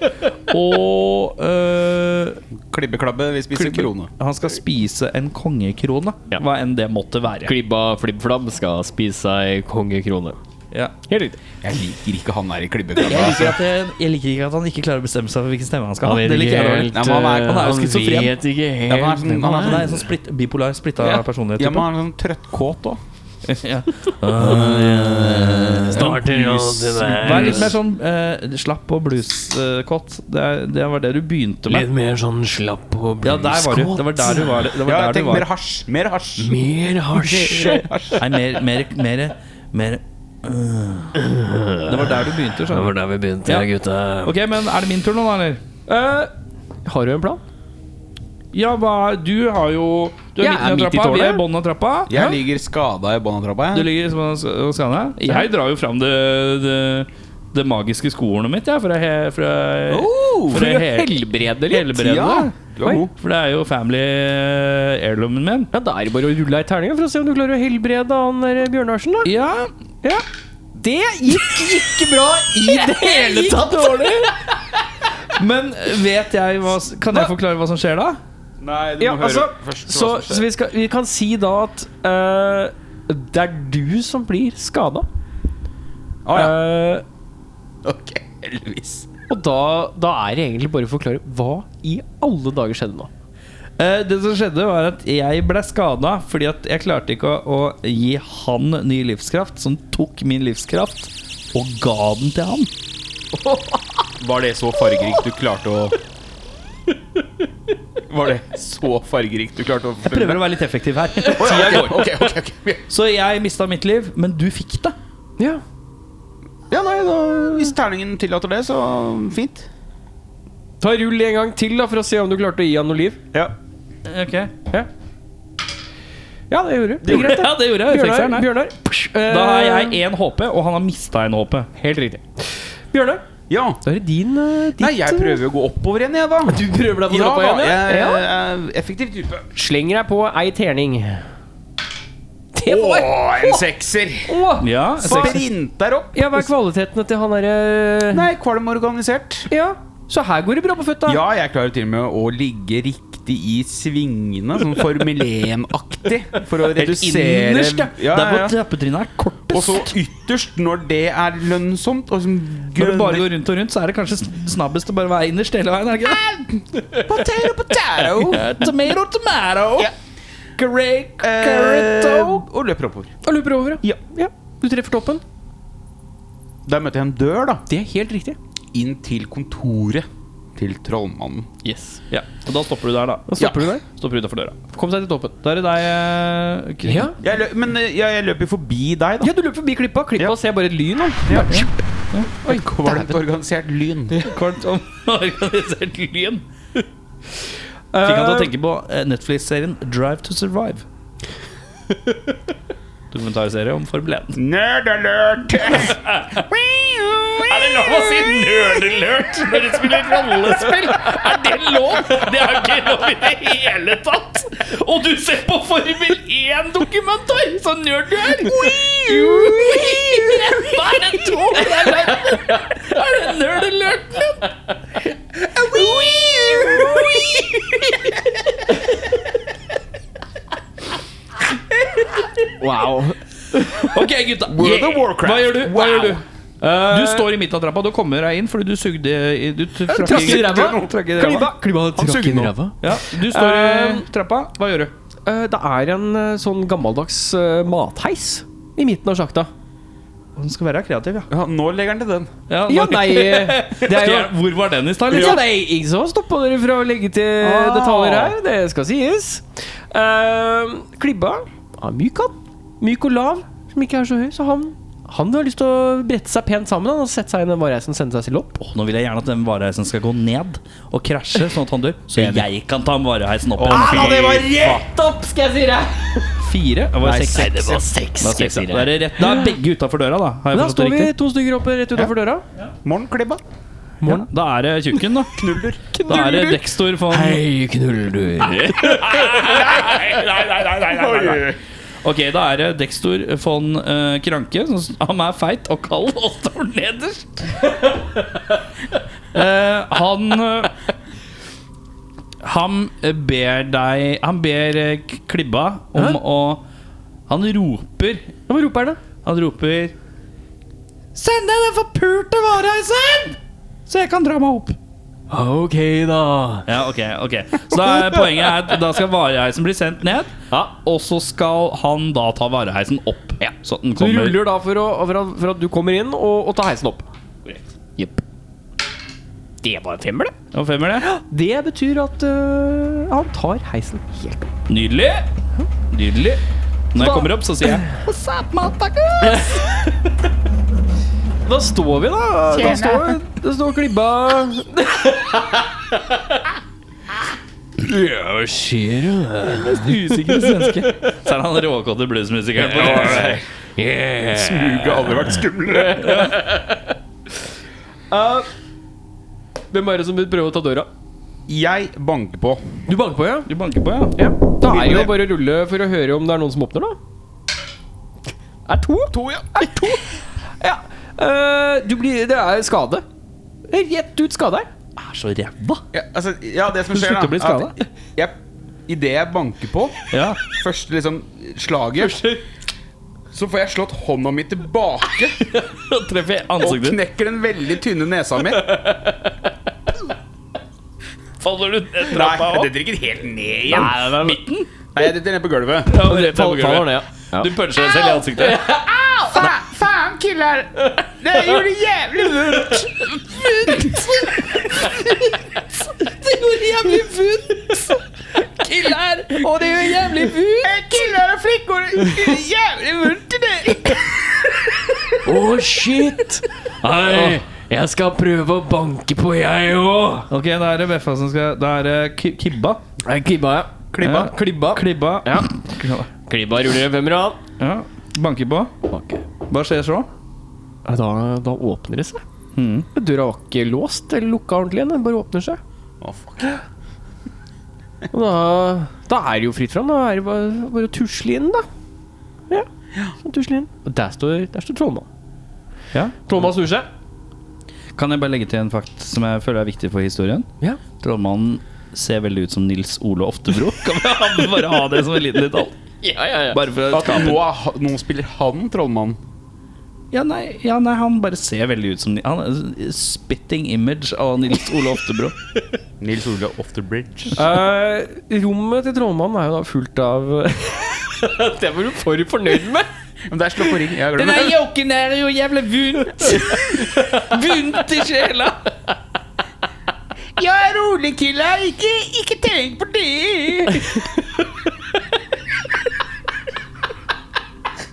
S2: Og øh,
S4: Klibbeklabbe, vi spiser krone.
S2: han skal spise en kongekrone, hva enn det måtte være.
S1: Klibba flibbflabb skal spise seg kongekrone.
S2: Ja.
S1: Helt riktig.
S4: Jeg liker ikke han der i
S2: Jeg,
S4: klibbeklabbe. altså.
S2: liker at jeg, jeg liker ikke at han ikke klarer å bestemme seg for hvilken stemme han skal ha.
S1: vet
S2: Det liker
S1: ikke
S2: jeg dårlig.
S1: helt,
S4: Nei, men han er-
S1: eh,
S2: han er jo schizofren.
S1: vet ikke helt.
S4: Ja, men han er sånn-
S1: hvem
S4: han er
S2: Han er en sånn splitt, bipolar, splitta personlighet.
S4: Ja, men
S2: type.
S4: han er sånn trøttkåt òg.
S1: starter og det der.
S2: Vær litt mer sånn øh, slapp og blueskott. det, er- det var det du begynte
S1: Litt
S2: med.
S1: mer sånn slapp og
S2: Ja, der var du. Det var der du var. Det var
S4: Ja,
S2: der du
S4: tenk mer
S2: var.
S4: hasj. Mer hasj.
S1: Mer hasj.
S2: Nei, mer, mer, mer, mer øh. Det var der du begynte, skjønner du.
S1: var der vi begynte,
S2: ja,
S1: gutta.
S2: Ok, men er det min tur nå, da, eller?
S1: har du en plan?
S2: Ja, hva, du har jo Du er
S1: Jeg er
S2: midten av
S1: midt i
S2: trappa, vi er
S1: tårnet.
S2: i bånn av trappa.
S4: Jeg ligger skada i bånn av trappa.
S2: Du
S4: jeg.
S2: ligger som en sk- og skanner. Jeg drar jo fram det, det, det magiske skoordet mitt, jeg, for å he- for å- for å he-
S1: helbrede
S2: helbrede.
S4: Ja, du er
S2: Oi,
S4: god.
S2: For det er jo family eh, heirloomen min.
S1: Ja, Da er det bare å rulle ei terning for å se om du klarer å helbrede han der Bjørnarsen, da.
S2: Ja,
S1: Ja. Det gikk ikke bra i det hele tatt!
S2: Men vet jeg hva s- Kan jeg forklare hva som skjer da?
S4: Nei, du
S1: Ja, altså,
S4: først
S1: så, så vi, skal, vi kan si da at eh, det er du som blir skada.
S4: Å, ja.
S1: Eh,
S4: Ok, heldigvis.
S1: og da, da er det egentlig bare å forklare hva i alle dager skjedde nå.
S2: Eh, Det som skjedde var at jeg ble skada fordi at jeg klarte ikke å, å gi han ny livskraft, som tok min livskraft og ga den til han.
S4: Var det så fargerikt du klarte å Var det så fargerikt du klarte å
S2: Jeg prøver å være litt effektiv her.
S4: Tida går. Ok, ok, ok, ok.
S2: Så jeg mista mitt liv, men du fikk det.
S1: Ja,
S4: Ja, nei, da, hvis terningen tillater det, så fint.
S1: Ta rull en gang til da for å se om du klarte å gi han noe liv.
S2: Ok
S1: Ja, det gjorde du. Det er greit,
S2: Ja,
S1: det.
S2: det gjorde jeg.
S1: Bjørnar,
S2: Sekseren her.
S1: Bjørnar. psh, eh,
S2: Da har jeg én HP, og han har mista en HP.
S1: Helt riktig. Bjørnar,
S4: Ja.
S1: da er det din eh, ditt,
S4: Nei, jeg prøver jo å gå oppover igjen, jeg, da.
S1: Du prøver deg på
S4: ja,
S1: trappa igjen?
S4: jeg,
S1: ja?
S4: jeg,
S1: Ja.
S4: er effektiv type.
S1: Slenger deg på ei terning. Det
S4: Å,
S1: var
S4: en sekser.
S1: Åh!
S2: Ja,
S4: Sprinter opp.
S1: Ja, hva er kvalitetene til han eh, derre
S4: Nei, kvalm organisert.
S1: Ja, så her går det bra på føtta.
S4: Ja, jeg klarer til og med å ligge riktig i svingene, sånn Formel 1-aktig, for å redusere
S2: Innerst, ja.
S4: ja,
S2: Der
S4: ja,
S2: hvor
S4: ja.
S2: trappetrinnet er kortest.
S4: Og så ytterst, når det er lønnsomt. Og som
S2: når du bare
S4: grønne
S2: går rundt og rundt, så er det kanskje sn- snabbest å bare være innerst hele veien. er det ikke
S4: Potato, potato.
S2: det? Eh, Tomato, tomato.
S4: Ja.
S2: Great
S4: Eh,
S2: carrot
S4: og løper oppover.
S1: Og løper over, ja. ja. Du treffer toppen.
S4: Der møter jeg en dør, da.
S1: Det er helt riktig.
S4: Inn til kontoret til trollmannen.
S6: Yes. Ja. Og da stopper du der, da.
S1: Da stopper du der.
S6: Stopper utafor døra.
S1: Kom deg til toppen.
S6: Da er det deg, eh, Chris.
S1: Ja.
S4: Jeg løp, men eh, jeg, jeg løper forbi deg, da.
S1: ja, du løper forbi klippa. Klippa ser bare et lyn. da. Oi,
S4: Kvalmt organisert lyn.
S6: Kort om organisert lyn. Fikk han til å tenke på eh, Netflix-serien Drive to Survive. Dokumentarserie om Formel 1.
S4: Nerd alert!
S6: Er det lov å si nerdelert når du spiller rollespill? Er det lov? Det er ikke lov i det hele tatt! Og du ser på Formel 1-dokumentar! Så nerd du er! Hva er det to? Er det nerdelert?
S1: Wow.
S6: Ok, gutta. World of Warcraft. Hva gjør du? Hva gjør du?
S1: Eh,
S6: Du står i midten av trappa, du kommer deg inn fordi du sugde i- Du t- trakk
S1: Trakk i ræva.
S6: Trakk i ræva.
S1: Klippa trakk inn i ræva.
S6: Ja, du står i trappa. Hva gjør du?
S1: Eh, det er en eh, sånn gammeldags eh, matheis i midten av sjakta.
S6: Den skal være kreativ, ja.
S4: Ja, nå legger han til den.
S6: Ja,
S1: Ja,
S6: nei.
S1: nei eh, Det er jo
S6: Ok, Hvor var den i stad?
S1: ja, Ah.
S6: liksom?
S1: det er ingen som har stoppa dere fra å legge til detaljer her. Det skal sies. Eh, klibba er myk, han. Myk og lav, som ikke er så høy. Så han, han har lyst til å brette seg pent sammen han, og sette seg i den vareheisen og sende seg selv opp.
S6: Åh, Nå vil jeg gjerne at den vareheisen skal gå ned og krasje, sånn at han dør. Så jeg kan ta vareheisen opp igjen.
S1: Ja, det var rett opp, skal jeg si deg!
S6: Fire? Det var seks.
S1: det var seks.
S6: Det var seks, ja. Da er det rett. Da er begge utafor døra, da. Har jeg
S1: Da står
S6: forstått det
S1: vi
S6: riktig?
S1: to stykker oppe rett utenfor døra.
S4: Morn, Klibba.
S6: Ja. Da er det tjukken, da. Knuller. Da er det Dextor von
S1: Hei, knuller.
S6: Ok, da er det Dextor von eh, Kranke. som s- Han er feit og kald og står nederst. Eh, han eh, Han ber deg Han ber eh, K- Klibba om
S1: Hæ?
S6: å Han roper
S1: Hva roper han, da?
S6: Han roper Send deg den forpulte vareheisen! Så jeg kan dra meg opp.
S1: Ok, da.
S6: Ja, ok, ok Så da er poenget er at da skal vareheisen bli sendt ned, og så skal han da ta vareheisen opp. Så at den
S1: Du
S6: kommer
S1: ruller da for, å, for, at, for at du kommer inn og, og tar heisen opp. Jepp. Det var en femmer, det.
S6: Og femmer, det.
S1: Det betyr at øh, han tar heisen helt opp.
S6: Nydelig. Nydelig. Når jeg kommer opp, så sier jeg
S1: Da står vi, da. Da står, da står klibba
S6: Så er han råkåte bluesmusikeren. på det.
S8: Smuget har aldri vært skumlere.
S1: Hvem er det som vil prøve å ta døra?
S4: Jeg banker på.
S1: Du banker på, ja?
S6: Du banker på, ja.
S1: Da er det jo bare å rulle for å høre om det er noen som åpner, da. Er to? To, ja. Er to. ja. øh, du blir Det er skade. Rett ut skade her.
S6: Er så ræva.
S4: Ja, altså, ja det som
S1: Du
S4: skjer, da
S1: slutter å bli skadet.
S4: at jeg, Idet jeg banker på,
S6: Ja.
S4: første liksom slaget Så får jeg slått hånda mi tilbake
S6: Da treffer jeg
S4: og
S6: ansiktet ditt.
S4: knekker den veldig tynne nesa mi.
S6: Faller du ned
S4: Nei,
S6: trappa
S4: det
S6: opp?
S4: drikker helt ned
S6: Nei,
S4: igjen.
S6: nei, nei. Midten?
S4: Nei, jeg detter ned på gulvet.
S6: Ja, rett ned på
S1: Faller
S6: gulvet.
S1: ned, ja.
S6: Du puncher deg selv i ansiktet.
S3: Fa faen, killer! Det gjorde jævlig vondt!
S1: Det gjorde jævlig vondt! Killar! Og det gjør jævlig vondt!
S3: Eh, Killer og flikker gjorde jævlig vondt i det!
S1: Å, shit! Hei, jeg skal prøve å banke på, jeg òg.
S6: Ok, da er det Beffa som skal Da er det Ki- Kibba.
S1: Klibba, ja.
S6: Klibba.
S1: Ja, klibba.
S6: Klibba.
S1: Ja. klibba ruller en femmer, han.
S6: ja. Banker på. Hva skjer så?
S1: Da, da åpner det seg. Døra var ikke låst eller lukka ordentlig igjen. Den bare åpner seg.
S4: Å, fuck.
S1: Og da, da er det jo fritt fram. Da er det bare, bare å tusle inn, da. Ja. Så tusle inn. Og der står, der står trollmannen.
S6: Ja.
S1: Trollmannen snur seg.
S6: Kan jeg bare legge til en fakt som jeg føler er viktig for historien?
S1: Ja.
S6: Trollmannen ser veldig ut som Nils Ole Oftebro. Kan vi ha- bare ha det som en liten detalj?
S1: Ja, ja, ja.
S6: Bare for å
S4: At
S6: skape
S4: nå, er ha- nå spiller han trollmannen.
S6: ja nei, ja, nei, han bare ser veldig ut som Ni- Han er en spitting image av Nils Ole Oftebro.
S4: Nils Ole off the bridge.
S1: Eh, rommet til trollmannen er jo da fullt av Det var du for fornøyd med!
S4: Men der slår på ring. Jeg glemmer det.
S6: joken er jo jævlig vondt! Vondt i sjela!
S4: Ja, rolig, killa. Ikke, ikke tenk på det.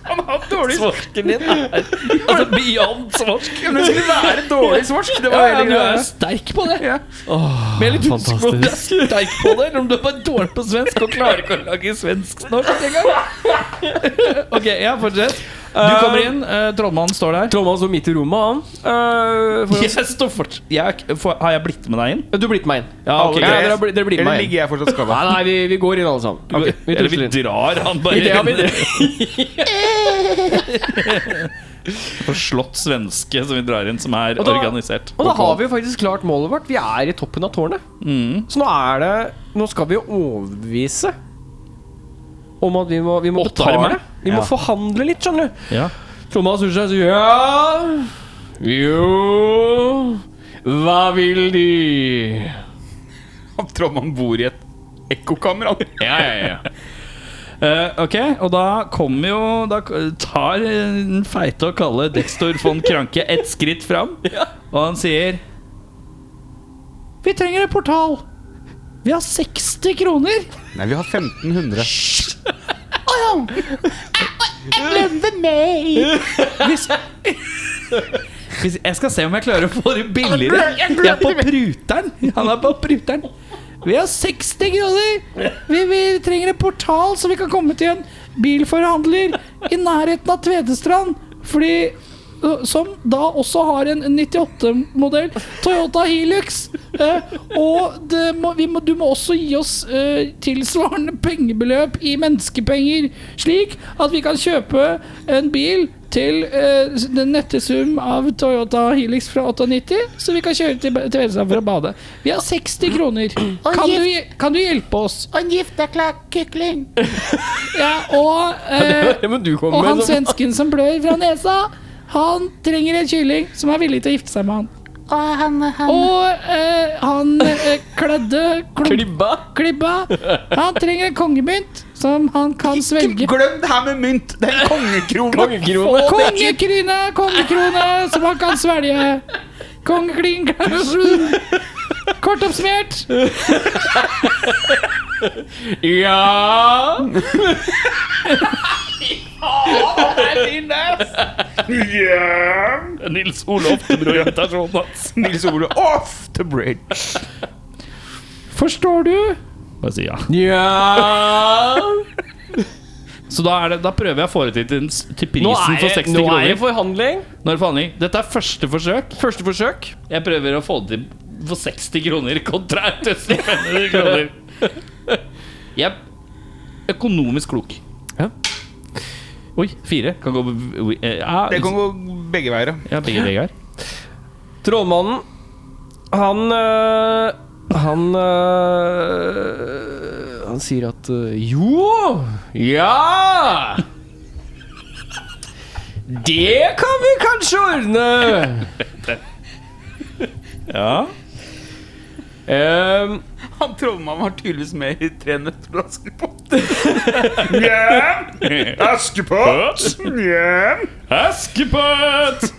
S4: Han har hatt dårlig
S2: Svarken din er altså, beyond svarsk.
S4: Men det skulle være dårlig svorsk. Det var
S2: Ja, du
S4: hele
S2: er
S4: greia.
S2: jo sterk på det.
S4: Ja.
S2: Men jeg er litt usikker på om du er
S1: fantastisk.
S2: sterk på det, eller om du er bare dårlig på svensk og klarer ikke å lage svensk-norsk engang. ok, ja, fortsett. Du kommer inn, eh, trollmannen står der.
S1: Trollmann står midt i rommet, han. Eh, for
S2: Jeg står fort. Jeg, er ikke- for, har jeg blitt med deg inn?
S1: Du blir med meg inn.
S2: Ja, ok.
S1: Ja, dere, har bli- dere blir med
S4: Eller
S1: meg inn.
S4: ligger jeg fortsatt skada?
S1: Nei, nei, vi, vi går inn alle sammen. vi
S2: Eller
S1: tusler
S2: vi
S1: inn.
S2: drar han bare
S1: Ja, vi-
S2: inn. På slott svenske som vi drar inn, som er
S1: Og da-
S2: organisert.
S1: Og da har vi jo faktisk klart målet vårt. Vi er i toppen av tårnet. Så nå er det Nå skal vi overbevise om at vi må, vi må
S2: Åttearmer.
S1: betale. Vi må forhandle litt, skjønner du.
S2: Ja.
S1: Thomas snur seg og sier ja Jo Hva vil de?
S13: Han tror man bor i et ekkokammer. han.
S2: Ja, ja, ja. Eh, ok, og da kommer jo Da k- tar eh, den feite og kalde Dextor von Kranke ett skritt fram. Og han sier Vi trenger en portal. Vi har 60 kroner.
S4: Nei, vi har 1500.
S2: Hvis, hvis Jeg skal se om jeg klarer å få det billigere. Jeg er på pruteren. Han er på pruteren. Vi har 60 kroner. Vi, vi trenger en portal, så vi kan komme til en bilforhandler i nærheten av Tvedestrand. Fordi øh, som da også har en 98-modell Toyota Hilux. Eh, og det må, vi må, du må også gi oss eh, tilsvarende pengebeløp i menneskepenger, slik at vi kan kjøpe en bil til eh, s- den nette sum av Toyota Hilux fra 98, så vi kan kjøre til Be- til Tvedestrand for å bade. Vi har 60 kroner. Kan du, hje- kan du hjelpe oss?
S3: Og en gifteklar kykling.
S2: Ja, og eh,
S1: Ja, det sånn. må du komme
S2: og han
S1: med. som-
S2: svensken som blør fra nesa, han trenger en kylling som er villig til å gifte seg med han.
S3: Og han, han
S2: Og eh, han eh, kledde klump,
S1: Klibba.
S2: klibba. Han trenger en kongemynt som han kan svelge.
S4: Glem det her med mynt! Det er en kongekrone!
S1: Kongekrone.
S2: Kongekrone, kongekrone som han kan svelge. Kongeklin Kort oppsummert.
S1: Ja
S2: Nils Ole Oftebro-invitasjonen hans.
S4: Nils Ole off the bridge.
S2: Forstår du? Bare si ja.
S1: Ja
S2: Så da, er det, da prøver jeg å få det til, til
S1: Nå
S2: prisen
S1: er
S2: for 60
S1: jeg, nå er jeg i
S2: kroner.
S1: forhandling.
S2: Nå er det forhandling. Dette er første forsøk.
S1: Første forsøk.
S2: Jeg prøver å få det til for 60 kroner kontra 1500 kroner. Jeg er økonomisk klok.
S1: Ja.
S2: Oi, fire. Kan gå eh, ja,
S4: Det kan gå begge veier. ja.
S2: ja, begge veier.
S1: Trollmannen, han øh, Han øh, Han sier at øh, Jo! Ja! Det kan vi kanskje ordne!
S2: Ja.
S1: Ehm,
S4: Han trollmannen var tydeligvis med i Tre nøtter til Askepott.
S2: Askepott!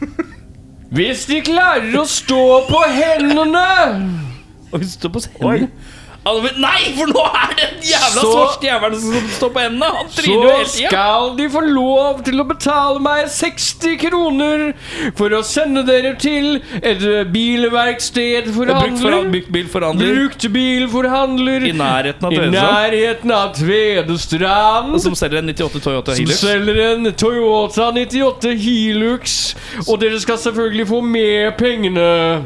S1: hvis de klarer å stå på hendene,
S2: Oi, stå på hendene. Alle vil- Altså, Nei, for nå er det den jævla
S1: Så-
S2: svarte jævelen som står på hendene! Han tryner jo
S1: så
S2: hele tida.
S1: skal de få lov til å betale meg 60 kroner for å sende dere til et øh, bilverksted for å
S2: Brukt
S1: handle.
S2: foran- brukt bilforhandler
S1: Bruktbilforhandler
S2: i nærheten av
S1: i
S2: Tøyenstrand.
S1: nærheten av Tvedestrand. Som
S2: Som selger en 98 Toyota Hilux.
S1: selger en Toyota 98 Hilux. Og dere skal selvfølgelig få med pengene.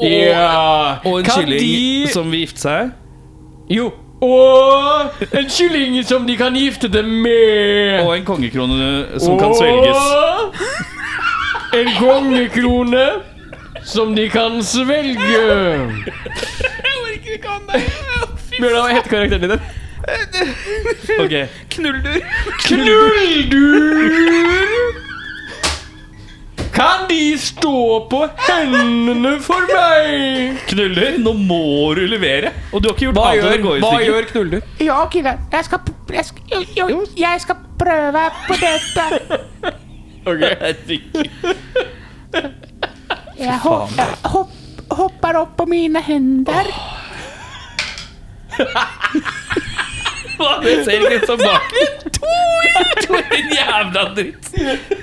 S1: Ja.
S2: Og en
S1: kan
S2: kylling
S1: de...
S2: som vil gifte seg.
S1: Jo. Og en kylling som de kan gifte dem med.
S2: Og en kongekrone som kan svelges.
S1: Og En kongekrone som de kan svelge. Bjørn, hva heter karakteren din?
S2: Ok,
S1: Knulldur! Kan de stå på hendene for meg?
S2: Knuller, nå må du levere! Og du har ikke gjort
S1: Hva
S2: annet enn å
S1: gjør,
S2: gå i
S1: hva
S2: stykker.
S1: gjør Knulldur?
S3: Jo, killa. Jeg skal, jeg skal, jo, jo, jeg skal prøve på dette.
S2: Herregud.
S3: Jeg håper, jeg håp- hopper opp på mine hender.
S6: Det ser ikke ut som bakgrunn. Din jævla dritt.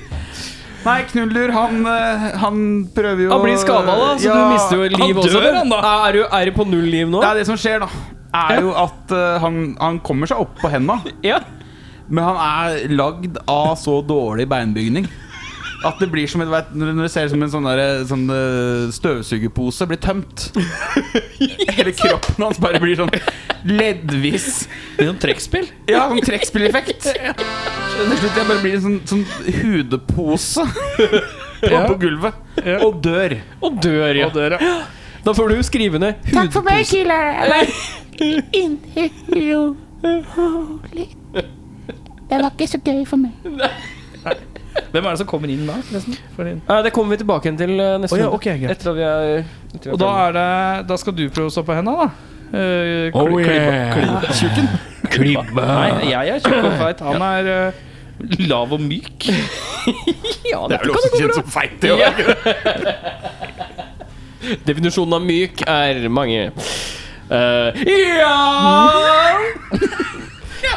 S4: Nei, Knuller, han, eh, han prøver jo
S1: Han blir skada, da, så du mister jo liv
S6: han
S1: også.
S6: dør, han da.
S1: Er, du, er du på null liv nå?
S4: Ja, det som skjer, da, er jo at eh, han, han kommer seg opp på henda.
S1: Ja.
S4: Men han er lagd av så dårlig beinbygning at det blir som et, vet, Når du ser det som en sånn, der, sånn eh, støvsugerpose blir tømt. Hele kroppen hans bare blir sånn leddvis.
S6: Det er noen trekkspill.
S4: Ja, sånn trekkspilleffekt. Til slutt jeg bare blir en sånn, sånn hudepose på, på gulvet. Og dør.
S1: Og dør, ja. Da får du skrive ned
S3: Takk for meg, killer. Inni ro. Rolig. Det var ikke så gøy for meg.
S6: Hvem er det som kommer inn da? forresten? For din-
S1: Eh, Det kommer vi tilbake igjen til eh, neste
S6: Å ja,
S1: runde.
S6: ok, greit.
S1: Etter at vi er, etter vi er
S2: Og da
S1: ferdig.
S2: er det Da skal du prøve å stå på henda, da. Eh, kli-
S6: Kli-
S2: klibba-
S6: kli- Klibba.
S2: Nei, jeg er tjukk og feit. Han er eh, lav og myk.
S1: ja, det
S4: vel også kjent som feit, det
S1: Ja. Definisjonen av myk er mange. Eh, ja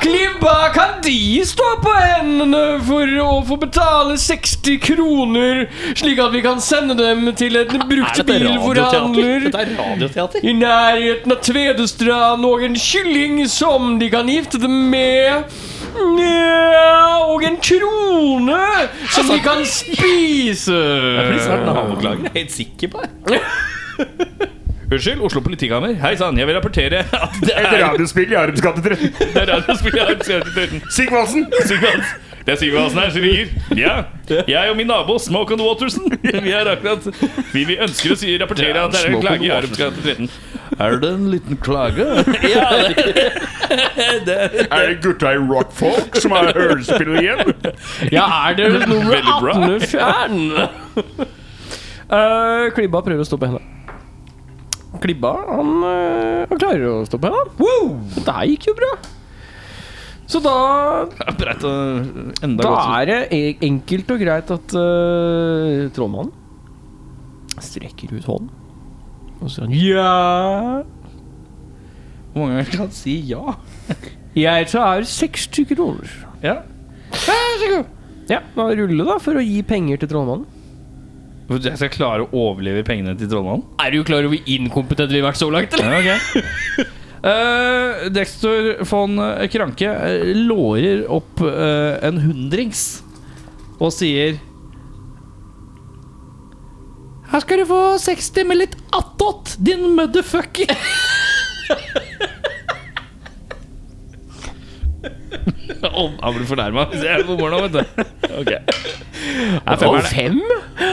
S1: Klibba, kan de stå på hendene for å få betale 60 kroner, slik at vi kan sende dem til en brukt bilforhandler?
S6: Dette er radioteater.
S1: I nærheten av Tvedestrand og en kylling som de kan gifte dem med. Nja, og en krone som de kan spise.
S6: Naboklager, Altså- jeg er helt sikker på det. Unnskyld, Oslo politikammer. Hei sann, jeg vil rapportere at det er
S8: radiospill i Arums gate 13.
S6: Det er radiospill jeg har skrevet i døren.
S8: Sigvaldsen!
S6: Sigvald. Det er Sigvaldsen her som ringer. Ja. Jeg og min nabo Smoke on Waterson. Vi er akkurat Vi, vi ønsker å si, rapportere at det er en klage i Arumsgata 13.
S2: Er det en liten klage?
S6: Ja, det,
S8: Er det gutta i rockfolk som har hørespill igjen?
S1: Ja, er det nummer
S6: Veldig bra.
S1: 18-fjern? Eh, Klibba prøver å stå på henne. Klibba, han, eh, han klarer å stå på henne. Wow! Det her gikk jo bra. Så da
S6: er breit og enda
S1: Da
S6: godt.
S1: er det e- enkelt og greit at eh, trollmannen strekker ut hånden. Og så sier han ja.
S2: Hvor mange ganger kan han si ja?
S1: Jeg tar 60 kroner.
S2: Ja.
S1: Ja, da rulle da for å gi penger til trollmannen.
S2: For Jeg skal klare å overleve pengene til trollmannen?
S1: Er du klar over hvor inkompetente vi har vært så langt, eller?
S2: Ja, ok Eh, Dexter von Kranke eh, lårer opp eh, en hundrings og sier Her skal du få 60 med litt attåt, din motherfucker!
S6: Om- Han blir fornærma hvis jeg er på morgenen, vet du. Ok.
S1: Nei, fem er det.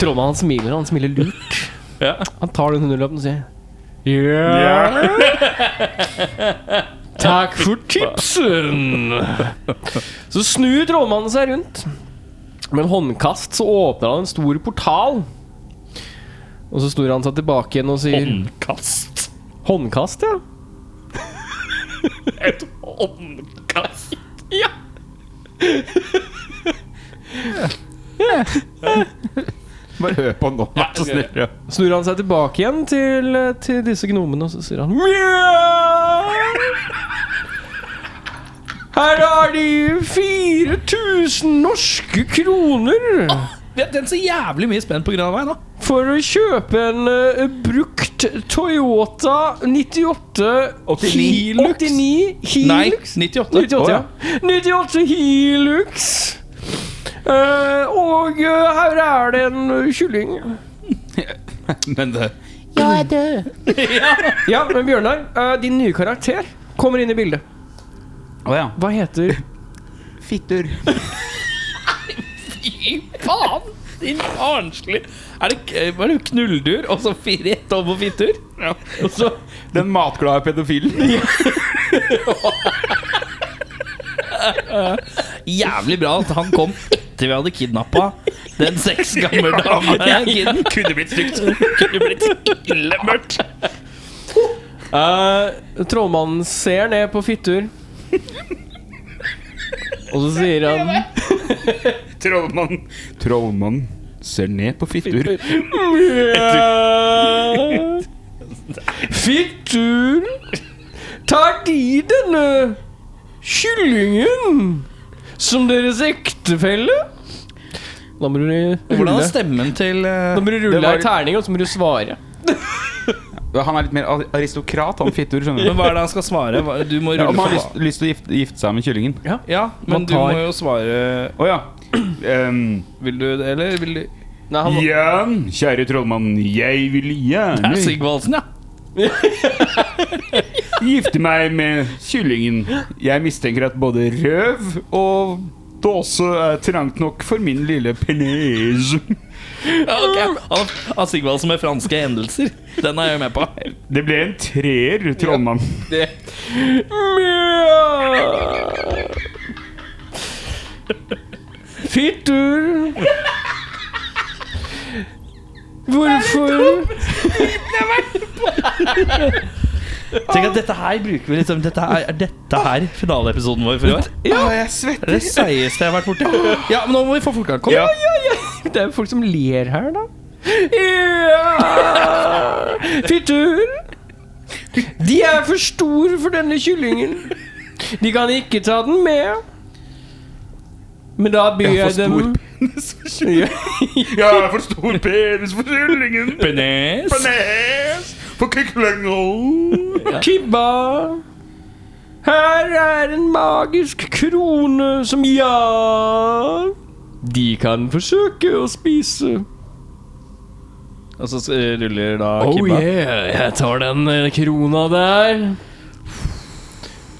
S1: Trollmannen han smiler, han smiler lurt.
S6: Ja.
S1: Han tar den hundrelappen og sier ja. Takk for tipsen! Så snur trollmannen seg rundt. Med en håndkast så åpner han en stor portal. Og så snur han seg tilbake igjen og sier
S6: Håndkast.
S1: Håndkast, ja.
S6: Et håndkast.
S4: Bare hør på han nå, vær så snill. Ja.
S1: Snur han seg tilbake igjen til, eh, til disse gnomene, og så sier han Mjau! Her har de 4000 norske kroner
S2: Vi er den så jævlig mye spent på grunn av meg nå.
S1: for å kjøpe en eh, brukt Toyota 98 Hilux. 89
S2: Nei,
S1: Hilux.
S2: 98.
S1: 98, ja. 98 Hilux. Eh, og eh, her er det en kylling.
S2: Men
S4: eh,
S2: det
S3: Jeg er død.
S1: Ja, men Bjørnar, eh, din nye karakter kommer inn i bildet.
S4: Å ja.
S1: Hva heter
S4: Fittur.
S6: Faen! Din barnslig Er det, eh, var det knulldur og så fire rett over på fittur? Ja. Og så
S4: Den matglade pedofilen.
S6: Jævlig bra at han kom etter vi hadde kidnappa den seks gamle dama. Kiden kunne blitt stygt. Kunne blitt ille mørkt.
S1: Eh, Trollmannen ser ned på Fittur. Og så sier han
S8: Trollmann.
S4: Trollmann. ser ned på fittur.
S1: Fittur! Tar de denne kyllingen som deres ektefelle? Da må du
S2: Hvordan
S1: rulle,
S2: er stemmen til
S1: da
S2: eh,
S1: må du
S14: Det
S1: rulle
S14: var-
S1: ei terning, og så må du svare.
S14: Han er litt mer a- aristokrat, han fittur, skjønner du.
S2: Men hva er det han skal svare? Hva- Du må
S14: Om
S2: rulle
S14: han har
S2: for
S14: lyst, lyst til å gifte, gifte seg med kyllingen.
S2: Ja, men
S1: Man
S2: du
S1: tar-
S2: må jo svare
S4: Å ja. Ehm,
S2: Vil du det, eller vil du
S1: Nei, han,
S4: ja, kjære trollmann, jeg vil gjerne
S2: Sigvaldsen, ja.
S4: gifte meg med kyllingen. Jeg mistenker at både røv og dåse er trangt nok for min lille penis.
S2: ja ok. Han, han Sigvaldsen med franske hendelser. Den er jeg med på.
S4: Det ble en treer, trollmann.
S1: Fittur! Hvorfor
S2: Tenk at dette her bruker vi liksom Dette her, er dette her finaleepisoden vår for i år?
S4: Ja, jeg svetter.
S2: Det er det seigeste jeg har vært borti. Ja, men nå må vi få fortgang. Kom.
S4: Ja.
S1: Det er jo folk som ler her, da. Ja! Fittur! De er for store for denne kyllingen. De kan ikke ta den med. Men da byr jeg dem
S4: Jeg er for stor penis for kyllingen.
S2: Penis.
S4: Penis for kyklinger.
S1: Kibba. Her er en magisk krone som ja De kan forsøke å spise.
S2: Og så eh, ruller da
S1: Oh
S2: Kibba.
S1: yeah, jeg tar den eh, krona der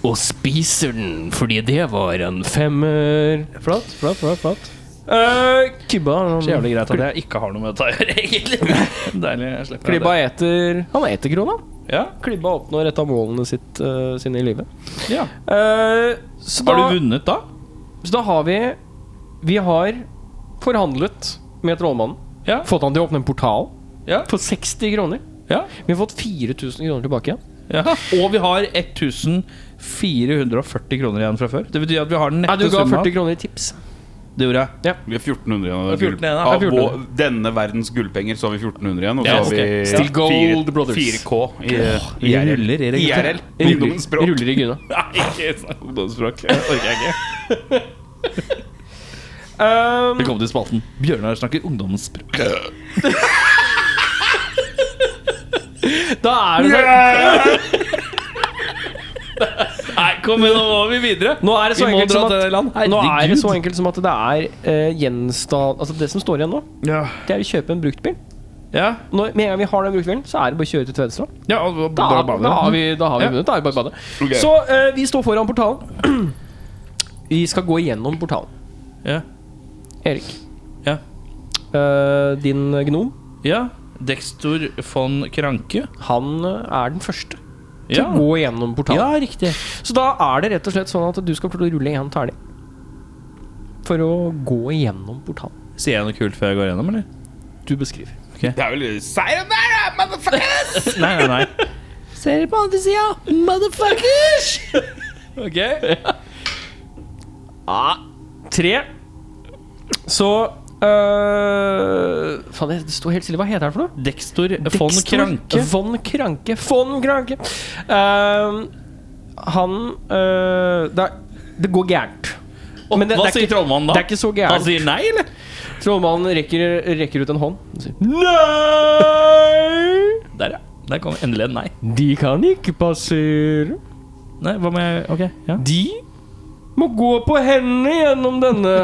S1: Og spiser den, fordi det var en femmer
S2: Flott, flott, flott, flott.
S1: Eh, Kibba han-
S2: Så jævlig greit at jeg ikke har noe med dette å gjøre, egentlig. Deilig. Jeg slipper
S1: Klibba
S2: det.
S1: eter Han eter krona
S2: Ja.
S1: Klibba oppnår et av målene sitt, eh, sine i livet
S2: Ja.
S1: Eh, så,
S2: Har
S1: da,
S2: du vunnet, da?
S1: så da har vi Vi har forhandlet med trollmannen
S2: Ja.
S1: Fått han til å åpne en portal
S2: Ja.
S1: For 60 kroner
S2: Ja.
S1: Vi har fått 4000 kroner tilbake igjen
S2: ja. Og vi har 1440 kroner igjen fra før. Det betyr at vi har den
S1: Nei,
S2: nette
S1: du ga
S2: summa.
S1: 40 kroner i tips
S2: Det gjorde jeg.
S4: Vi har 1400 igjen.
S2: Det er
S4: av
S2: 1400 igjen,
S4: gull-
S2: det er
S4: Av vår, denne verdens gullpenger så har vi 1400 igjen. Og så
S2: Ja,
S4: har
S2: ok.
S4: vi
S1: Still
S4: fire-
S1: gold, brothers.
S4: 4K i, i
S2: Vi
S4: IRL.
S2: ruller i det.
S4: IRL.
S1: Ruller,
S4: Ungdommens språk.
S1: ruller i gynna
S2: Nei, ikke snakk om ungdomsspråk. Det orker jeg ikke.
S1: um,
S2: Velkommen til spalten. Bjørnar snakker ungdommens språk.
S1: Da er det så
S2: Nei, kom igjen, nå må vi videre.
S1: Nå er det så
S2: Vi må
S1: enkelt
S2: dra
S1: som
S2: til det land.
S1: at Nå er det
S2: Herregud.
S1: så enkelt som at det er eh, gjenstand Altså det som står igjen nå,
S2: Ja.
S1: det er å kjøpe en bruktbil.
S2: Ja,
S1: Når, med en gang vi har den bruktbilen, så er det bare å kjøre til Tvedestrand.
S2: ja og, og,
S1: Da,
S2: da,
S1: da, har vi- da har vi
S2: Mm. Ja.
S1: vunnet. Da er det bare å bade. Så eh, vi står foran portalen. vi skal gå gjennom portalen.
S2: Ja.
S1: Erik.
S2: Ja.
S1: Eh, din gnom,
S2: ja. Dextor von Kranke.
S1: han eh, er den første til
S2: Ja.
S1: å gå gjennom portalen.
S2: ja, riktig.
S1: Så da er det rett og slett sånn at du skal få lov til å rulle én terning for å gå gjennom portalen.
S2: Sier jeg noe kult før jeg går gjennom, eller?
S1: Du beskriver.
S4: Det er vel Sayonara, motherfuckers!
S2: Nei, nei, nei.
S1: Ser på andre sida, motherfuckers!
S2: Ok.
S1: Tre. Så øh, Faen, det står helt stille. Hva heter han for noe?
S2: Dextor von
S1: Dexter
S2: Kranke.
S1: Von Kranke. Von Kranke. Ehm, han øh, det, er, det går gærent.
S2: Og
S1: Men det-
S2: hva
S1: det er
S2: sier
S1: ikke-
S2: trollmannen da?
S1: Det er ikke så
S2: Han
S1: gærent.
S2: sier nei, eller?
S1: Trollmannen rekker, rekker ut en hånd. Han sier,
S2: Nei! Der, ja. Der kom endelig en nei.
S1: De kan ikke passere.
S2: Nei, hva må jeg Ok, ja.
S1: De må gå på hendene gjennom denne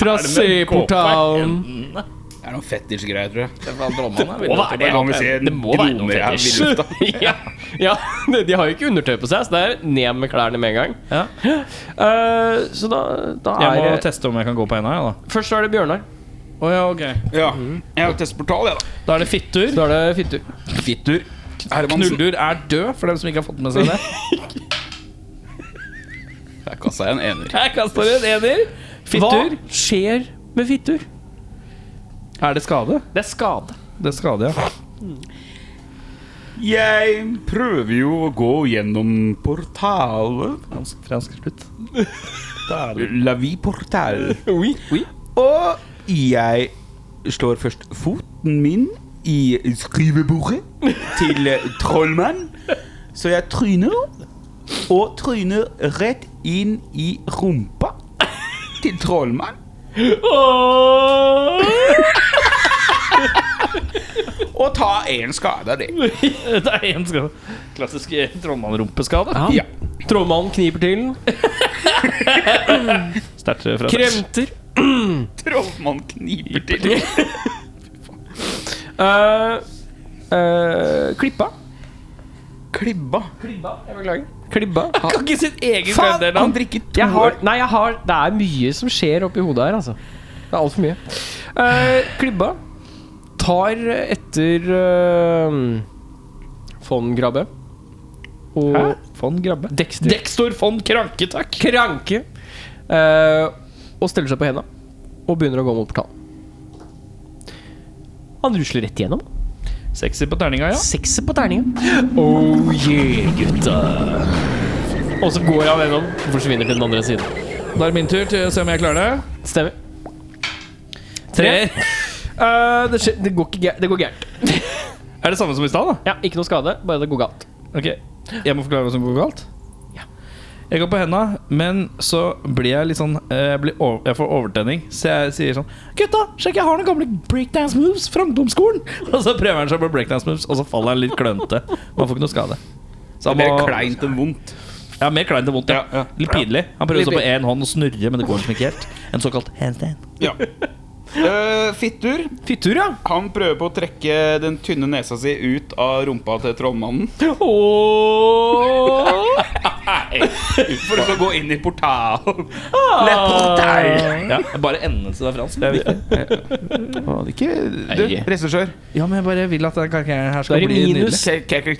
S1: traséportalen.
S14: Det er noen fetisj-greier, tror jeg.
S2: Må være det.
S4: Kan vi se en
S2: Det må være noe
S4: kroner her?
S2: fetisj.
S1: ja, ja, de har jo ikke undertøy på seg, så det er ned med klærne med en gang.
S2: Ja.
S1: Eh, så da, da
S2: Jeg må
S1: er det
S2: teste om jeg kan gå på henda, jeg, da.
S1: Først så er det Bjørnar.
S2: Oh, ja, ok
S4: Ja. Jeg har testportal, jeg, da.
S2: Da er det fittur.
S1: Så er det fittur.
S4: Fittur. Hermansen.
S2: Knuldur er død, for dem som ikke har fått med seg det.
S14: Der kasta jeg en ener.
S2: Jeg kaster en ener. Fittur.
S1: Hva skjer med fittur?
S2: Er det skade?
S1: Det er skade.
S2: Det er skade, ja.
S4: Jeg prøver jo å gå gjennom portalen.
S2: Fransk, fransk slutt.
S4: La vi portal. Og jeg slår først foten min i skrivebordet til eh, trollmann. Så jeg tryner, og tryner rett inn i rumpa til trollmann. Og ta én skade av det.
S2: Det er én skade. Klassisk eh, trollmannrumpeskade.
S1: Ja. Trollmannen kniper til.
S2: Sterkt eh, fra
S1: Kremter.
S4: Trollmann kniper til.
S1: Eh, eh, klippa.
S4: Klibba.
S1: Jeg beklager. Klibba.
S2: Kan ikke sitt eget
S1: Faen,
S2: bønder,
S4: Han drikker to
S1: Jeg har, nei, jeg har Det er mye som skjer oppi hodet her, altså. Det er altfor mye. Eh, klibba tar etter eh, von Grabbe. Og Hæ? Von Grabbe? Dexter.
S2: Dextor von Kranke, takk.
S1: Kranke. Eh, og steller seg på henda og begynner å gå mot portalen. Han rusler rett igjennom.
S2: Sexy på terninga, ja.
S1: Sekser på terninga. Oh yeah, gutta. Og så går han gjennom og forsvinner til den andre siden.
S2: Da er det min tur til å se om jeg klarer det.
S1: Stemmer.
S2: Tre.
S1: Eh, det, skje- det går ikke gæ- det går gærent.
S2: Er det samme som i stad, da?
S1: Ja, ikke noe skade, bare det går galt.
S2: Ok, jeg må forklare hva som går galt Jeg går på hendene, men så blir jeg litt sånn eh, Jeg, blir over, jeg får overtenning Så jeg sier sånn Gutta, sjekk jeg har noen gamle breakdance moves fra ungdomsskolen Og så prøver han seg på breakdance moves Og så faller han litt klønte Man får ikke noe skade Så han
S4: Mer
S2: må-
S4: kleint enn vondt.
S2: Ja, mer kleint enn vondt ja. Litt pinlig Han prøver
S1: Litt
S2: å stå på
S1: pinlig.
S2: en hånd og snurre Men det går liksom ikke helt En såkalt handstand
S15: Eh, Fittur.
S1: Fittur, ja.
S15: Han prøver på å trekke den tynne nesa si ut av rumpa til trollmannen. For å så gå inn i portalen.
S2: ja, Bare enden til det er fransk Det er viktig
S4: Ikke Du, regissør.
S2: Ja, men jeg bare vil at den karakteren her
S1: Da
S2: skal
S1: er det
S2: bli nydelig
S1: minus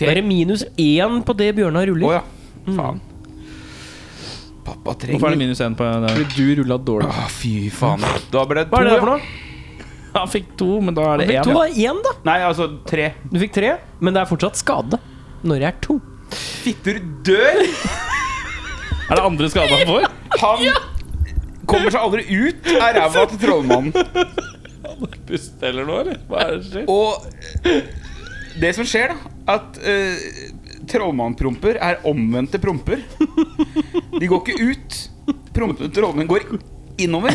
S1: Da er det minus én på det Bjørnar
S4: Å
S1: ruller.
S4: ja. Faen. Pappa
S2: Mm. Hvorfor er
S4: trenger
S2: det minus en på den?
S1: Du rulla dårlig.
S4: Å, Fy faen. Da ble det
S1: Hva er det
S4: to.
S1: der for noe?
S2: Han fikk to, men da er
S1: Du
S2: det
S1: fikk
S2: én.
S1: to, da. Én, da.
S4: Nei, altså tre.
S1: Du fikk tre, men det er fortsatt skade når det er to.
S4: Fittur dør.
S2: Er det andre skade han får?
S4: Han kommer seg aldri ut av ræva til trollmannen.
S2: Puste eller noe, eller? Hva er det som skjer?
S4: Og det som skjer, da At eh, trollmannpromper er omvendte promper. De går ikke ut. Prompene til trollmannen går innover.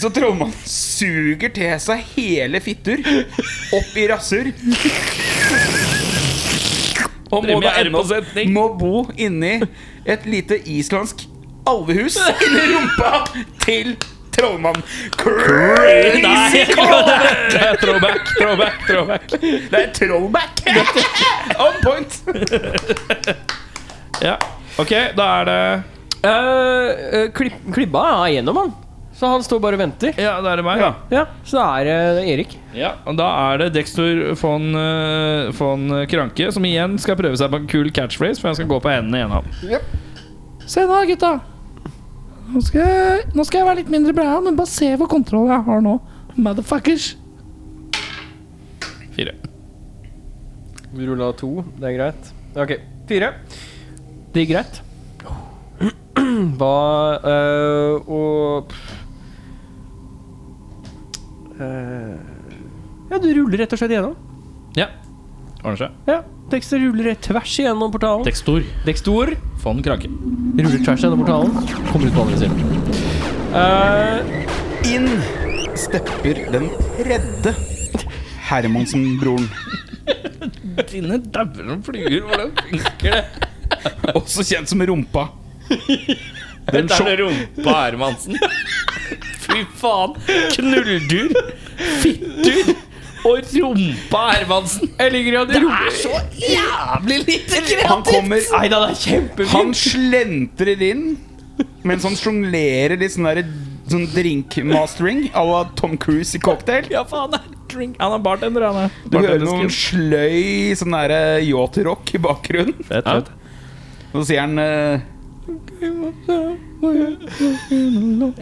S4: Så trollmannen suger til seg hele fittur opp i rasshur. Og
S2: Driver
S4: må da
S2: med
S4: ende opp
S2: æreforsetning.
S4: må bo inni et lite islandsk alvehus inni rumpa til trollmannen. Crazy callback!
S2: Det er Throwback, throwback, throwback.
S4: Det er throwback! On point!
S2: Ja. Ok, da er det
S1: Eh, eh, klipp, klibba er gjennom, han. Så han står bare og venter.
S2: Ja, da er det meg. Ja.
S1: Ja, Så er det Erik.
S2: og Da er det Dexter von, eh, von Kranke, som igjen skal prøve seg på en kul catchphrase, for han skal gå på hendene i en hånd. Se da, gutta. Nå skal, jeg, nå skal jeg være litt mindre bra, men bare se hvor kontroll jeg har nå. Motherfuckers. Fire.
S1: Vi rulla to, det er greit. Ok, fire. Det gikk greit. Hva øh, Og Eh, Ja, du ruller rett og slett igjennom.
S2: Ja. Ordner seg.
S1: Ja, Dexter ruller rett tvers igjennom portalen.
S2: Dextor
S1: Dextor
S2: von Kranke.
S1: ruller tvers igjennom portalen. Kommer ut på andre siden. Eh,
S4: Inn stepper den tredje Hermansen-broren.
S2: Dine dauer som flyger, hvordan funker det?
S4: Også kjent som Rumpa.
S2: Den er rumpa Hermansen. Fy faen. Knulldur, fittur og rumpa Hermansen. Jeg ligger i at Det er så jævlig lite
S4: Han kommer
S1: nei da, det er kjempefint!
S4: Han slentrer inn mens han sjonglerer litt sånn derre Sånn drinkmastering à la Tom Cruise i cocktail.
S2: Ja, faen. Han er drink. Han er bartender, han er.
S4: Du hører noen sløy sånn derre yacht-rock i bakgrunnen.
S2: Fett, fett.
S4: Og så sier han eh,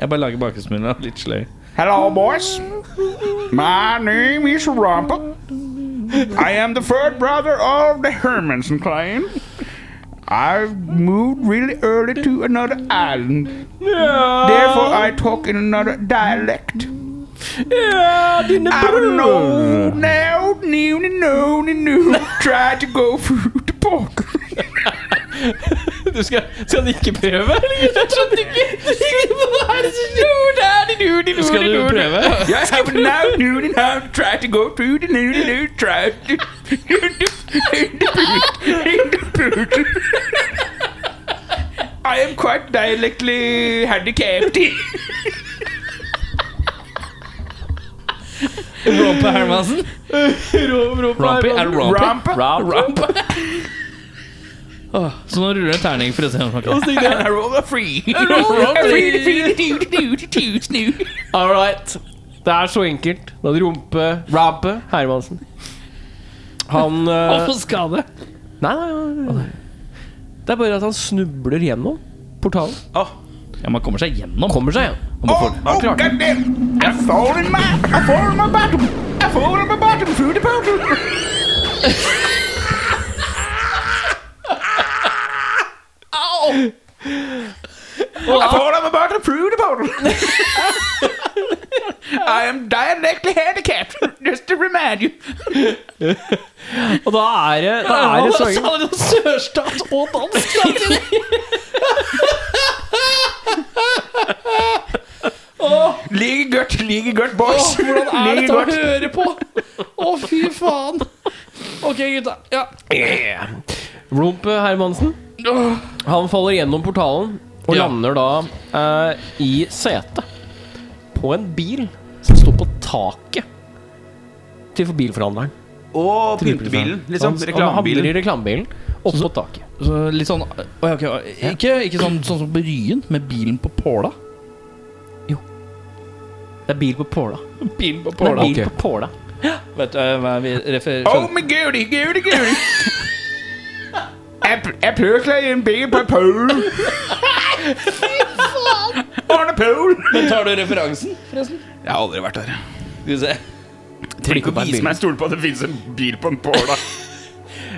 S2: Jeg bare lager bakgrunnsmunnen litt sløy.
S4: Hello, boys. My name is Rompa. I am the third brother of the Hermanson clan. I've moved really early to another island. Therefore, I talk in another dialect.
S1: Ja, dine bror!
S4: no, no, no, no, no, no. Try to go through the park.
S1: Du skal, skal du ikke prøve? Jeg skjønner ikke Hva er det som skjer? Skal du prøve?
S4: I have no, no, no, try to go through the no, no, no, try to... I am quite dialectally handicapped.
S6: Rompe Hermansen. Rompe er det rompe?
S4: Rampa.
S6: Rompe. Åh, Så nå ruller det en terning for å se om han klarer
S4: And I roll a free.
S1: All right. Det er så enkelt. Da hadde rumpe Rampe Hermansen. Han eh,
S6: å få skade.
S1: nei, nei, nei. Det er bare at han snubler gjennom portalen.
S6: Ja, man kommer seg gjennom.
S1: Kommer seg igjen.
S4: Oh, oh goddamn! I fall in my, I fall in my bottom. I fall in my bottom through the bottom. I fall in my bottom through the bottom. I am dialectically handicapped. Just to remind you.
S1: Og da er det, da er det så enkelt.
S6: Sørstat og dansk samtidig!
S4: Ligger godt, ligger godt, boys.
S6: Hvordan er
S4: Ligger
S6: dette å
S4: godt.
S6: høre på? Å, fy faen. Ok, gutta. Ja.
S1: Rumpe Hermansen. Han faller gjennom portalen og
S6: Ja.
S1: lander da eh, i setet på en bil som står på taket til bilforhandleren.
S4: Og
S1: Til bilforhandleren.
S4: pyntebilen, liksom.
S1: Han- Han havner
S4: Reklamebilen.
S1: i reklamebilen oppå taket.
S6: Så litt sånn Å, ja, ok, Ikke, ikke sånn, sånn som på Ryen, med bilen på påla.
S1: Det er bil på påla.
S6: Bilen på
S1: Det er bil på
S6: Ok.
S1: påla.
S6: Vet du eh, hva vi refererer
S4: Oh my goody, goody, goody. Jeg jeg plutselig en bil på en pool. On a pool.
S6: Men tar du referansen?
S4: Jeg har aldri vært der.
S6: Skal vi se.
S1: Trenger ikke å være
S4: Vis
S1: bil.
S4: meg en stol på at det finnes en bil på en pool, da.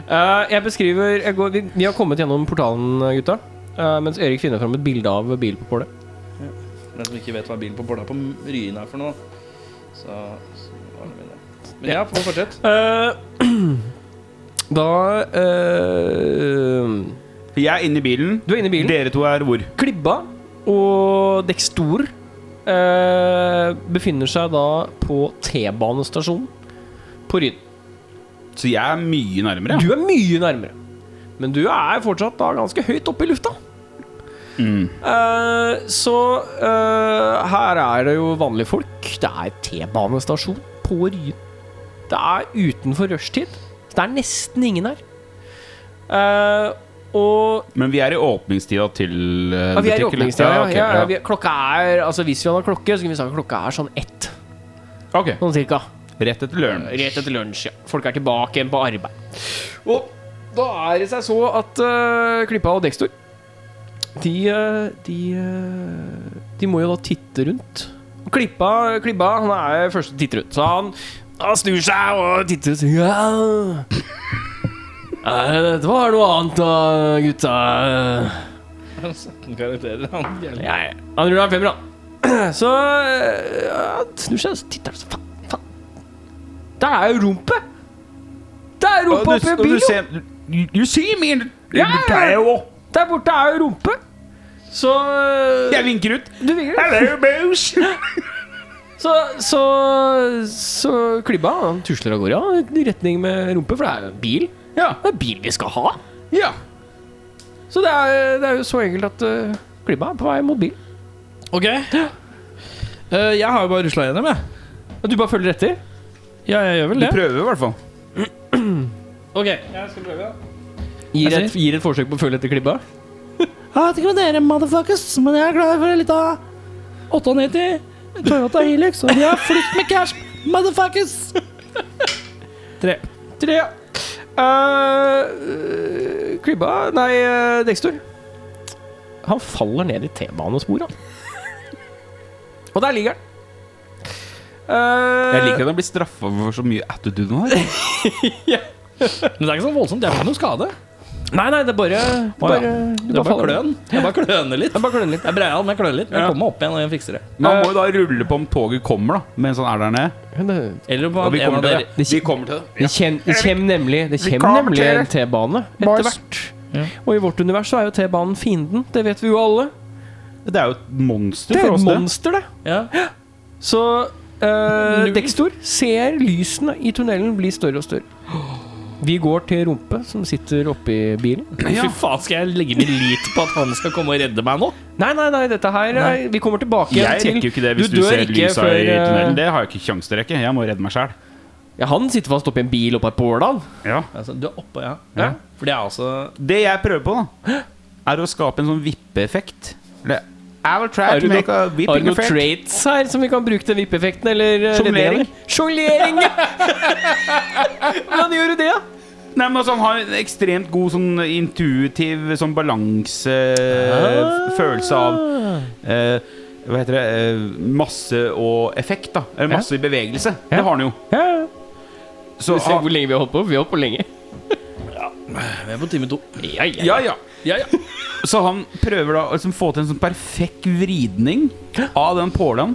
S1: Eh, jeg beskriver jeg går, vi, vi har kommet gjennom portalen, gutta. Eh, mens Erik finner fram et bilde av bil på pålet.
S6: Den som ikke vet hva bilen på påla på Ryen er for noe, så, så ordner vi det. Men ja, få fortsette.
S1: Eh, da eh,
S4: Jeg er inne i bilen.
S1: Du er inne i bilen.
S4: Dere to er hvor?
S1: Klibba og Dekstor eh, befinner seg da på T-banestasjonen på Ryd.
S4: Så jeg er mye nærmere.
S1: Du er mye nærmere, men du er fortsatt da ganske høyt oppe i lufta. Mm. Eh, så eh, her er det jo vanlige folk. Det er T-banestasjon på Ryen. Det er utenfor rushtid. Det er nesten ingen her. Eh, og
S4: Men vi er i åpningstida til eh,
S1: Ja, Ah, vi er i åpningstida. Ja, ja, ja, vi er- Klokka er Altså Hvis vi hadde klokke, så kunne vi sagt klokka er sånn ett.
S4: Ok.
S1: Sånn cirka.
S4: Rett etter løren.
S1: Rett etter lunsj. ja Folk er tilbake igjen på arbeid. Og da er det seg så at eh, Klippa og Dextor De eh, De eh, De må jo da titte rundt. Og Klippa, Klippa han er første som titter rundt, så han, han snur seg og titter ut. Ja. Eh, Dette var noe annet da, gutta.
S6: Han snakker karakterer, han. jævlig.
S1: Ja, ja. Han ruller en femmer, han. Så øh, han snur seg og så titter han så faen, faen. Der er jo rumpe! Der er rumpa oppi en bil, jo!
S4: You, you see me in the-
S1: Ja,
S4: in the
S1: ja, ja.
S4: pool.
S1: Der borte er jo rumpe! Så øh,
S4: Jeg vinker ut.
S1: Du vinker.
S4: Hello, boys.
S1: Så, så, så klibba han tusler av gårde ja, i retning med rumpe, for det er jo en bil.
S4: Ja.
S1: Det er bil vi skal ha.
S4: Ja.
S1: Så det er, det er jo så enkelt at øh, klibba er på vei mot bil.
S6: Ok. Eh, jeg har jo bare rusla gjennom, jeg.
S1: Og du bare følger etter?
S6: Ja, jeg gjør
S4: Du
S6: vel det.
S4: prøver i hvert fall.
S6: Ok.
S1: Gir
S6: Jeg
S1: et, gir et forsøk på å følge etter klibba?
S6: Jeg vet ikke med dere, motherfuckers, men jeg er glad for en liten 98 Toyota Hilux, og de har flytt med cash, motherfuckers!
S1: Tre. Tre. Eh, Klibba Nei, eh, Dexter. Han faller ned i T-banesporet. Og der ligger han. Eh,
S4: Jeg liker at jeg blir straffa for så mye attitude nå. altså.
S6: Men det er ikke så voldsomt, jeg fikk noe skade.
S1: Eh, Nei, nei, det er bare, det er bare Du
S2: Det er bare kløn. Jeg bare kløner litt.
S1: Det er bare kløn litt.
S2: Jeg breier av, men jeg kløner litt. Jeg kommer meg opp igjen og jeg fikser det.
S4: Man må jo da rulle på om toget kommer, da. Mens han er der nede.
S2: Eller på
S4: Og vi
S2: en av
S4: kommer til
S2: dere
S4: det. Vi kommer til
S1: Det
S4: det.
S1: kommer nemlig, det kjem nemlig en T-bane etter hvert. Og i vårt univers så er jo T-banen fienden. Det vet vi jo alle.
S4: Det er jo et monster
S1: Det er
S4: for
S1: et
S4: oss, det.
S1: monster, det.
S2: Ja.
S1: Så eh, Dextor ser lysene i tunnelen bli større og større. Vi går til Rumpe, som sitter oppi bilen.
S2: Fy faen, skal jeg legge min lit på at han skal komme og redde meg nå?
S1: Nei, nei, nei, dette her er- Vi kommer tilbake igjen
S4: Jeg
S1: til
S4: rekker jo ikke det hvis du,
S1: dør
S4: ser
S1: ikke
S4: lysa
S1: før,
S4: i
S1: eh,
S4: tunnelen. Det har jeg ikke kjangs til å rekke. Jeg må redde meg sjæl.
S1: Ja, han sitter fast oppi en bil oppe av Pålan.
S4: Ja.
S2: Altså, du er oppå, ja.
S4: Ja.
S2: For det er altså
S4: Det jeg prøver på, da, er å skape en sånn vippeeffekt. Eller, I will try to make a
S1: Har du
S4: whipping
S1: noen
S4: effect.
S1: traits her som vi kan bruke til vippeeffekten? Eller eh,
S4: Sjonglering.
S1: redningen? Sjonglering! ja. Hvordan gjør du det, da?
S4: Nei, men altså, Han har en ekstremt god sånn intuitiv sånn balansefølelse av eh, Hva heter det eh, Masse og effekt, da. Eller masse i bevegelse. Det har han jo.
S1: Ja,
S4: Så,
S1: Se hvor lenge vi har holdt på. Vi har holdt på lenge.
S2: Vi er på time to.
S1: Ja, ja.
S4: ja, ja.
S2: Ja, ja.
S4: Så han prøver da å liksom få til en sånn perfekt vridning av den pålen.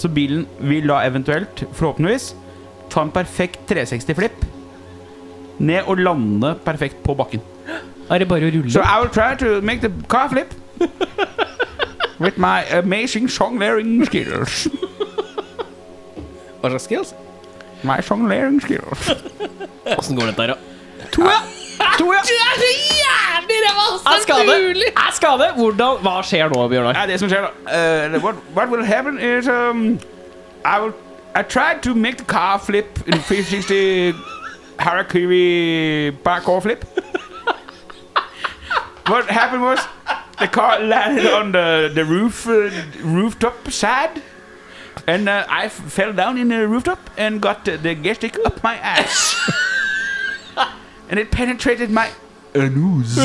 S4: Så bilen vil da eventuelt, forhåpentligvis, ta en perfekt 360-flipp ned og lande perfekt på bakken.
S1: Er det bare å rulle?
S4: So I will try to make the car flip with my amazing songlaring skills.
S2: Hva slags altså? skills?
S4: My songlaring skills.
S2: Åssen går dette her, da?
S1: Er skade! Er skade! Hvordan, hva skjer nå, Bjørnar?
S4: Nei, Ah, det er som skjer da eh, what, what will happen is um, I will I tried to make the car flip in 360 Harakiri parkour flip What happened was the car landed on the, the roof uh, rooftop side and uh, I f- fell down in the rooftop and got uh, the gas stick up my ass and it penetrated my uh, anus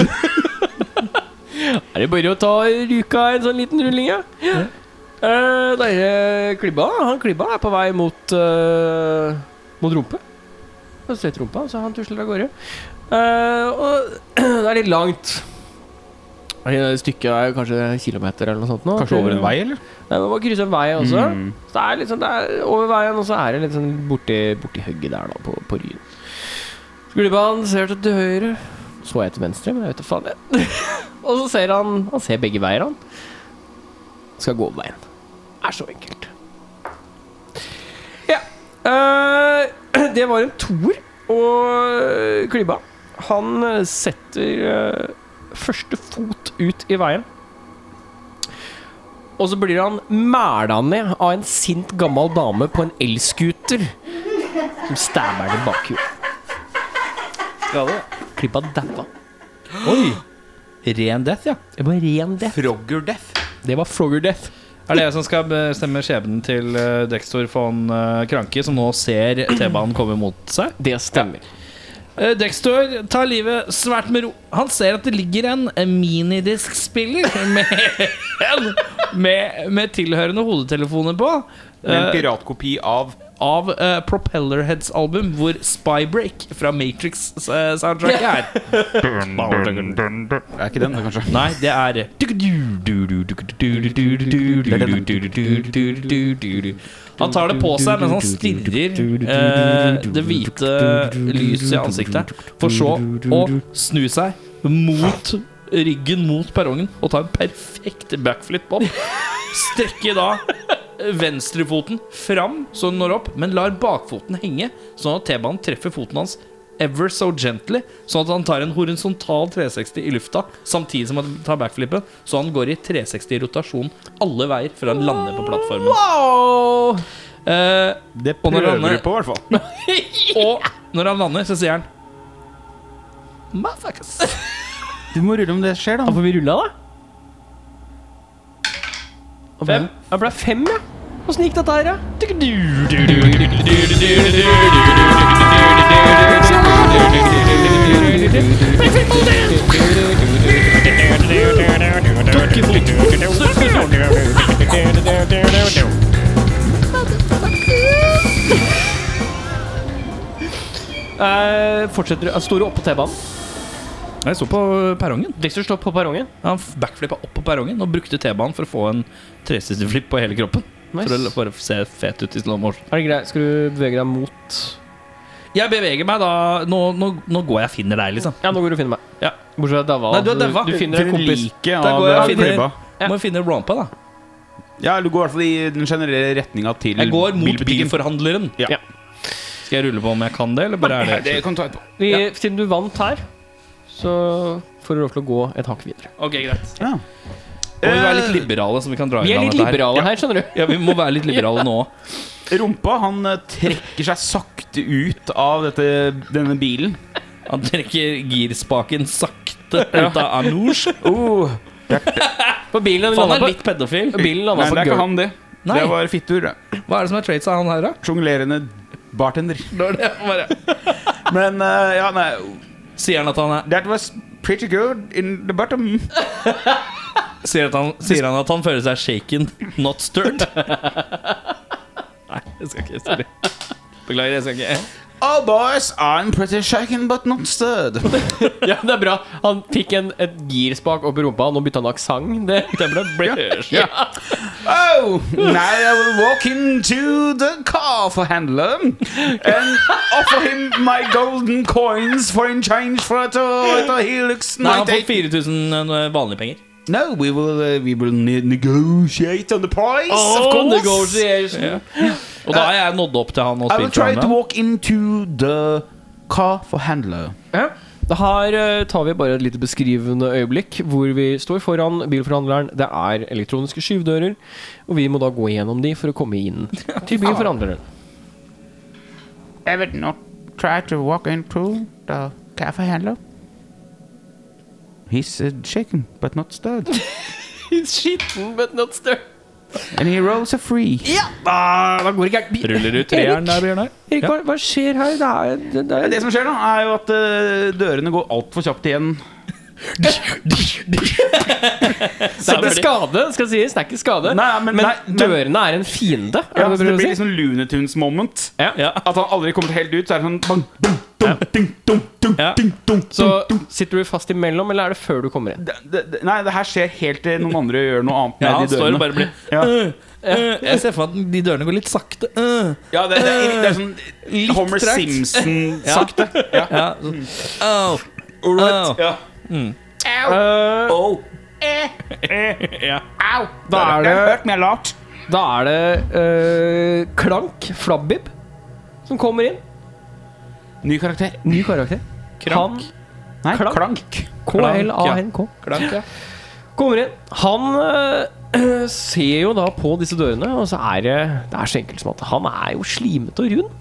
S1: Er det bare å ta ryka en sånn liten rulling, ja? Eh, Dere klibba, han klibba er på vei mot eh, Mot rumpe. Han ser til rumpa, så han tusler av gårde. Eh, og det er litt langt. Eh, Stykket er kanskje en kilometer eller noe sånt. Nå.
S4: eller?
S1: Nei, man må krysse en vei også. Så det er litt sånn, det er over veien, og så er det litt sånn borti, borti hugget der, da, på, på Ryen. Skulderbanen ser til til høyre. Så jeg til venstre, men jeg vet da faen. jeg. og så ser han Han ser begge veier, han. Skal gå veien. Er så enkelt. Ja. eh, det var en toer, og Klibba, han eh, setter eh, første fot ut i veien. Og så blir han mæla ned av en sint gammel dame på en elskuter som stabber ham i bakhjulet.
S2: Skade?
S1: Klippa daua.
S2: Ren death, ja.
S1: Det var ren death.
S4: Frogger death
S1: Det var Frogger death.
S2: Er det jeg som skal bestemme skjebnen til eh, Dextor von eh, Kranke, som nå ser T-banen komme mot seg?
S1: Det stemmer.
S2: Eh, Dextor tar livet svært med ro. Han ser at det ligger en eh, minidiskspiller med, med, med tilhørende hodetelefoner på.
S4: er En
S2: eh,
S4: piratkopi av
S2: av eh, Propellerheads album, hvor Spybreak fra eh, Matrix-soundtracket er.
S4: Det er ikke den, kanskje.
S2: Nei, det er Han tar det på seg mens han stirrer eh, det hvite lyset i ansiktet, for så å snu seg mot ryggen mot perrongen og ta en perfekt backflip opp. Strekker da venstrefoten fram så den når opp, men lar bakfoten henge, sånn at T-banen treffer foten hans ever so gently, sånn at han tar en horisontal 360 i lufta samtidig som han tar backflippen, så han går i 360 rotasjon alle veier før han lander på plattformen.
S1: Wow!
S2: Eh,
S4: Det
S2: Og når
S4: prøver
S2: han er-
S4: du på, i hvert fall.
S2: og når han lander, så sier han Motherfuckers.
S4: Du må rulle om det skjer,
S1: Da får vi rulla, da. Og ble-
S2: Fem.
S1: Ja, ble fem, ja. Åssen gikk dette her, da? Eh, fortsetter eh, Står du oppå T-banen?
S2: Jeg så på perrongen.
S1: Dexter står på perrongen.
S2: Han backflippa opp på perrongen og brukte T-banen for å få en 360-flipp på hele kroppen. For å
S1: Nice.
S2: bare se fet ut i slow motion.
S1: Er det greit? Skal du bevege deg mot
S2: Jeg beveger meg da Nå, nå, nå går jeg og finner deg, liksom.
S1: Ja, nå går du og finner meg.
S2: Ja.
S1: Bortsett fra daua.
S2: Nei, du er
S1: altså,
S2: daua.
S1: du finner en kompis.
S4: Like
S2: Da
S4: av
S2: går jeg og
S4: eh,
S2: finner-
S4: flippa.
S1: Ja.
S2: Må jo finne rampa, da.
S4: Ja, du går i hvert fall i den generelle retninga til
S2: Jeg går mot
S4: bilbutikken.
S2: bilforhandleren.
S4: Ja.
S1: Ja.
S2: Skal jeg rulle på om jeg kan det, eller bare er det
S16: Det kan du ta etterpå.
S1: Vi, Siden du vant her, så får du lov til å gå et hakk videre.
S2: Ok, greit.
S4: Ja.
S2: Og vi er litt
S4: Eh,
S2: liberale, så vi kan dra i
S1: Vi er
S2: gang
S1: litt
S2: dette her.
S1: liberale her, skjønner du.
S2: Ja, vi må være litt liberale nå.
S4: Rumpa han eh, trekker seg sakte ut av dette, denne bilen.
S2: Han trekker girspaken sakte ut av Anoush.
S1: Uh.
S4: Oh,
S1: For bilen
S2: Han
S1: landa
S2: er
S1: på,
S2: litt pedofil.
S1: bilen
S4: nei,
S1: landa
S4: det
S1: på
S4: er ikke
S1: gulvet.
S4: han, det.
S2: Nei.
S4: Det var fittur. det.
S2: Hva er det som er traits av han her, da?
S4: Sjonglerende bartender.
S2: Når det bare-
S4: Men eh, ja, nei
S2: Sier han at han er
S4: That was pretty good in the bottom.
S2: Sier, at han, sier han at han føler seg shaken, not stirred? Nei, jeg skal ikke. Sorry. Beklager, jeg skal ikke.
S4: Oh, boys, I'm pretty shaken but not stirred.
S1: Ja, det er bra. Han fikk en, et girspak opp i rumpa, nå bytta han aksent. Det stemmer.
S4: Oh, now I will walk into the car for handler and offer him my golden coins for in change for a Toyota Helix
S2: Nei, han får eh,
S4: 98.
S2: 4000 vanlige penger.
S4: No, we will uh, we will ne- negotiate on the price, Oh, of course.
S1: Negotiation.
S2: Og da har jeg nådd opp til han og
S4: I will
S2: spilt
S4: try
S2: for
S4: to
S2: ham.
S4: walk into the car for handler.
S1: Ja. Da Her eh, tar vi bare et lite beskrivende øyeblikk hvor vi står foran bilforhandleren. Det er elektroniske skyvdører, og vi må da gå gjennom de for å komme inn til bilforhandleren.
S17: I would not try to walk into the cafe handler.
S4: He's uh, shaken but not stirred,
S1: Skitten, but not stirred.
S4: and he rolls a three.
S2: Ruller ut treeren der, Bjørnar.
S1: Erik, hva, hva skjer her? Det er, det, det er
S4: Det som skjer nå, er jo at eh, dørene går altfor kjapt igjen.
S1: Det er ikke skade, skal sies. Det er ikke skade.
S4: Nei, men-
S1: men
S4: nei, men-
S1: dørene er en fiende.
S4: Ja,
S1: Er det
S4: så
S1: det du
S4: det blir
S1: prøver å si?
S4: liksom Looney Tunes moment.
S2: Ja.
S4: At han aldri kommer helt ut, så er det sånn bang, dum, dum, ding, dum, dum,
S2: Ja.
S4: ding, dum,
S1: Så
S4: dum, dum.
S1: sitter du fast imellom, eller er det før du kommer inn?
S4: Det, det, det- nei, det her skjer helt til noen andre gjør noe annet med
S2: Ja, han
S4: de
S2: står og
S4: dørene.
S2: bare blir
S4: Ja.
S2: øh, øh, Jeg ser for meg at de dørene går litt sakte. øh.
S4: Ja, det, det, det er sånn Homer
S2: tregt.
S4: Simpson-sakte. Ja.
S2: Ja. sånn, Au. Au.
S4: Ja. Oh.
S1: Eh,
S4: Eh.
S2: Ja.
S1: da er det
S4: hørt meg lat.
S1: Da er det eh, Klank, Flabbib, som kommer inn.
S4: Ny karakter.
S1: Ny karakter.
S2: Krank.
S4: Nei,
S1: Klank.
S4: Klank.
S1: K-L-A-N-K.
S2: Klank, ja.
S1: Kommer inn. Han eh, ser jo da på disse dørene, og så er det Det er så enkelt som at han er jo slimete og rund.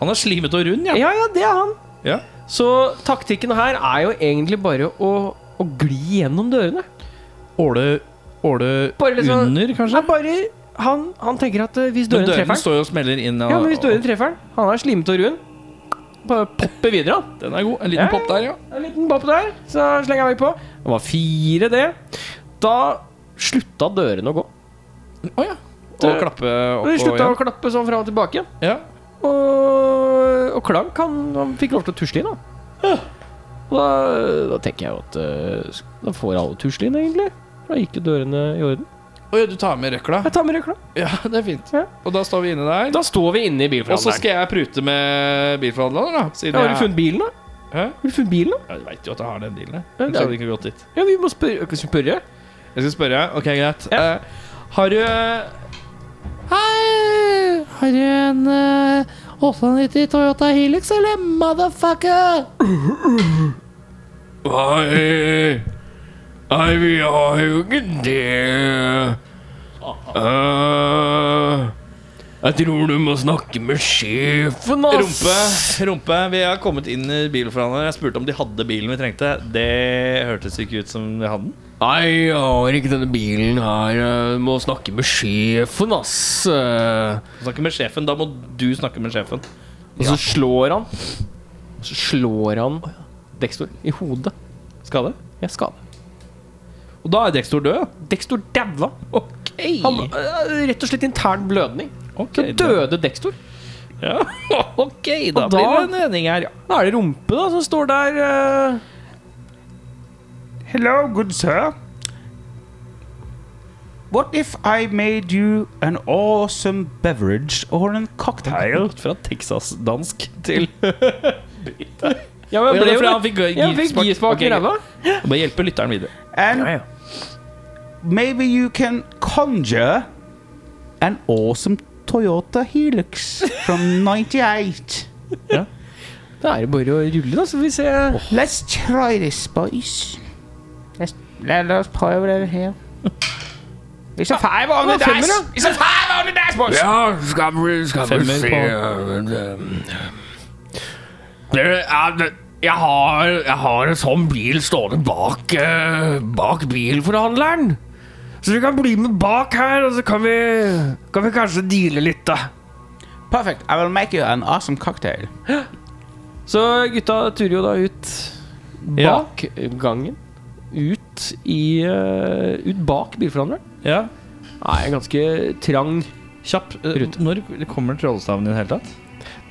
S2: Han er slimete og rund, ja.
S1: Ja, ja, det er han.
S2: Ja.
S1: Så taktikken her er jo egentlig bare å, å gli gjennom dørene.
S2: Åle, åle
S1: Bare liksom-
S2: under,
S1: Nei,
S2: kanskje?
S1: bare Han, han tenker at eh, hvis
S2: Men
S1: dørene treffer
S2: døren
S1: han
S2: står jo og smeller inn. Og,
S1: Ja, men hvis dørene treffer han Han er slimete og rund. Bare popper videre, han.
S2: Den er god. En liten
S1: Ja.
S2: pop der, ja.
S1: En liten bopp der, så slenger jeg meg på. Det var fire, det. Da slutta dørene å gå.
S2: Å ja. Og klappe opp
S1: De slutta å
S2: igjen.
S1: klappe sånn fram og tilbake igjen.
S2: Ja.
S1: Og, og Klank, han, han fikk lov til å tusle inn, da. Og da, da tenker jeg jo at eh, sk- Da får alle tusle inn, egentlig. Da gikk jo dørene i orden.
S2: Å ja, du tar med røkla?
S1: Jeg tar med røkla.
S2: Ja, det er fint.
S1: Ja.
S2: Og da står vi inne der.
S1: Da står vi inne i
S2: Og så
S1: bilforhandleren.
S2: skal jeg prute med bilforhandleren, da. Siden
S1: Ja, har du funnet bilen, da?
S2: Hæ?
S1: Har du funnet bilen, da?
S2: Ja, du veit jo at jeg har den bilen, jeg.
S1: Ja, det er-
S2: Ellers hadde jeg ikke gått dit.
S1: Ja, vi må spørre. Skal vi spørre?
S2: Jeg skal spørre. Ok, greit.
S1: Ja.
S2: Eh, har du Hei! Har du en 890 Toyota Helix, eller motherfucker? Nei Nei, vi har jo ikke det. Eh, jeg tror du må snakke med sjefen, ass. Rumpe, rumpe, vi har kommet inn i bilforhandleren. Jeg spurte om de hadde bilen vi trengte. Det hørtes ikke ut som de hadde den.
S1: Nei, jeg har ikke denne bilen her. Jeg Må snakke med sjefen, ass. Eh,
S2: Snakke med sjefen, da må du snakke med sjefen.
S1: Og så slår han Og så slår han Dextor i hodet.
S2: Skade?
S1: Jeg er skadet.
S2: Og da er Dextor død, ja.
S1: Dextor daua.
S2: Ok.
S1: Han øh, Rett og slett intern blødning. Så
S2: okay da.
S1: døde Dextor.
S2: Ja. ok, da
S1: Og da-
S2: blir det en vending her, ja.
S1: Da er det rumpe da som står der. øh,
S4: Hello, good sir. What if I made you an awesome beverage or a cocktail?
S2: Gått fra Texas-dansk til
S1: Ja, men
S2: Ja,
S1: jeg
S2: det
S1: ble
S2: er
S1: jo
S2: fordi
S1: det.
S2: han fikk gi-
S1: Ja, jeg fikk
S2: gismak.
S1: gismak
S2: Ok,
S1: i ræva.
S2: Bare hjelpe lytteren videre.
S4: And maybe you can conjure an awesome Toyota Helix from 98.
S1: Da er det bare å rulle, da, så får vi se.
S4: Oh. Let's try this, boys. Let's, let us prøve det her. It's a five on the
S1: det var er femmer,
S4: dice! It's a five on the dice, boys!
S2: Femmer på
S1: eh, Jeg har, jeg har en sånn bil stående bak, eh, bak bilforhandleren. Så du kan bli med bak her, og så kan vi, kan vi kanskje deale litt, da.
S4: Perfect. I will make you an awesome cocktail.
S1: Så gutta turer jo da ut bak gangen. Ut i eh, Ut bak bilforhandleren.
S2: Ja,
S1: Nei, en ganske trang
S2: kjapp. eh,
S1: Rute.
S2: Når kommer trollstaven i det hele tatt?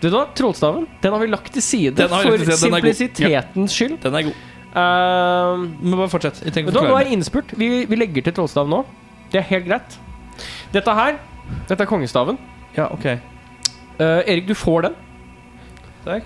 S1: Du da, Trollstaven den har vi lagt til side
S2: Den har vi
S1: for
S2: lagt til side, den er god.
S1: simplisitetens skyld.
S2: Den er god.
S1: Ehm,
S2: Men bare fortsett. Jeg
S1: Men
S2: tenker å
S1: da, nå
S2: forklare
S1: er det innspurt. Vi, vi legger til trollstav nå. Det er helt greit. Dette her, dette er kongestaven.
S2: meg. Ja, ok.
S1: Eh, Erik, du får den. Eh,
S2: Takk.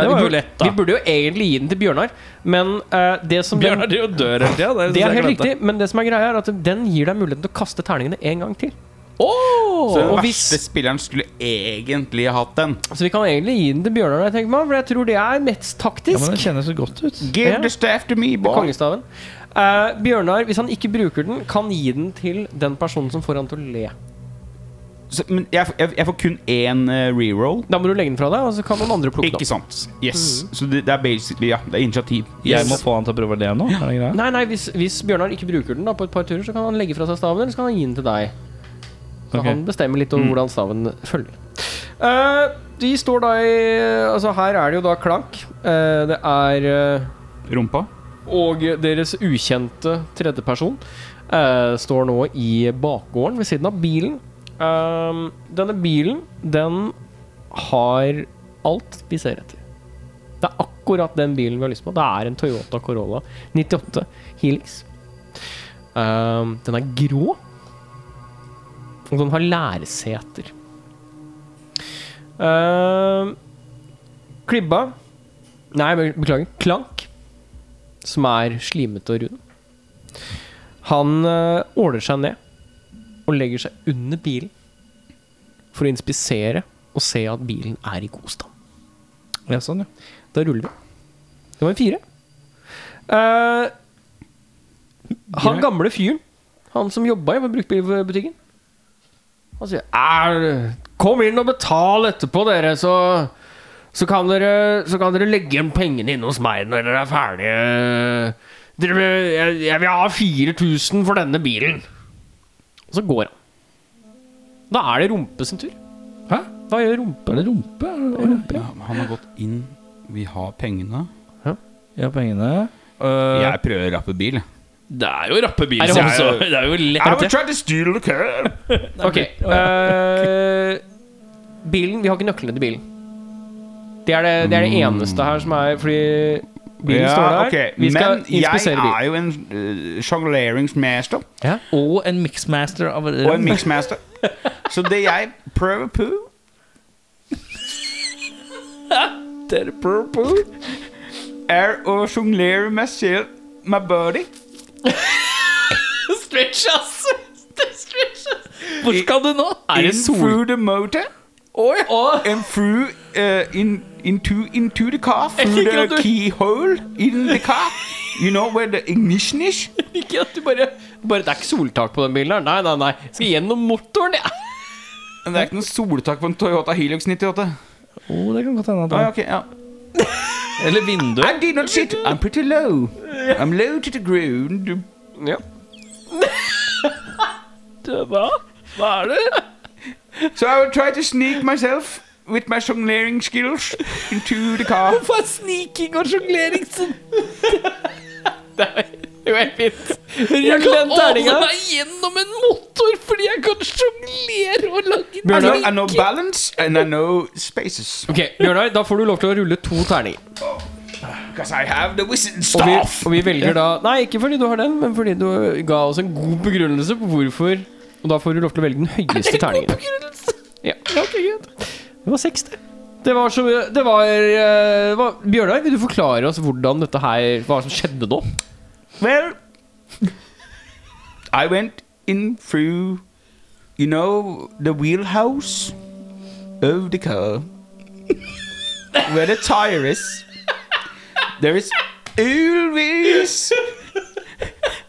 S2: Det
S1: vi
S2: var jo
S1: burde-
S2: lett, da.
S1: Vi burde jo egentlig gi den til Bjørnar, men eh, det som
S2: Bjørnar driver og dør hele tida.
S1: Det er helt riktig, men det som er greia er at den gir deg muligheten til å kaste terningene en gang til.
S18: Så den
S1: og
S18: verste
S1: hvis-
S18: spilleren skulle egentlig hatt den.
S1: Så vi kan egentlig gi den til Bjørnar, jeg tenker meg, for jeg tror det er mest
S2: Ja, men
S1: taktisk.
S2: det kjennes så godt ut.
S4: Give
S1: Yeah.
S4: the staff to me, boy.
S1: Kongestaven. Eh, Bjørnar, hvis han ikke bruker den, kan gi den til den personen som får han til å le.
S18: Så, men jeg, jeg, jeg får kun én eh, reroll.
S1: Da må du legge den fra deg, og så kan noen andre plukke den opp.
S18: Ikke sant? Yes.
S1: Mhm.
S18: Så det, det er basically Ja, det er initiativ.
S2: Jeg må få han til å prøve å le nå. Er det greit?
S1: Nei, nei, hvis, hvis Bjørnar ikke bruker den da på et par turer, så kan han legge fra seg staven, eller så kan han gi den til deg. Så
S2: Ok.
S1: han bestemmer litt over hvordan staven følger. Eh, de står da i Altså, her er det jo da Klank. Eh, det er eh,
S18: Rumpa.
S1: Og deres ukjente tredjeperson eh, står nå i bakgården ved siden av bilen. Ehm, denne bilen, den har alt vi ser etter. Det er akkurat den bilen vi har lyst på. Det er en Toyota Corolla 98 Helix. Ehm, den er grå, og den har læreseter. Ehm, klibba Nei, be- beklager. Klank som er slimete og rund. Han eh, åler seg ned og legger seg under bilen for å inspisere og se at bilen er i god stand.
S2: Ja, sånn, ja.
S1: Da ruller vi. Det var en fire. Eh, han gamle fyren, han som jobba i bruktbilbutikken, han sier "Er- Kom inn og betal etterpå, dere, så så kan dere, så kan dere legge igjen pengene inne hos meg når dere er ferdige. Dere, jeg, jeg vil ha 4000 for denne bilen. Og så går han. Da er det Rumpe sin tur.
S2: Hæ?
S1: Hva gjør Rumpe?
S2: Er det rumpe? rumpe?
S18: Ja, men han har gått inn. Vi har pengene.
S2: Ja, pengene.
S18: Eh.
S1: Eh.
S18: Jeg prøver å rappe bil.
S2: Det er jo rappebil,
S1: Er det
S2: så
S1: han
S2: det er
S1: som-
S2: jo- det er jo lett.
S4: I will try to steal the car.
S1: Ok. eh, bilen Vi har ikke nøklene til bilen. Det er det, det er det eneste her som er Fordi bilen står der.
S4: Mm. ok,
S1: Vi skal
S4: Men jeg
S1: inspisere bilen.
S4: er jo en
S18: eh,
S4: uh, sjongleringsmester
S2: Og en mixmaster av
S4: og en mixmaster. Så det jeg prøver på Er å sjonglere meg selv med body.
S2: Stretch, ass! Hvor skal du nå?
S4: In through the motor. And through uh, in, into, into the car. Through
S2: liker
S4: the
S2: at du-
S4: keyhole in the car. You know where the ignition is?
S1: Ikke at du bare, bare Det er ikke soltak på den bilen her. Nei, nei, nei. Skal gjennom motoren, jeg.
S4: Men Det er ikke noe soltak på en Toyota Hilux 98.
S2: Oh, det kan godt hende. at
S4: Ah,
S2: han-
S4: ok, ja.
S2: Eller vinduet.
S4: I did not sit. I'm pretty low. I'm low to the ground.
S1: Ja.
S2: Hva? Hva er det?
S4: So I will try to sneak myself with my songleering skills into the car.
S2: Hva er sniking og sjonglering?
S1: Det er jo helt fint.
S2: Jeg
S1: Rull
S2: kan
S1: den terninga.
S2: åpne meg gjennom en motor fordi jeg kan sjonglere og lage
S4: I know,
S1: Bjørnar,
S4: I know balance and I know spaces.
S1: Ok, Bjørnar, da får du lov til å rulle to terninger.
S4: Because I have the wizard
S1: Og vi,
S4: staff.
S1: og vi velger da Nei, ikke fordi du har den, men fordi du ga oss en god begrunnelse på hvorfor. Og da får du lov til å velge den høyeste terningen. Ja. Det var seks, det. Det var, så, det var, eh, var Bjørnar, vil du forklare oss hvordan dette her Hva som skjedde nå?
S4: Well, I went in through, you know, the wheelhouse of the car where the tire is. There is always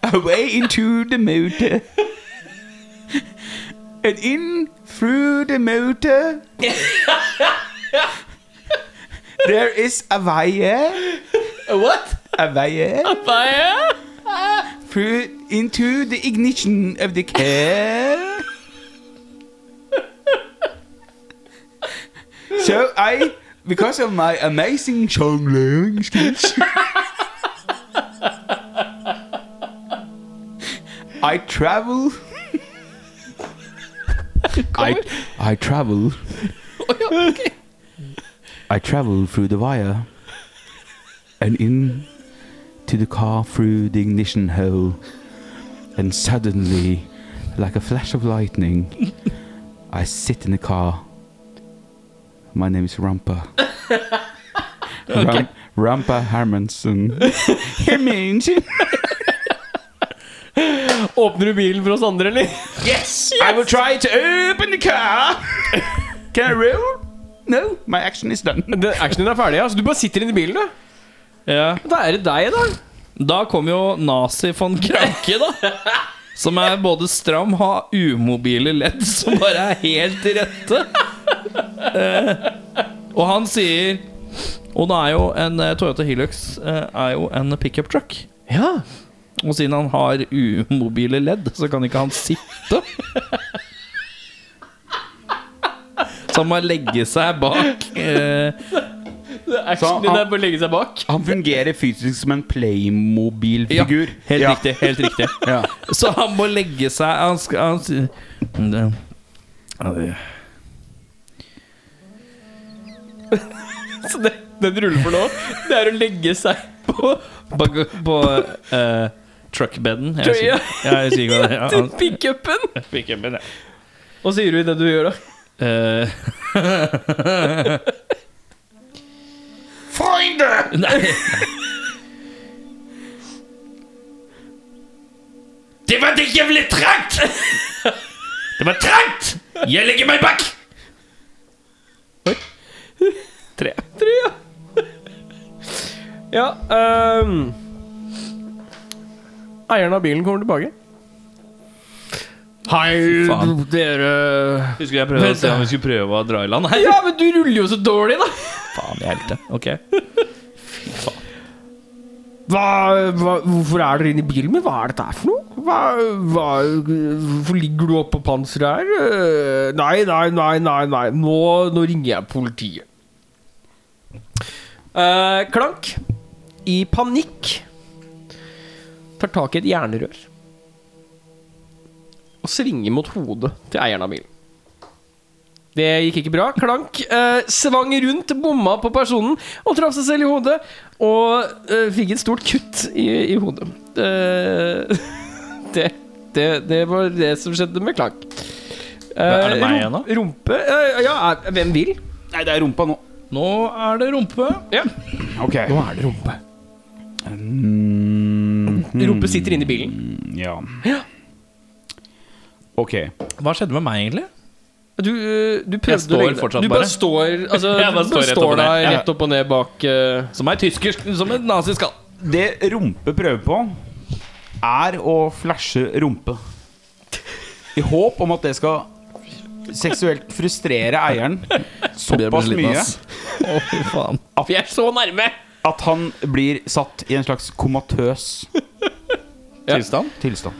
S4: a way into the motor. And in through the motor, there is a wire. A wire? put into the ignition of the car. so I, because of my amazing jonglering skills, I travel. I, I travel. I travel through the wire and in to the car through the ignition hole, and suddenly, like a flash of lightning, I sit in the car. My name is Rampa. Ram- Rampa Hermansen. Hermansen.
S1: Åpner du bilen for oss andre, eller?
S4: Yes, I will try to open the car. Can I roll? No, my action is done.
S1: Det- Actionen er ferdig, ja. Så du bare sitter inni bilen, du.
S2: Ja.
S1: Da er det deg, da.
S2: Da kom jo Nazi von Kranke, da. Som er både stram, har umobile ledd som bare er helt til rette. Eh, og han sier Og det er jo en eh, Toyota Hilux eh, er jo en pickup truck.
S1: Ja.
S2: Og siden han har umobile ledd, så kan ikke han sitte. Så han må legge seg bak. Eh,
S1: Actionen din er bare å legge seg bak.
S19: Han fungerer fysisk som en Playmobil-figur.
S2: helt riktig. helt riktig Så han må legge seg Han skal han, sier- Det- Ja, det-
S1: Så det, den ruller for nå. Det er å legge seg på
S2: Bak på eh, truckbeden. Jeg
S1: Trøya.
S2: sier jeg sier ikke hva det er.
S1: til
S2: Han-
S1: pickupen.
S2: Pickupen, ja.
S1: Hva sier du i det du gjør, da?
S2: Eh,
S4: Find her.
S2: Nei,
S20: Det var det jævlig trangt! Det var trangt! Jeg legger meg bak!
S1: Tre, ja. Ja ehm. Eieren av bilen kommer tilbake. Hei, dere
S2: husker jeg prøvde å se om vi skulle prøve å dra i land her.
S1: Ja, men du ruller jo så dårlig, da!
S2: Faen, jeg helte. Ok.
S1: Hva, hva, hvorfor er dere inne i bilen min? Hva er dette her for noe? Hva, hva, hvorfor ligger du oppå panseret her? Eh, Nei, nei, nei, nei, nei. Nå, nå ringer jeg politiet. Eh, Klank, i panikk, tar tak i et jernrør og svinger mot hodet til eieren av bilen. Det gikk ikke bra. Klank eh, svang rundt, bomma på personen og traff seg selv i hodet. Og eh, fikk et stort kutt i, i hodet. Eh, det, det, det var det som skjedde med Klank.
S2: Er det
S1: Eh,
S2: meg
S1: rum-
S2: igjen, da?
S1: Rumpe eh, Ja, er, hvem vil?
S4: Nei, det er rumpa nå.
S2: Nå er det rumpe.
S4: Ok. Mm.
S1: Nå er det rumpe.
S2: Hmm.
S1: Rumpe sitter inne i bilen.
S4: Ja. Ok.
S2: Hva skjedde med meg, egentlig?
S1: Du, eh, du prøvde
S2: Jeg står
S1: å legge deg-
S2: fortsatt
S1: du
S2: bare.
S1: bare. Står, altså,
S2: Jeg
S1: du
S2: bare står
S1: bare
S2: rett
S1: står
S2: opp og ned.
S1: der
S2: Ja.
S1: rett opp og ned bak eh,
S2: Som ei tysker som en nazi skal.
S4: Det rumpe prøver på, er å flashe rumpe. I håp om at det skal seksuelt frustrere eieren såpass mye
S2: Å, fy faen.
S1: Vi er så nærme!
S4: at han blir satt i en slags komatøs
S2: Tilstand?
S4: tilstand.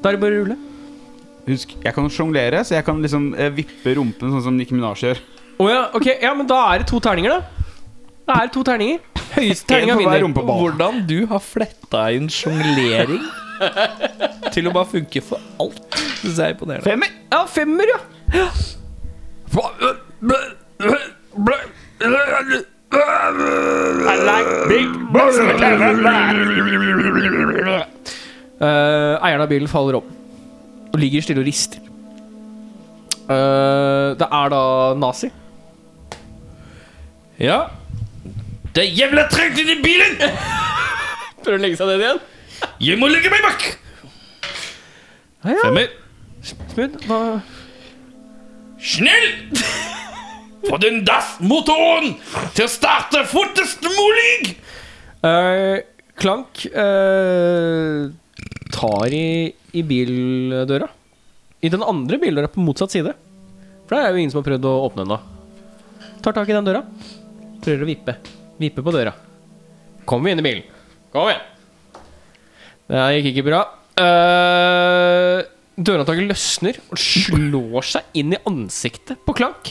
S1: Da er det bare å rulle.
S4: Husk, jeg kan sjonglere, så jeg kan liksom eh, vippe rumpen sånn som Nicki Minaj gjør.
S1: Å ja, ok. Ja, men da er det to terninger, da. Da er det to terninger. Høyeste terninga
S4: En for hver
S1: vinner.
S4: rumpeball.
S2: Hvordan du har fletta inn sjonglering til å bare funke for alt. Det synes jeg er imponerende.
S4: Femmer!
S1: Ja, femmer, ja.
S4: I like big books.
S1: Eh, eieren av bilen faller om og ligger stille og rister. Eh, det er da nazi.
S2: Ja. Det er jævla trangt inni bilen!
S1: Prøver å legge seg ned igjen.
S2: Jeg må legge meg bak!
S1: Ja.
S2: Femmer.
S1: Smooth. Hva
S2: Snell! Få den dass-motoren til å starte fortest mulig!
S1: Eh, Klank eh, tar i, i bildøra. I den andre bildøra på motsatt side. For der er jo ingen som har prøvd å åpne ennå. Tar tak i den døra. Prøver å vippe. Vippe på døra. Kommer vi inn i bilen. Kom igjen. Det her gikk ikke bra. Uh, Dørhåndtaket løsner og slår seg inn i ansiktet på Klank.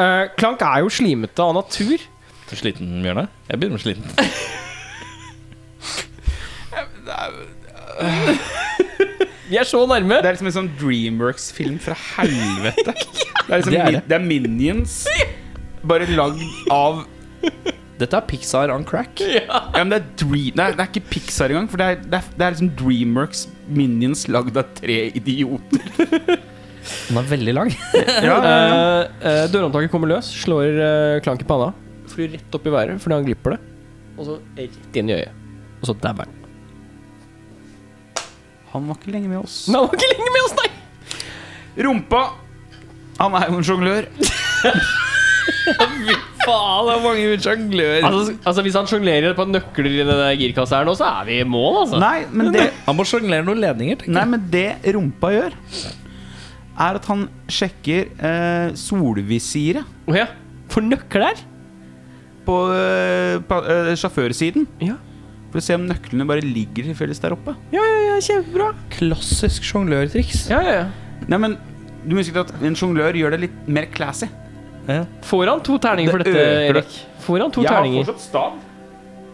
S1: Eh, Klank er jo slimete av natur.
S2: Sliten, Bjørnar? Jeg begynner å bli sliten.
S1: Vi er så nærme.
S21: Det er liksom en sånn Dreamworks-film fra helvete.
S4: Det er liksom
S2: Det er det.
S4: min- det er Minions, bare lagd av
S2: Dette er Pixar on crack.
S4: Ja, men det er Dream... Nei, det er ikke Pixar engang, for det er, det er, det er liksom Dreamworks Minions lagd av tre idioter.
S2: Den er veldig lang.
S1: Eh, eh, dørhåndtaket kommer løs, slår eh, klank i panna. Flyr rett opp i været fordi han glipper det. Og så rett inn i øyet. Og så dabber han.
S4: Han var ikke lenge med oss.
S1: Men han var ikke lenge med oss, nei!
S4: Rumpa! Han er jo en sjonglør.
S2: Faen, det er mange sjonglører.
S1: Altså, altså Hvis han sjonglerer et par nøkler i den der girkassa her nå, så er vi i mål, altså.
S4: Nei, men det,
S2: Han må sjonglere noen ledninger.
S4: nei, men det rumpa gjør, er at han sjekker eh, solvisiret
S1: Å ja. For nøkler?
S4: på, eh, pa- eh, sjåførsiden.
S1: Ja.
S4: For å se om nøklene bare ligger tilfeldigvis der oppe.
S1: Ja, ja, ja, kjempebra.
S2: Klassisk sjonglørtriks.
S1: Ja, ja, ja.
S4: Nei, men du må huske at en sjonglør gjør det litt mer classy.
S1: Får han to terninger for
S4: Det
S1: dette,
S4: øker det.
S1: Erik? Får han to terninger?
S4: stav.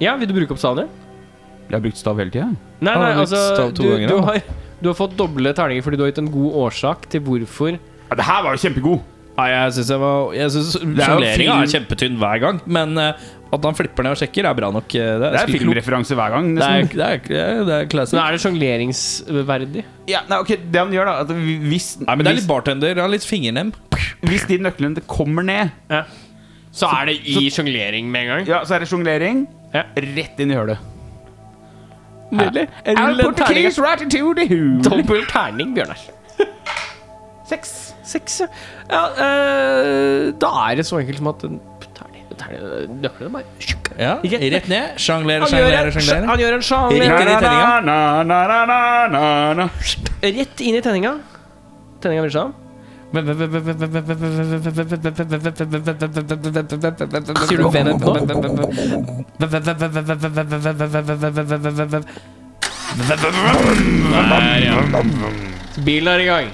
S1: Ja, Vil du bruke opp staven din?
S4: Jeg har brukt stav hele tida.
S1: Nei,
S2: Han
S1: nei,
S2: har brukt
S1: altså
S2: stav to
S1: du,
S2: ganger,
S1: du,
S2: han.
S1: har, du har fått doble terninger fordi du har gitt en god årsak til hvorfor
S4: Ja, det her var jo kjempegod.
S2: Nei, jeg syns jeg var Jeg synes
S4: er jo
S2: Sjongleringa er
S4: film.
S2: kjempetynn hver gang, men eh, at han flipper ned og sjekker, er bra nok. eh, Det
S4: Det er
S2: skulle klokt.
S4: filmreferanse hver gang.
S2: Det er,
S4: Nesten.
S2: det er, det er, det er classic.
S1: Men er det sjongleringsverdig?
S4: ja, nei, ok, Det han gjør, da at vi- Hvis,
S2: Nei, men det er litt
S4: hvis,
S2: bartender. Han er litt fingernem.
S4: hvis de nøklene kommer ned,
S1: Så er det i sjonglering med en gang.
S4: ja, så er det sjonglering
S1: Ja.
S4: rett inn i hølet.
S1: Nydelig.
S4: I'll
S1: Rull en
S4: put the
S1: terning.
S4: keys right into the hole.
S1: Dobbel terning, Bjørnar.
S4: Seks.
S1: Seks, ja. ja eh, da er det så enkelt som at en terning terning- Nøklene bare Tjukk.
S2: Ja,
S1: Ikke-
S2: Rett ned. Sjonglere,
S1: han gjør,
S2: sjonglere,
S1: en, sj-
S2: sjonglere.
S1: han gjør en
S2: Rett inn
S1: sjanglering
S2: i tenninga.
S4: Na, na, na, na, na, na.
S1: rett inn i tenninga. Tenninga bryr seg om. Sier du vent nå? Så bilen er i gang.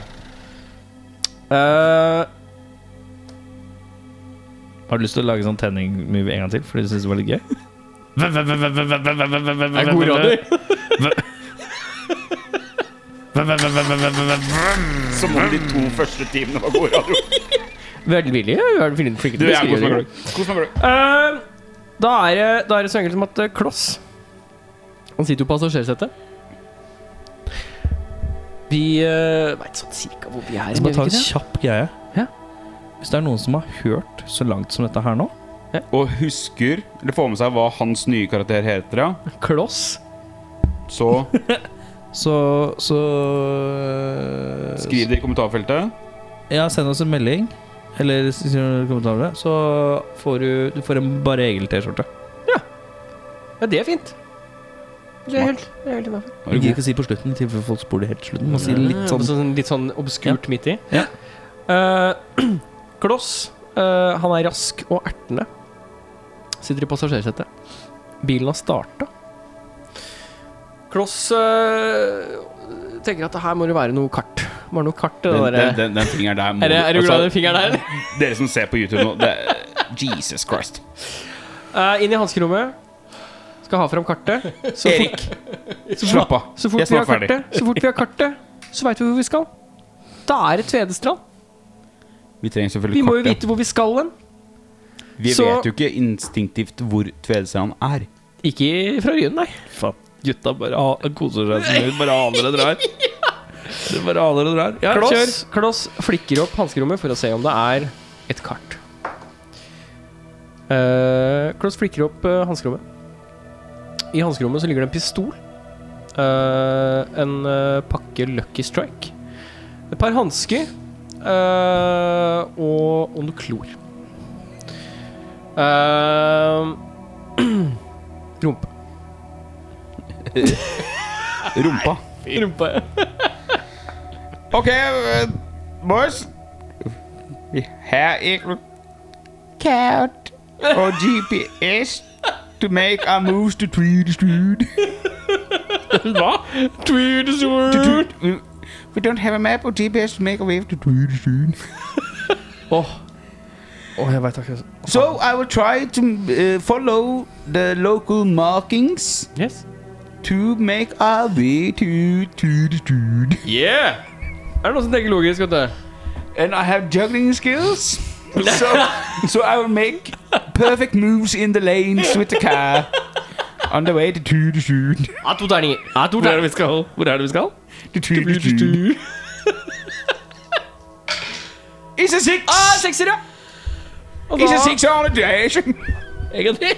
S1: Eh,
S2: Har du lyst til å lage sånn tenning-move en gang til? Fordi du syns det var litt gøy?
S1: det er god radio.
S4: Som om de to første timene var god radio.
S1: Veldig villig. Du er flink til å beskrive det. Eh, Da er det, da er det så enkelt som at eh, Kloss Han sitter jo på passasjersetet. Vi uh, veit sånn cirka hvor vi er.
S2: Jeg skal bare
S1: gjør
S2: ta
S1: vi
S2: en
S1: ikke det?
S2: kjapp greie.
S1: Ja.
S2: Hvis det er noen som har hørt så langt som dette her nå
S21: Og husker, eller får med seg hva hans nye karakter heter, ja.
S1: Kloss.
S21: Så
S2: Så, så
S21: skriv det i kommentarfeltet.
S2: Ja, send oss en melding. Eller s- s- kommentarer. Så får du, du får en Bare Egil-T-skjorte.
S1: Ja, det er fint. Det er helt, det er helt innafor.
S2: Du gidder ikke å si på slutten, i tilfelle folk spoler helt til slutten. Må si litt sånn
S1: litt sånn obskurt midt i.
S2: Ja.
S1: Eh, Kloss, eh, han er rask og ertende. Sitter i passasjersetet. Bilen har starta. Kloss eh, tenker at her må det være noe kart. Må være noe kart det
S21: Den,
S1: der, eh.
S21: den, den, den fingeren der må
S1: er, det, er du
S21: altså,
S1: glad i den fingeren der?
S21: Dere som ser på YouTube nå det, Jesus Christ.
S1: Eh, inn i hanskerommet. Skal ha fram kartet. Så fort,
S21: Slapp av.
S1: så fort,
S21: Jeg er
S1: vi,
S21: snart
S1: har
S21: ferdig.
S1: kartet, så fort vi har kartet, så veit vi hvor vi skal. Da er det Tvedestrand.
S21: Vi trenger
S1: Vi
S21: selvfølgelig
S1: må jo
S21: kartet.
S1: vite hvor vi skal hen.
S4: Vi
S1: Så-
S4: vet jo ikke instinktivt hvor tvedestrand er.
S1: Ikke fra Ryen, nei.
S2: Faen, gutta bare ha- koser seg så mye. Bare aner og drar. Dere bare aner og drar. Ja, kjør.
S1: Kloss, Kloss flikker opp hanskerommet for å se om det er et kart. Eh, Kloss flikker opp eh, hanskerommet. I hanskerommet så ligger det en pistol. eh, en eh, pakke Lucky Strike. Et par hansker. eh, og, og noe klor. Eh, rumpe.
S4: Rumpa.
S1: Rumpa, ja.
S4: OK, eh, boys. Her er kart og GPS to make our moves to Tweedy Street. Hva? Tweedy Street. We don't have a map or GPS to make a wave to Tweedy Street. So I will try to uh, follow the local markings
S1: Yes.
S4: to make our way to Tweedy Street.
S1: Yeah! Er det noen som tenker logisk, vet du?
S4: and I have juggling skills. so, so I will make perfect moves in the lanes with the car on the way to two to shoot.
S1: Ja, to terninger. Ja, to
S2: Hvor er det
S1: terninger.
S2: vi skal? Hvor er det vi skal?
S4: To two to shoot. It's a six.
S1: Ah, sekser, ja! Og
S4: It's
S1: da-
S4: a six on the dash. It's
S2: Egentlig.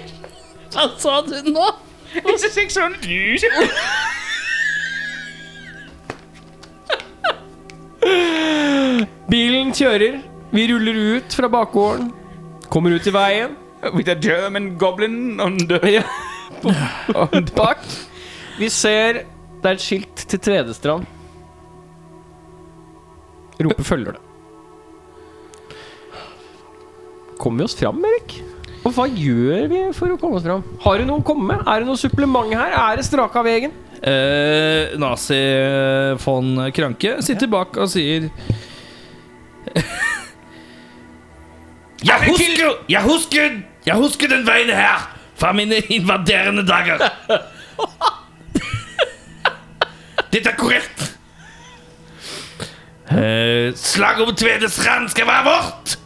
S2: Hva sa du nå?
S4: a six on the dash.
S1: Bilen kjører. Vi ruller ut fra bakgården. Kommer ut i veien.
S4: With a German goblin on the
S1: Ja. På- Bak. Vi ser det er et skilt til Tvedestrand. Rope følger det. Kommer vi oss fram, Erik? Og hva gjør vi for å komme oss fram? Har du noe å komme med? Er det noe supplement her? Er det straka veien?
S2: Eh, nazi eh, von Kranke sitter bak og sier jeg, husker, jeg husker Jeg husker den veien her fra mine invaderende dager. Dette er korrekt. Eh, slaget om Tvedestrand skal være vårt!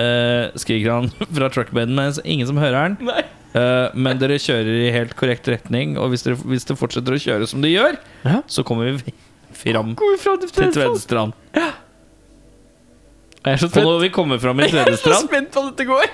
S2: Eh, skriker han fra truckbeden, men det er ingen som hører han. Eh, men dere kjører i helt korrekt retning, og hvis dere, hvis dere fortsetter å kjøre som de gjør,
S1: Ja.
S2: så kommer vi fram
S1: Kommer vi fram til
S2: til
S1: Tvedestrand?
S2: Tvedestrand.
S1: Jeg er så
S2: Og
S1: spent.
S2: når vi kommer fram i
S1: Jeg er så
S2: Tvedestrand,
S1: spent på at dette går.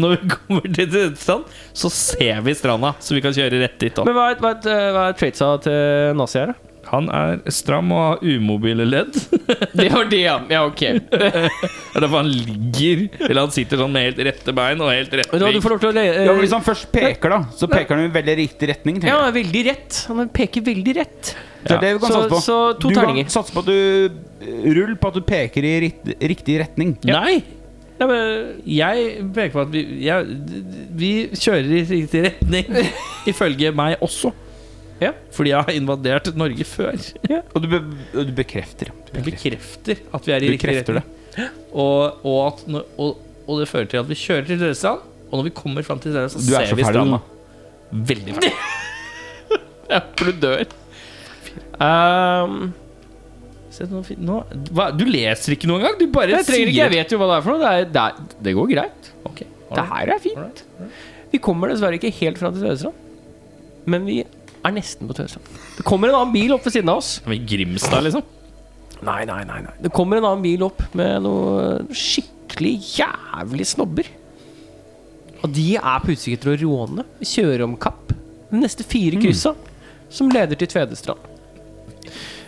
S2: når vi kommer til Tvedestrand, så ser vi stranda, så vi kan kjøre rett dit. da.
S1: Men hva er, hva er, hva er traitsa til nazi her, da?
S2: Han er stram og har umobile ledd.
S1: Det var det, ja. Ja, ok. Vet
S2: Det er derfor han ligger Eller han sitter sånn med helt rette bein og helt rett
S1: du hva, du
S2: rygg.
S1: får lov til å le- eh,
S4: Ja, men Hvis han først peker, da, så peker han i veldig riktig retning. tenker
S1: Ja,
S4: jeg.
S1: han er veldig rett. Han peker veldig rett.
S4: Så det er det vi kan
S1: Så-
S4: satse på.
S1: så to
S4: du
S1: terninger.
S4: kan satse på at du Rull på at du peker i rikt- riktig retning.
S2: Nei!
S1: Ja, men
S2: Jeg peker på at vi jeg, Vi kjører i riktig retning, ifølge meg også.
S1: Ja.
S2: Fordi jeg har invadert Norge før.
S4: Og du, be og du bekrefter. Du
S2: Jeg
S4: bekrefter.
S2: bekrefter at vi er i
S4: Du
S2: riktig
S4: krefter
S2: retning. Og, og, at, når- og, og det fører til at vi kjører til Tvedestrand, og når vi kommer fram til Tvedestrand,
S4: Du
S2: så
S4: er
S2: ser
S4: så
S2: vi
S4: ferdig nå.
S2: stranda. Veldig ferdig.
S1: ja, for du dør. Ehm,
S2: Se, nå, fin- nå, hva, du leser ikke noe engang? Du bare
S1: jeg trenger ikke, jeg vet jo hva det er for noe. Det, er, det, er, det går greit.
S2: Ok,
S1: Det her er fint. Vi kommer dessverre ikke helt fram til Tvedestrand, men vi er nesten på Tvedestrand. Det kommer en annen bil opp ved siden av oss.
S2: Er vi i Grimstad, liksom?
S1: Nei, nei, nei, nei. Det kommer en annen bil opp med noe skikkelig jævlig snobber. Og de er på utkikk etter å råne, kjøre om kapp de neste fire
S2: Mm.
S1: kryssa, som leder til Tvedestrand.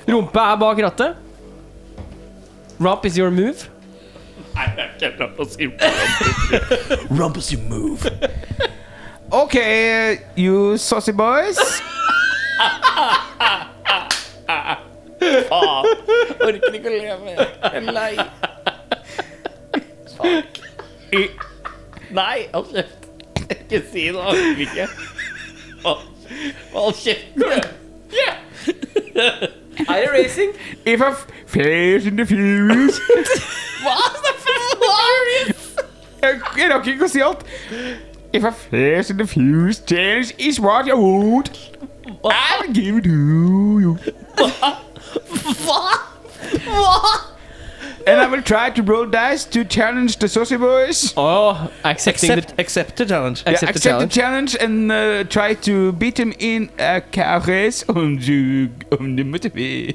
S1: Rumpe er bak rattet. Rump is your move.
S4: Ok, you saucy boys.
S2: Nei, hold kjeft. Ikke si det, orker ikke. Hold kjeft.
S1: Er det racing?
S4: If I f- face in the fuse Jeg jeg rakk ikke å si alt. If I face in the fuse, change is what you want. I'll give it to you. Hva? Hva?
S8: and I will try to roll dice to challenge the saucy boys.
S1: Oh, accepting
S2: Accept, accept the challenge.
S1: the,
S8: Yeah,
S1: accept the challenge.
S8: challenge and uh, try to beat him in a car race on the on the motorway.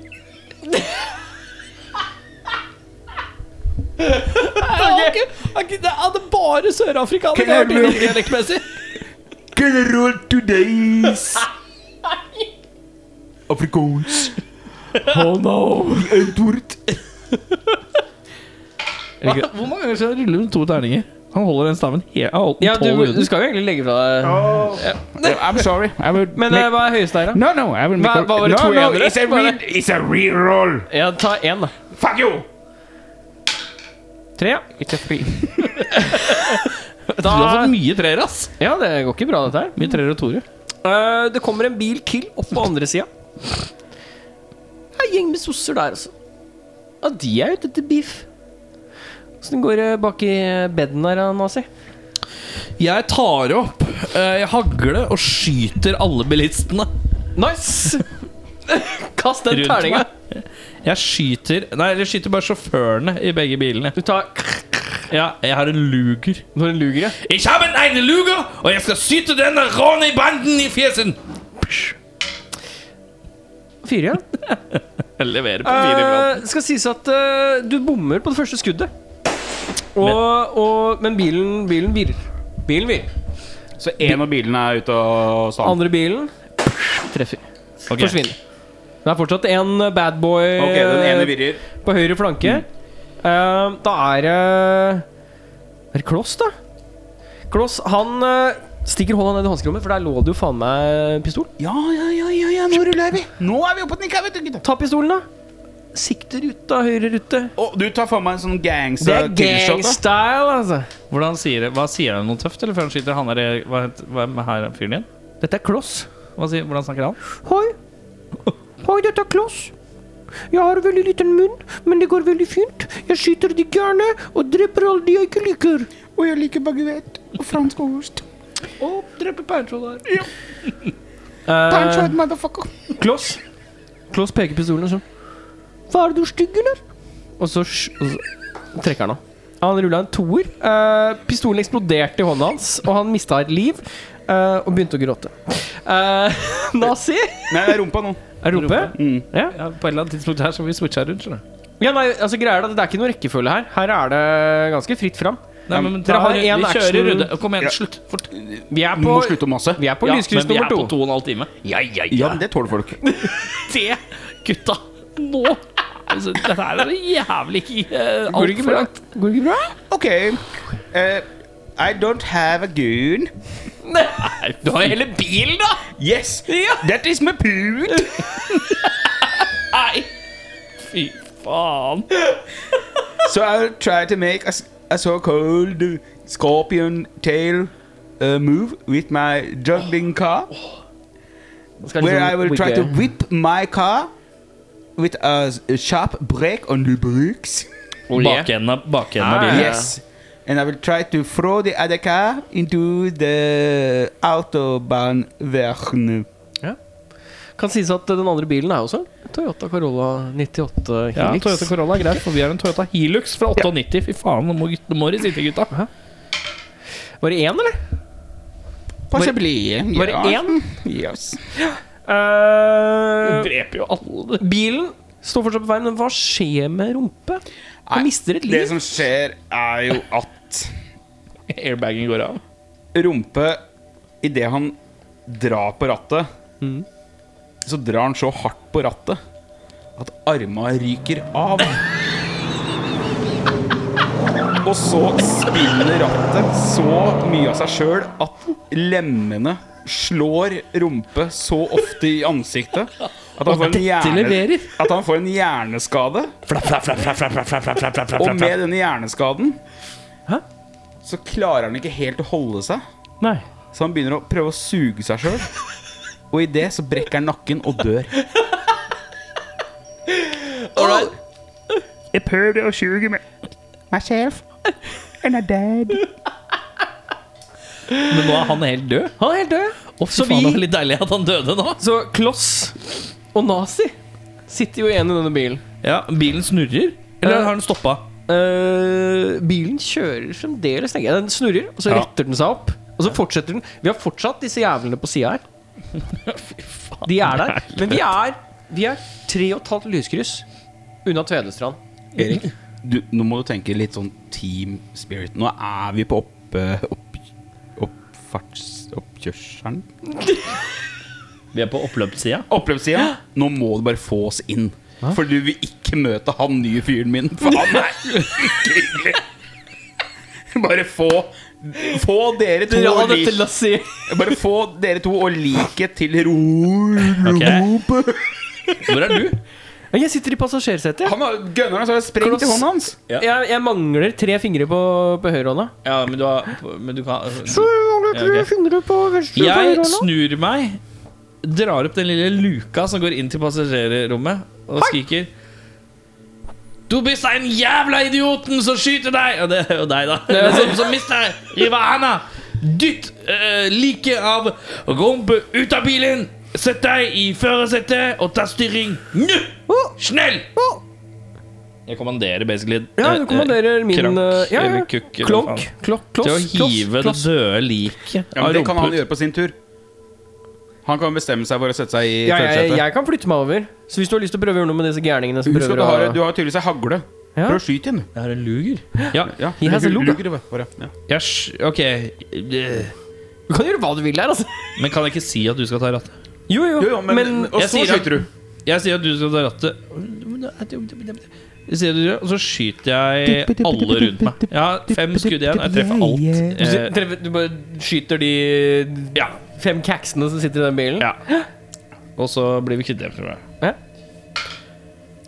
S1: Det er bare sørafrikanere
S8: Can I hørt roll-
S1: dialektmessig.
S8: Can I roll two dice? Afrikaans.
S1: Oh no.
S8: Antwoord.
S2: Hvor mange ganger skal jeg rulle rundt to terninger? Han holder den stammen he han har holdt den
S1: Ja, du,
S2: tolv
S1: du
S2: runder.
S1: skal jo egentlig legge fra deg
S8: I'm sorry. I would
S1: Men eh,
S8: make-
S1: hva er høyeste her, da?
S8: no, no, I will make
S1: Hva-
S8: a-
S1: hva var det
S8: no,
S1: to
S8: no,
S1: enere?
S8: it's a,
S1: Var
S8: re it's a reroll.
S1: Ja, ta én, da.
S8: Fuck you!
S1: Tre, ja.
S8: It's a three.
S2: Du har
S1: Da,
S2: fått mye treer, ass.
S1: ja, det går ikke bra, dette her.
S2: Mye treer og toere.
S1: Eh, det kommer en bil til opp på andre sida. En gjeng med sosser der, altså. Ja, de er ute etter beef. Åssen går det bak i beden her, da, Nazi?
S2: Jeg tar opp eh, hagle og skyter alle bilistene.
S1: Nice! Kast den
S2: Rundt
S1: terninga.
S2: Jeg skyter Nei, jeg skyter bare sjåførene i begge bilene.
S1: Du tar
S2: Ja, jeg har en luger.
S1: Du har en luger, ja?
S2: Jeg har en egen luger, og jeg skal skyte denne rånebanden i fjesen!
S1: Fire, ja.
S2: Jeg leverer på fire iblant.
S1: Eh, skal sies at eh, du bommer på det første skuddet. Og, men. Og, men bilen, bilen virrer. Bilen virrer.
S4: Så en av bilene er ute og sa
S1: Andre bilen treffer.
S2: Ok.
S1: Forsvinner. Det er fortsatt en badboy
S4: Ok, den ene virrer.
S1: på høyre flanke. Eh, da er det Er det Kloss, da? Kloss, han eh, stikker hånda ned i hanskerommet, for der lå det jo faen meg pistol.
S8: Ja, ja, ja, ja, ja, nå ruller vi. Nå er vi oppe på nikka, vet du, gutta.
S1: Ta pistolen, da. Sikter ut, da. Høyre rute.
S8: Og du tar for meg en sånn
S1: Det
S8: gangster
S1: er gangstyle, altså.
S2: Hvordan sier det? Hva sier han noe tøft, eller før han skyter? Han er, eh, hva het- hvem er her fyren igjen?
S1: Dette er Kloss.
S2: Hva sier, hvordan snakker han?
S1: Hoi. Hoi, dette er Kloss. Jeg har veldig liten munn, men det går veldig fint. Jeg skyter de gærne og dreper alle de jeg ikke liker.
S8: Og jeg liker baguett og fransk ost. Pancho et motherfucker.
S1: Kloss. Kloss peker pistolen og sånn. Hva er det du er stygg, eller? Og så, sj- og så trekker han av. Han rulla en toer. Eh, pistolen eksploderte i hånda hans, og han mista et liv. eh, og begynte å gråte. Eh, nazi.
S4: Nei, det er rumpa nå.
S1: Er det oppe?
S2: Ja, på et eller annet tidspunkt her så vi switcha rundt, skjønner du.
S1: Ja, nei, altså greier det, at det er ikke noe rekkefølge her. Her er det ganske fritt fram.
S2: Nei, men
S1: Dere
S2: ta,
S1: har
S2: vi
S1: en action-
S2: kjører runde. Kom igjen, slutt. Fort.
S1: Vi er på,
S4: Du må slutte å mase.
S1: vi er på
S2: Ja,
S1: lyskryss
S2: men vi er
S1: nummer
S2: på
S1: to.
S2: to og en halv time. Ja, ja,
S4: Ja, men det tåler folk.
S2: det, gutta, nå altså, Dette her er jævlig ikke uh,
S1: Går det ikke
S2: altfor
S1: bra?
S2: langt.
S1: Går det ikke bra?
S4: Ok. eh, I don't have a goon.
S2: Du har hele bilen, da!
S4: Yes, that is my poon.
S2: Nei! Fy faen.
S4: So I'll try to make a, s- a so-called scorpion tail uh, move with my juggling car, where I will try to whip my car with a, s- a sharp brake on the brakes.
S2: Bakenden av bakenden
S4: Ah.
S2: av bilen.
S4: Yes. And I will try to throw the other car into the autobahnverken.
S1: Kan sies at den andre bilen er også en Toyota Corolla 98
S2: Ja,
S1: Helix.
S2: Toyota Corolla er greit, for vi har en Toyota Hilux fra 98. Fy faen, nå må, gutt- nå må de sitte, gutta.
S1: Var det én, eller?
S4: Possibly.
S1: Var det
S4: yeah.
S1: én?
S4: Yes.
S1: Eh,
S2: Dreper jo alle.
S1: bilen står fortsatt på veien, men hva skjer med rumpe? Han mister et
S4: Det
S1: liv.
S4: som skjer, er jo at
S2: Airbagen går av.
S4: Rumpe Idet han drar på rattet, så drar han så hardt på rattet at arma ryker av. Og så spinner rattet så mye av seg sjøl at lemmene slår rumpe så ofte i ansiktet at han får en, hjerne, at han får en hjerneskade. Og med denne hjerneskaden så klarer han ikke helt å holde seg.
S1: Nei.
S4: Så han begynner å prøve å suge seg sjøl. Og i det så brekker han nakken og dør.
S8: Jeg prøvde å suge meg. Myself. And I died.
S2: Men nå er han helt død.
S1: Han er helt død.
S2: Å, fy faen, det var litt deilig at han døde nå.
S1: Så Kloss og Nazi sitter jo igjen i denne bilen.
S2: Ja, bilen snurrer.
S22: Eller har den stoppa?
S1: Eh, bilen kjører fremdeles, tenker jeg. Den snurrer, og så
S22: Ja.
S1: retter den seg opp. Og så fortsetter den. Vi har fortsatt disse jævlene på sida her. De er der. Men vi er, vi er tre og et halvt lyskryss unna Tvedestrand.
S4: Erik, du, nå må du tenke litt sånn team spirit. Nå er vi på opp, eh, opp, oppfarts... Oppkjørselen?
S2: Vi er på oppløpssida.
S4: Oppløpssida? Nå må du bare få oss inn. For du vil ikke møte han nye fyren min. For han er ikke hyggelig. Bare få Få dere to
S1: Dra
S4: og
S1: dette
S4: lik-
S1: lasset
S4: Bare få dere to og liket til ro...
S2: Ok. Hvor er du?
S1: Jeg sitter i passasjersetet.
S4: Han har gønneren, så har det sprengt i hånden hans.
S1: Jeg, jeg mangler tre fingre på, på høyrehånda.
S2: Ja, men du har Men du kan
S1: Tre
S2: ok.
S1: fingre på venstre
S2: Jeg snur meg, drar opp den lille luka som går inn til passasjerrommet, og skriker Du bist ein jævla idioten som skyter deg! Og det er jo deg, da. Som, som mister Rivana. Dytt uh, liket av rumpe ut av bilen! Sett deg i førersetet og ta styring nå! Snell! Jeg kommanderer basically
S1: Ja, du
S2: eh, eh,
S1: kommanderer min
S2: krank
S1: eh, ja, ja.
S2: eller kukk eller hva
S1: Klonk.
S2: faen,
S1: Klokk.
S2: til å
S1: Kloss.
S2: hive det
S1: kloss, kloss.
S2: døde liket
S4: Ja, men Det kan han
S2: rumpa ut.
S4: gjøre på sin tur. Han kan bestemme seg for å sette seg i
S1: Ja, jeg,
S4: førersetet.
S1: jeg kan flytte meg over. Så hvis du har lyst til å prøve å gjøre noe med disse gærningene som
S4: Husk at
S1: prøver
S4: du
S1: å
S4: har, du har tydeligvis ei hagle.
S1: Ja.
S4: Prøv å skyte den.
S2: Jeg har en luger. Ja,
S4: Ja.
S1: He has a
S4: Lug-
S1: luger.
S4: luger, det bare. Ja.
S2: Jeg sk- ok Eh,
S1: Du kan gjøre hva du vil der, altså.
S2: Men kan jeg ikke si at du skal ta rattet?
S1: Jo, jo,
S4: Jo, jo, men, og
S2: jeg
S4: så
S2: sier at-
S4: skyter du.
S2: Jeg sier at du skal ta rattet Jeg sier at du gjør, Og så skyter jeg alle rundt meg Jeg har fem skudd igjen og Jeg treffer alt
S1: Du,
S2: Eh,
S1: treffer- du bare skyter de
S2: Ja,
S1: fem caksene som sitter i den bilen?
S2: ja Og så blir vi kvitt det tror jeg.
S1: Ja.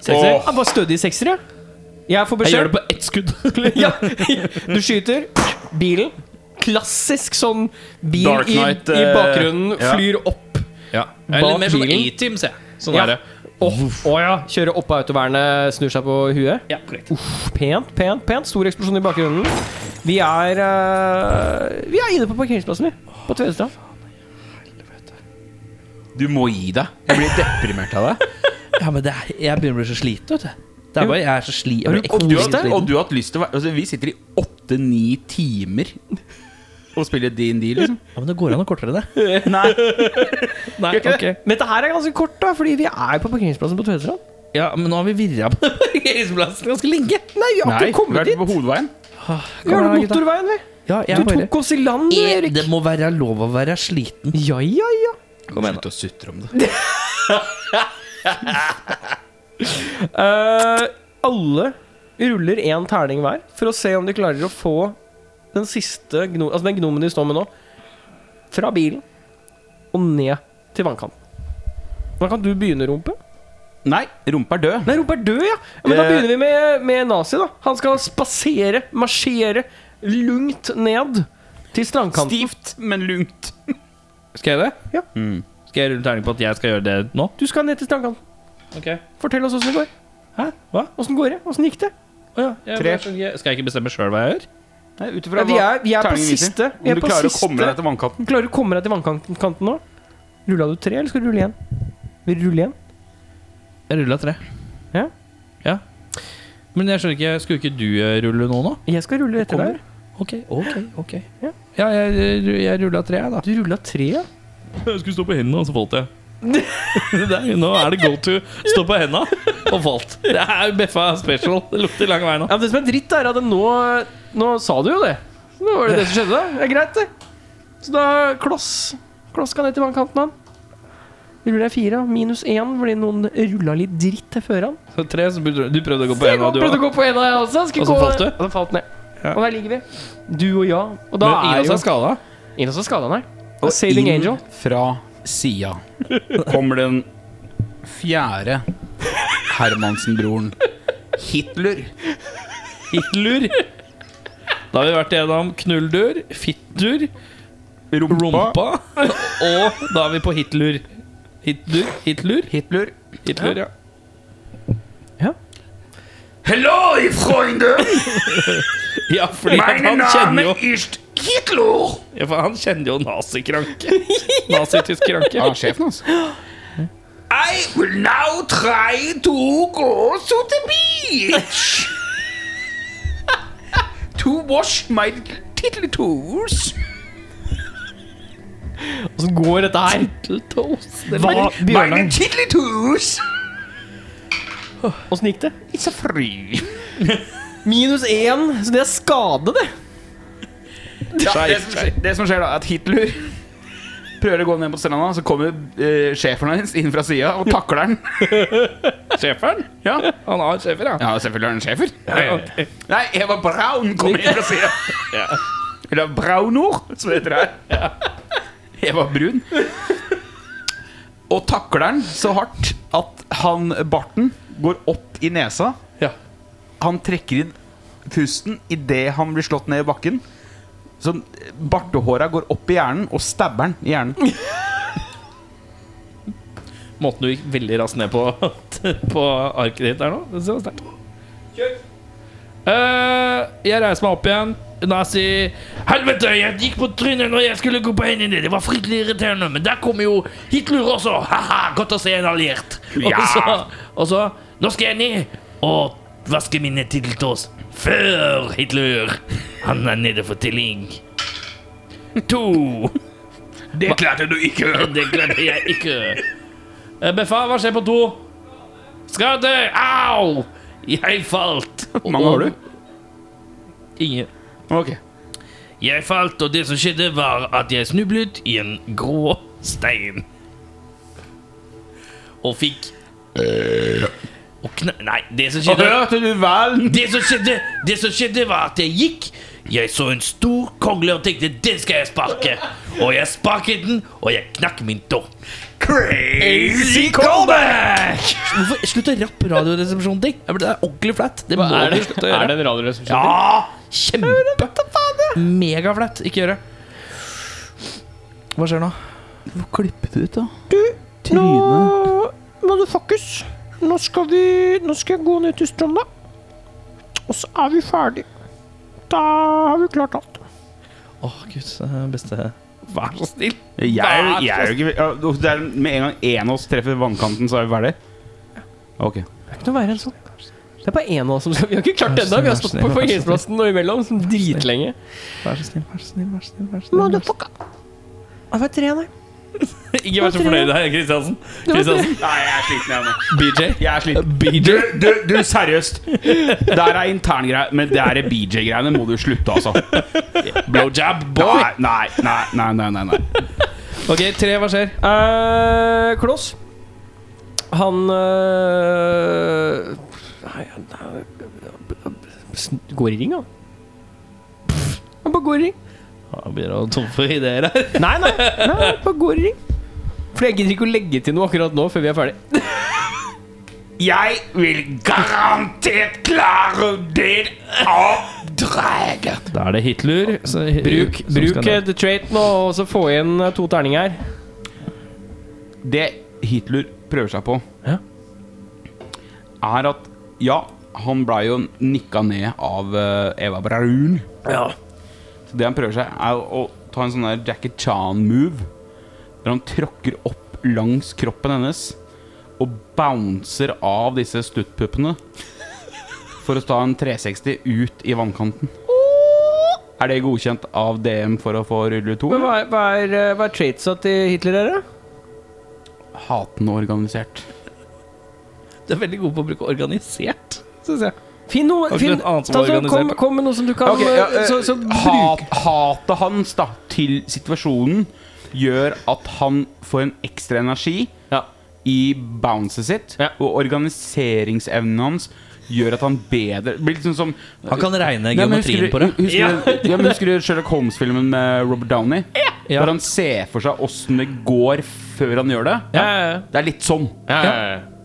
S2: Sekser.
S1: Ah, bare stødig sekser, ja. Jeg får
S2: Jeg
S1: beskjed.
S2: gjør det på ett
S1: ja.
S2: skudd
S1: Du skyter bilen. Klassisk sånn bil
S2: Dark
S1: i,
S2: Knight,
S1: i
S2: eh,
S1: bakgrunnen, flyr opp.
S2: ja. Eller
S1: Bak
S2: mer sånn
S1: bilen.
S2: A-team, ser jeg Sånn
S1: Ja.
S2: er det
S1: Åh, åh ja. Kjører opp av autovernet, snur seg på huet.
S2: Ja, korrekt
S1: Pent, pent, pent. Stor eksplosjon i bakgrunnen. Vi er eh, Vi er inne på parkeringsplassen, vi. På Tvedestrand.
S4: Du må gi deg. Jeg blir deprimert av deg.
S2: Ja, men det er, jeg begynner å bli så sliten, vet du Det er bare, jeg er så sli- jeg blir
S4: Og
S2: ekstremt
S4: du,
S2: sliten
S4: har, og du har hatt lyst til å være altså, Vi sitter i åtte-ni timer og spiller DND, liksom.
S2: Ja, men det går an å kortere det
S4: Nei.
S2: Nei, ok
S1: Men dette her er ganske kort, da, fordi vi er på parkeringsplassen på Tvedestrand.
S2: Ja, men nå har vi virra på parkeringsplassen ganske lenge.
S1: Nei, vi har
S4: Nei.
S1: ikke kommet
S4: Vært
S1: dit!
S4: på hovedveien.
S1: Vi har
S2: Kom her,
S1: vært
S2: gutta.
S1: motorveien, vi.
S2: Ja,
S1: Du tok oss i land, Erik.
S2: Det må være lov å være sliten.
S1: Ja, ja, ja.
S2: Kom igjen,
S4: Slutt å sutre om det.
S1: Eh, alle ruller én terning hver for å se om de klarer å få den siste gno altså den gnomen de står med nå, fra bilen og ned til vannkanten. Da kan du begynne, Rumpe.
S4: Nei, rumpa er død.
S1: Nei, Rumpe er død, ja! ja men da
S4: Eh.
S1: begynner vi med, med Nazi, da. Han skal spasere, marsjere lungt ned til strandkanten.
S4: Stivt, men lungt.
S2: Skal jeg det?
S1: Ja.
S2: Skal jeg rulle terning på at jeg skal gjøre det nå?
S1: Du skal ned til strandkanten.
S2: Ok.
S1: Fortell oss åssen det går.
S2: Hæ? Hva?
S1: Åssen går det? Åssen gikk det?
S2: Å ja, jeg,
S4: Tre.
S2: jeg skjønner ikke- Skal jeg ikke bestemme sjøl hva jeg gjør?
S4: Nei, ut
S1: Ja,
S4: ifra
S1: vi er, vi er på
S4: terningen viser.
S1: siste. Vi
S4: Om
S1: er
S4: du
S1: på
S4: klarer å
S1: siste.
S4: komme deg til vannkanten.
S1: Klarer du å komme deg til vannkanten kanten nå? Rulla du tre, eller skal du rulle igjen? Vil du rulle igjen?
S2: Jeg rulla tre.
S1: Ja.
S2: Ja. Men jeg skjønner ikke, skulle ikke du eh, rulle nå, nå?
S1: Jeg skal rulle etter deg.
S2: Ok, ok, ok.
S1: Ja.
S2: Ja, jeg, jeg rulla tre, jeg, da.
S1: Du rulla tre, ja?
S2: Jeg skulle stå på hendene, og så falt jeg. Der, nå er det go to. Stå på henda og falt. Det er Beffa special. Det lukter lang vei nå.
S1: ja men det som er dritt, er at nå Nå sa du jo det. Så Nå var det det som skjedde. Det er greit, det. Så da kloss. Kloss skal ned til vannkanten, han. Ruller jeg fire, minus én fordi noen rulla litt dritt til før han.
S2: Så Tre, så begynte du du prøvde å gå på
S1: Jeg
S2: henda, du
S1: prøvde å
S2: òg.
S1: gå på en av jeg også. Skulle
S2: Og så
S1: gå-
S2: falt du?
S1: Og så falt ned.
S2: Ja.
S1: Og der ligger vi. Du og jeg. Og da er jo
S2: skada.
S1: Ingen som er skada, nei. Saving
S4: inn
S1: Angel.
S4: fra sida kommer den fjerde Hermansen-broren. Hitler.
S2: Hitler. Da har vi vært gjennom knulldur, fittur, rumpa, og da er vi på Hitler. Hitler, Hitler,
S4: Hitler.
S2: Hitler, ja.
S23: Hello, Freunde!
S2: Ja, fordi at
S23: Mein
S2: han kjenner jo
S23: Name ist Hitler!
S2: ja, for Han kjenner jo nazikranke. Nazitysk kranke.
S4: sjefen hans.
S2: I will now try to go to the beach to wash my tiddly toes.
S1: Åssen går dette her? Hva,
S2: Mine
S1: Bjørnar,
S2: tiddly toes.
S1: åssen gikk det?
S2: It's a free.
S1: Minus én, så det er skade, det.
S4: det, som skjer, det som skjer da, er at Hitler prøver å gå ned på stranda, så kommer eh, sjefen hans inn fra sida og takler han.
S2: Sjeferen?
S4: Ja.
S2: Han har sjefer, ja.
S4: ja, selvfølgelig er han sjefer. Nei, Eva Braun kom inn fra sida. Eller Braunor, som det heter her. Eva Brun. Og takler han så hardt at han barten går opp i nesa.
S2: Ja.
S4: Han trekker inn pusten idet han blir slått ned i bakken. Så bartehåra går opp i hjernen og stabber han i hjernen.
S6: Måten du gikk veldig raskt ned på På arket ditt der nå. Det ser sterkt ut. Eh, jeg reiser meg opp igjen. Nazi Helvete, jeg gikk på trynet når jeg skulle gå på hendene. Det var fryktelig irriterende. Men der kom jo Hitler også. Haha, godt å se en alliert. Og, så, og så Nå skal jeg ned og vaske mine titteltås før Hitler. Han er nede for telling. To.
S4: Det klarte du ikke!
S6: Det glemte jeg ikke. Eh, Beffa, hva skjer på do? Skade! Au! Jeg falt. Hvor
S4: mange har du?
S6: Ingen.
S4: Ok.
S6: Jeg falt, og det som skjedde, var at jeg snublet i en grå stein. Og fikk Og kna... Nei, det som skjedde
S4: Hørte du vel?
S6: det som, skjedde, det som skjedde var at jeg gikk Jeg så en stor kongle og tenkte Den skal jeg sparke Og jeg sparket den, og jeg knakk min tå Crazy callback Hvorfor slutter rapp radioresepsjonen ting? Jeg ble- Det er ordentlig flatt Det må
S1: Er
S6: du
S1: det,
S6: slutte å gjøre
S1: en radioresepsjon?
S6: Ja, kjempe Megaflatt, ikke gjør det Hva skjer nå?
S1: Nå, motherfuckers, nå skal vi Nå skal jeg gå ned til stranda. Og så er vi ferdig. Da har vi klart alt.
S6: Åh, Guds beste Vær så snill
S4: Jeg, er- jeg er jo ikke ja, det er Med en gang en av oss treffer vannkanten, så er vi ferdig? Ok.
S1: Det er ikke noe verre enn sånn. Det er bare én av oss som skal Vi har ikke klart det ennå. Vi har stått på parkeringsplassen og imellom som dritlenge.
S6: Vær så snill, vær så snill, vær så snill, vær så
S1: Motherfucker. Det var tre, nei.
S6: Ikke vær så fornøyd her, Kristiansen Kristiansen
S4: Nei, jeg er sliten, jeg nå.
S6: BJ
S4: Jeg er sliten. Du, du, du, seriøst. Der er interngreier, men det er BJ-greiene må du slutte, altså.
S6: Blowjob boy
S4: Nei, nei, nei, nei. nei, nei, nei.
S6: Ok, tre, hva skjer?
S1: Eh, Kloss. Han eh, nei, han- han Går i ring, han. Han bare går i ring.
S6: Jeg begynner å tomme for ideer her.
S1: Nei, nei, nei, nei bare går i ring. For jeg gidder ikke å legge til noe akkurat nå før vi er ferdig.
S4: Jeg vil garantert klare det oppdraget.
S6: Da er det Hitler.
S1: Bruk, bruk eh, the trait nå, og så få igjen eh, to terninger.
S4: Det Hitler prøver seg på,
S1: Ja.
S4: er at Ja, han ble jo nikka ned av eh, Eva Braun.
S1: Ja.
S4: Så det han prøver seg, er å ta en sånn der Jackie Chan-move. Der han tråkker opp langs kroppen hennes og bouncer av disse stuttpuppene. For å ta en 360 ut i vannkanten. Er det godkjent av DM for å få rulle to?
S1: Men hva er, hva er, eh, hva er traitsa til Hitler her, da?
S4: Hatende organisert.
S6: Du er veldig god på å bruke organisert.
S1: Synes jeg. Finn noe
S6: Har ikke
S1: finn,
S6: noe annet som var
S1: altså, kom,
S6: organisert.
S1: kom med noe som du kan
S4: Ok, ja,
S1: eh, så, så,
S4: eh,
S1: bruk,
S4: hat, hatet hans da til situasjonen gjør at han får en ekstra energi
S1: Ja.
S4: i bouncet sitt,
S1: Ja.
S4: og organiseringsevnen hans gjør at han bedre Blir liksom som
S6: Han kan regne
S4: Nei, men husker
S6: geometrien
S4: du-
S6: på det.
S4: Husker, du- ja, men husker du Sherlock Holmes-filmen med Robert Downey?
S6: Ja.
S4: Der han ser for seg åssen det går før han gjør det.
S1: Ja, ja, ja.
S4: Det er litt sånn.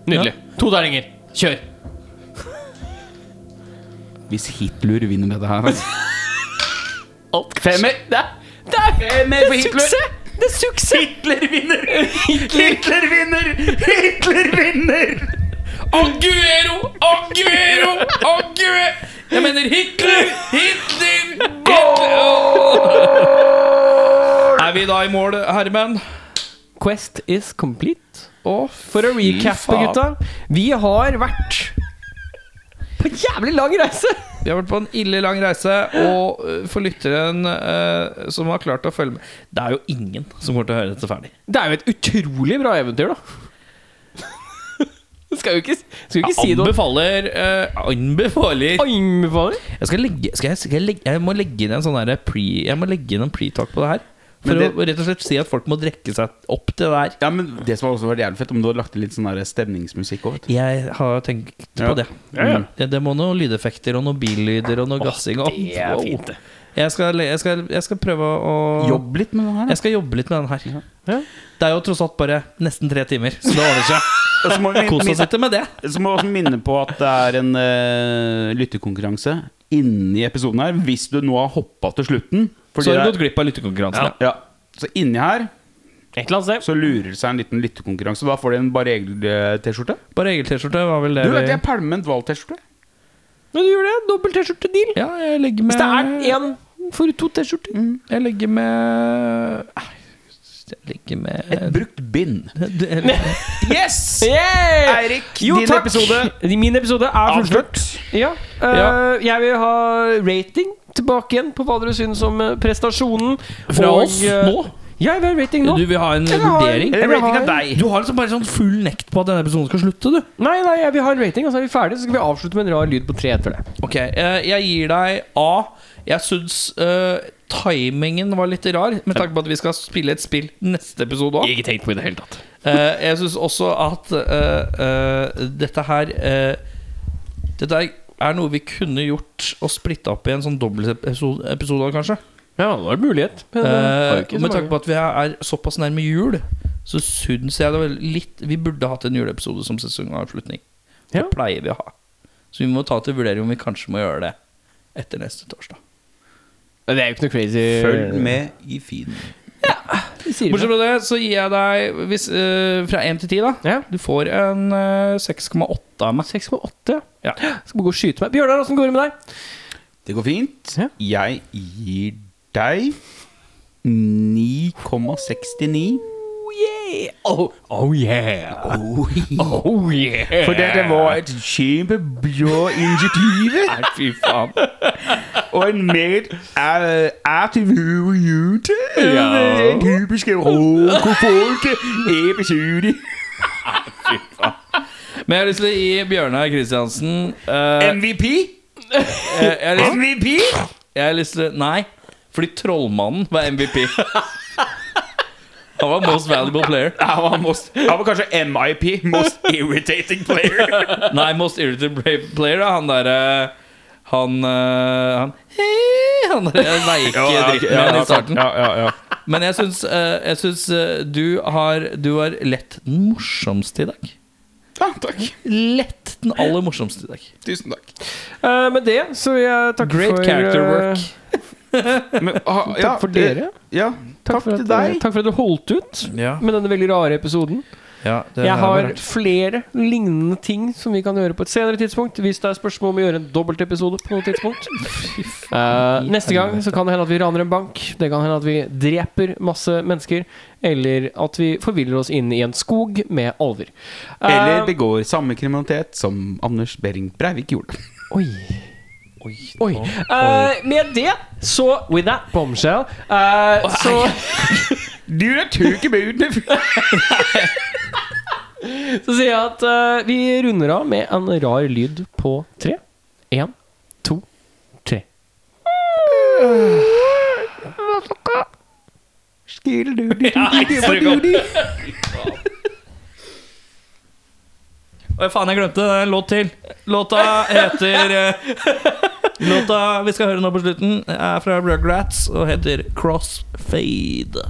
S1: Nydelig. To terninger. Kjør.
S4: Hvis Hitler vinner dette her altså.
S1: Alt
S4: Femmer!
S1: Det er, det er,
S4: Femmer på Hitler!
S1: Det er suksess! Hitler vinner! Hitler.
S4: Hitler vinner! Hitler vinner!
S6: Aguero! Aguero! Aguero! Jeg mener Hitler! Hitler! Hitler! Er vi da i mål, herremenn?
S1: Quest is complete. For å recappe,
S6: faen.
S1: gutta. Vi har vært på en jævlig lang reise!
S6: Vi har vært på en ille lang reise, og øh, for lytteren øh, som har klart å følge med Det er jo ingen som kommer til å høre dette ferdig.
S1: Det er jo et utrolig bra eventyr, da. Skal jo ikke, skal jo ikke si noe.
S6: Anbefaler, øh, anbefaler.
S1: Anbefaler?
S6: Jeg, skal legge, skal jeg, skal jeg, legge, jeg må legge inn en sånn her pre, Jeg må legge inn en pre-talk på det her. For
S4: Men det-
S6: å rett og slett si at folk må drekke seg opp til det her.
S4: Ja, men Det som hadde også vært jævlig fett, om du hadde lagt til litt sånn der stemningsmusikk òg.
S6: Jeg har tenkt på det.
S24: ja.
S6: Mm. Det, det må noen lydeffekter og noen billyder og noe gassing og
S1: Det er fint, det.
S6: Jeg skal, le- jeg skal, jeg skal prøve å
S4: Jobb litt med det her. da.
S6: Jeg skal jobbe litt med den her. Det er jo tross alt bare nesten tre timer, så det ordner seg.
S4: Og Så må vi
S6: Kos oss
S4: minne,
S6: litt med det.
S4: så må vi også minne på at det er en eh, lyttekonkurranse inni episoden her. Hvis du nå har hoppa til slutten. fordi
S6: Så
S4: det
S6: har du
S4: er-
S6: gått glipp av lyttekonkurransen.
S4: ja. Så inni her
S1: Et eller annet sted.
S4: så lurer det seg en liten lyttekonkurranse. Da får de en bare egel-T-skjorte.
S6: Bare egen T-skjorte var vel det
S4: Du vet,
S6: vi
S4: jeg pælmet valg-T-skjorte.
S1: Men du gjør det. Dobbel T-skjorte-deal.
S6: Ja, jeg legger med
S1: Hvis det er én for to T-skjorter.
S6: Jeg legger med Nei, Jeg legger med
S4: Et brukt bind. Yes!
S1: Yeah!
S4: Eirik,
S1: Jo,
S4: din
S1: takk.
S4: episode
S1: Min episode er fullført. Ja. eh,
S6: Ja.
S1: Jeg vil ha rating tilbake igjen på hva dere syns om eh, prestasjonen.
S6: Fra
S1: Og,
S6: oss
S1: eh,
S6: nå?
S1: Ja, jeg vil ha rating nå.
S6: Du vil ha en
S1: Jeg vil ha en-
S6: vurdering?
S1: jeg vil ha en-
S6: Du har liksom bare sånn full nekt på at denne episoden skal slutte, du.
S1: Nei, nei, jeg vil ha en rating, og så er vi ferdige. Så skal vi avslutte med en rar lyd på tre etter det.
S6: Ok, eh, jeg gir deg A. Jeg syns eh, timingen var litt rar, med tanke på at vi skal spille et spill neste episode òg.
S1: Ikke tenkt på i det hele tatt.
S6: Eh, jeg syns også at eh, eh, dette her eh, Dette er, er noe vi kunne gjort og splitta opp i en sånn dobbeltepisode, episode, kanskje.
S1: Ja, det var en mulighet. Men, eh, har jo
S6: Eh,
S1: ikke så
S6: og med
S1: mange.
S6: tanke på at vi er såpass nærme jul, så syns jeg det var litt Vi burde hatt en juleepisode som sesongavslutning. Det
S1: Ja.
S6: pleier vi å ha. Så vi må ta til vurdering om vi kanskje må gjøre det etter neste torsdag.
S1: Men Det er jo ikke noe crazy.
S4: Følg med i feeden.
S1: Vi sier det.
S6: Bortsett fra det så gir jeg deg hvis, eh, fra 1 til 10, da.
S1: Ja.
S6: Du får en eh, 6,8 av meg.
S1: 6,8, ja.
S6: Ja.
S1: Skal bare gå og skyte meg. Bjørnar, åssen går det med deg?
S4: Det går fint.
S1: Ja.
S4: Jeg gir deg 9,69.
S1: Oh, yeah. Oh yeah.
S4: For det, det var et kjempebra initiativ. Fy faen. Og en meget eh, artig jute. Ja. Typiske rokofolk. Episode.
S6: Men jeg har lyst til å gi Bjørnar Kristiansen eh,
S4: MVP?
S6: eh, jeg, har lyst,
S4: MVP?
S6: jeg har lyst til Nei, fordi Trollmannen var MVP. Han var most valuable player.
S4: Han var, most, han var kanskje MIP. Most irritating player.
S6: Nei, most irritated play- player er han derre Han eh, Han hei, Han derre veike dritten med han i starten.
S4: Ja, ja, ja.
S6: Men jeg syns, eh, jeg syns eh, du har Du har lett den morsomste i dag.
S4: ja, takk.
S6: Lett den aller morsomste i dag.
S4: Tusen takk.
S1: Eh, med det så vil jeg takke
S6: Great
S1: for
S6: character
S1: eh,
S6: work.
S4: Men, ah,
S1: Takk for
S4: det-
S1: dere.
S4: Ja, takk,
S1: for at,
S4: til
S1: eh,
S4: deg.
S1: Takk for at du holdt ut
S6: Ja,
S1: med denne veldig rare episoden.
S6: ja, det
S1: Jeg
S6: er
S1: har
S6: bare-
S1: flere lignende ting som vi kan gjøre på et senere tidspunkt. Hvis det er spørsmål om å gjøre en dobbeltepisode på noe tidspunkt. Eh, neste gang så kan det hende at vi raner en bank. Det kan hende at vi dreper masse mennesker. Eller at vi forviller oss inn i en skog med alver. Eh,
S4: Eller begår samme kriminalitet som Anders Behring Breivik gjorde.
S1: Oi. Oi. Eh, med det så With that bombshell eh, så,
S4: Du er tøk i buden!
S1: så sier jeg at eh, vi runder av med en rar lyd på tre. Én, to, tre.
S6: Oi, faen, jeg glemte det. Det er en låt til. Låta heter eh, Låta vi skal høre nå på slutten, er fra Rugrats og heter Crossfade.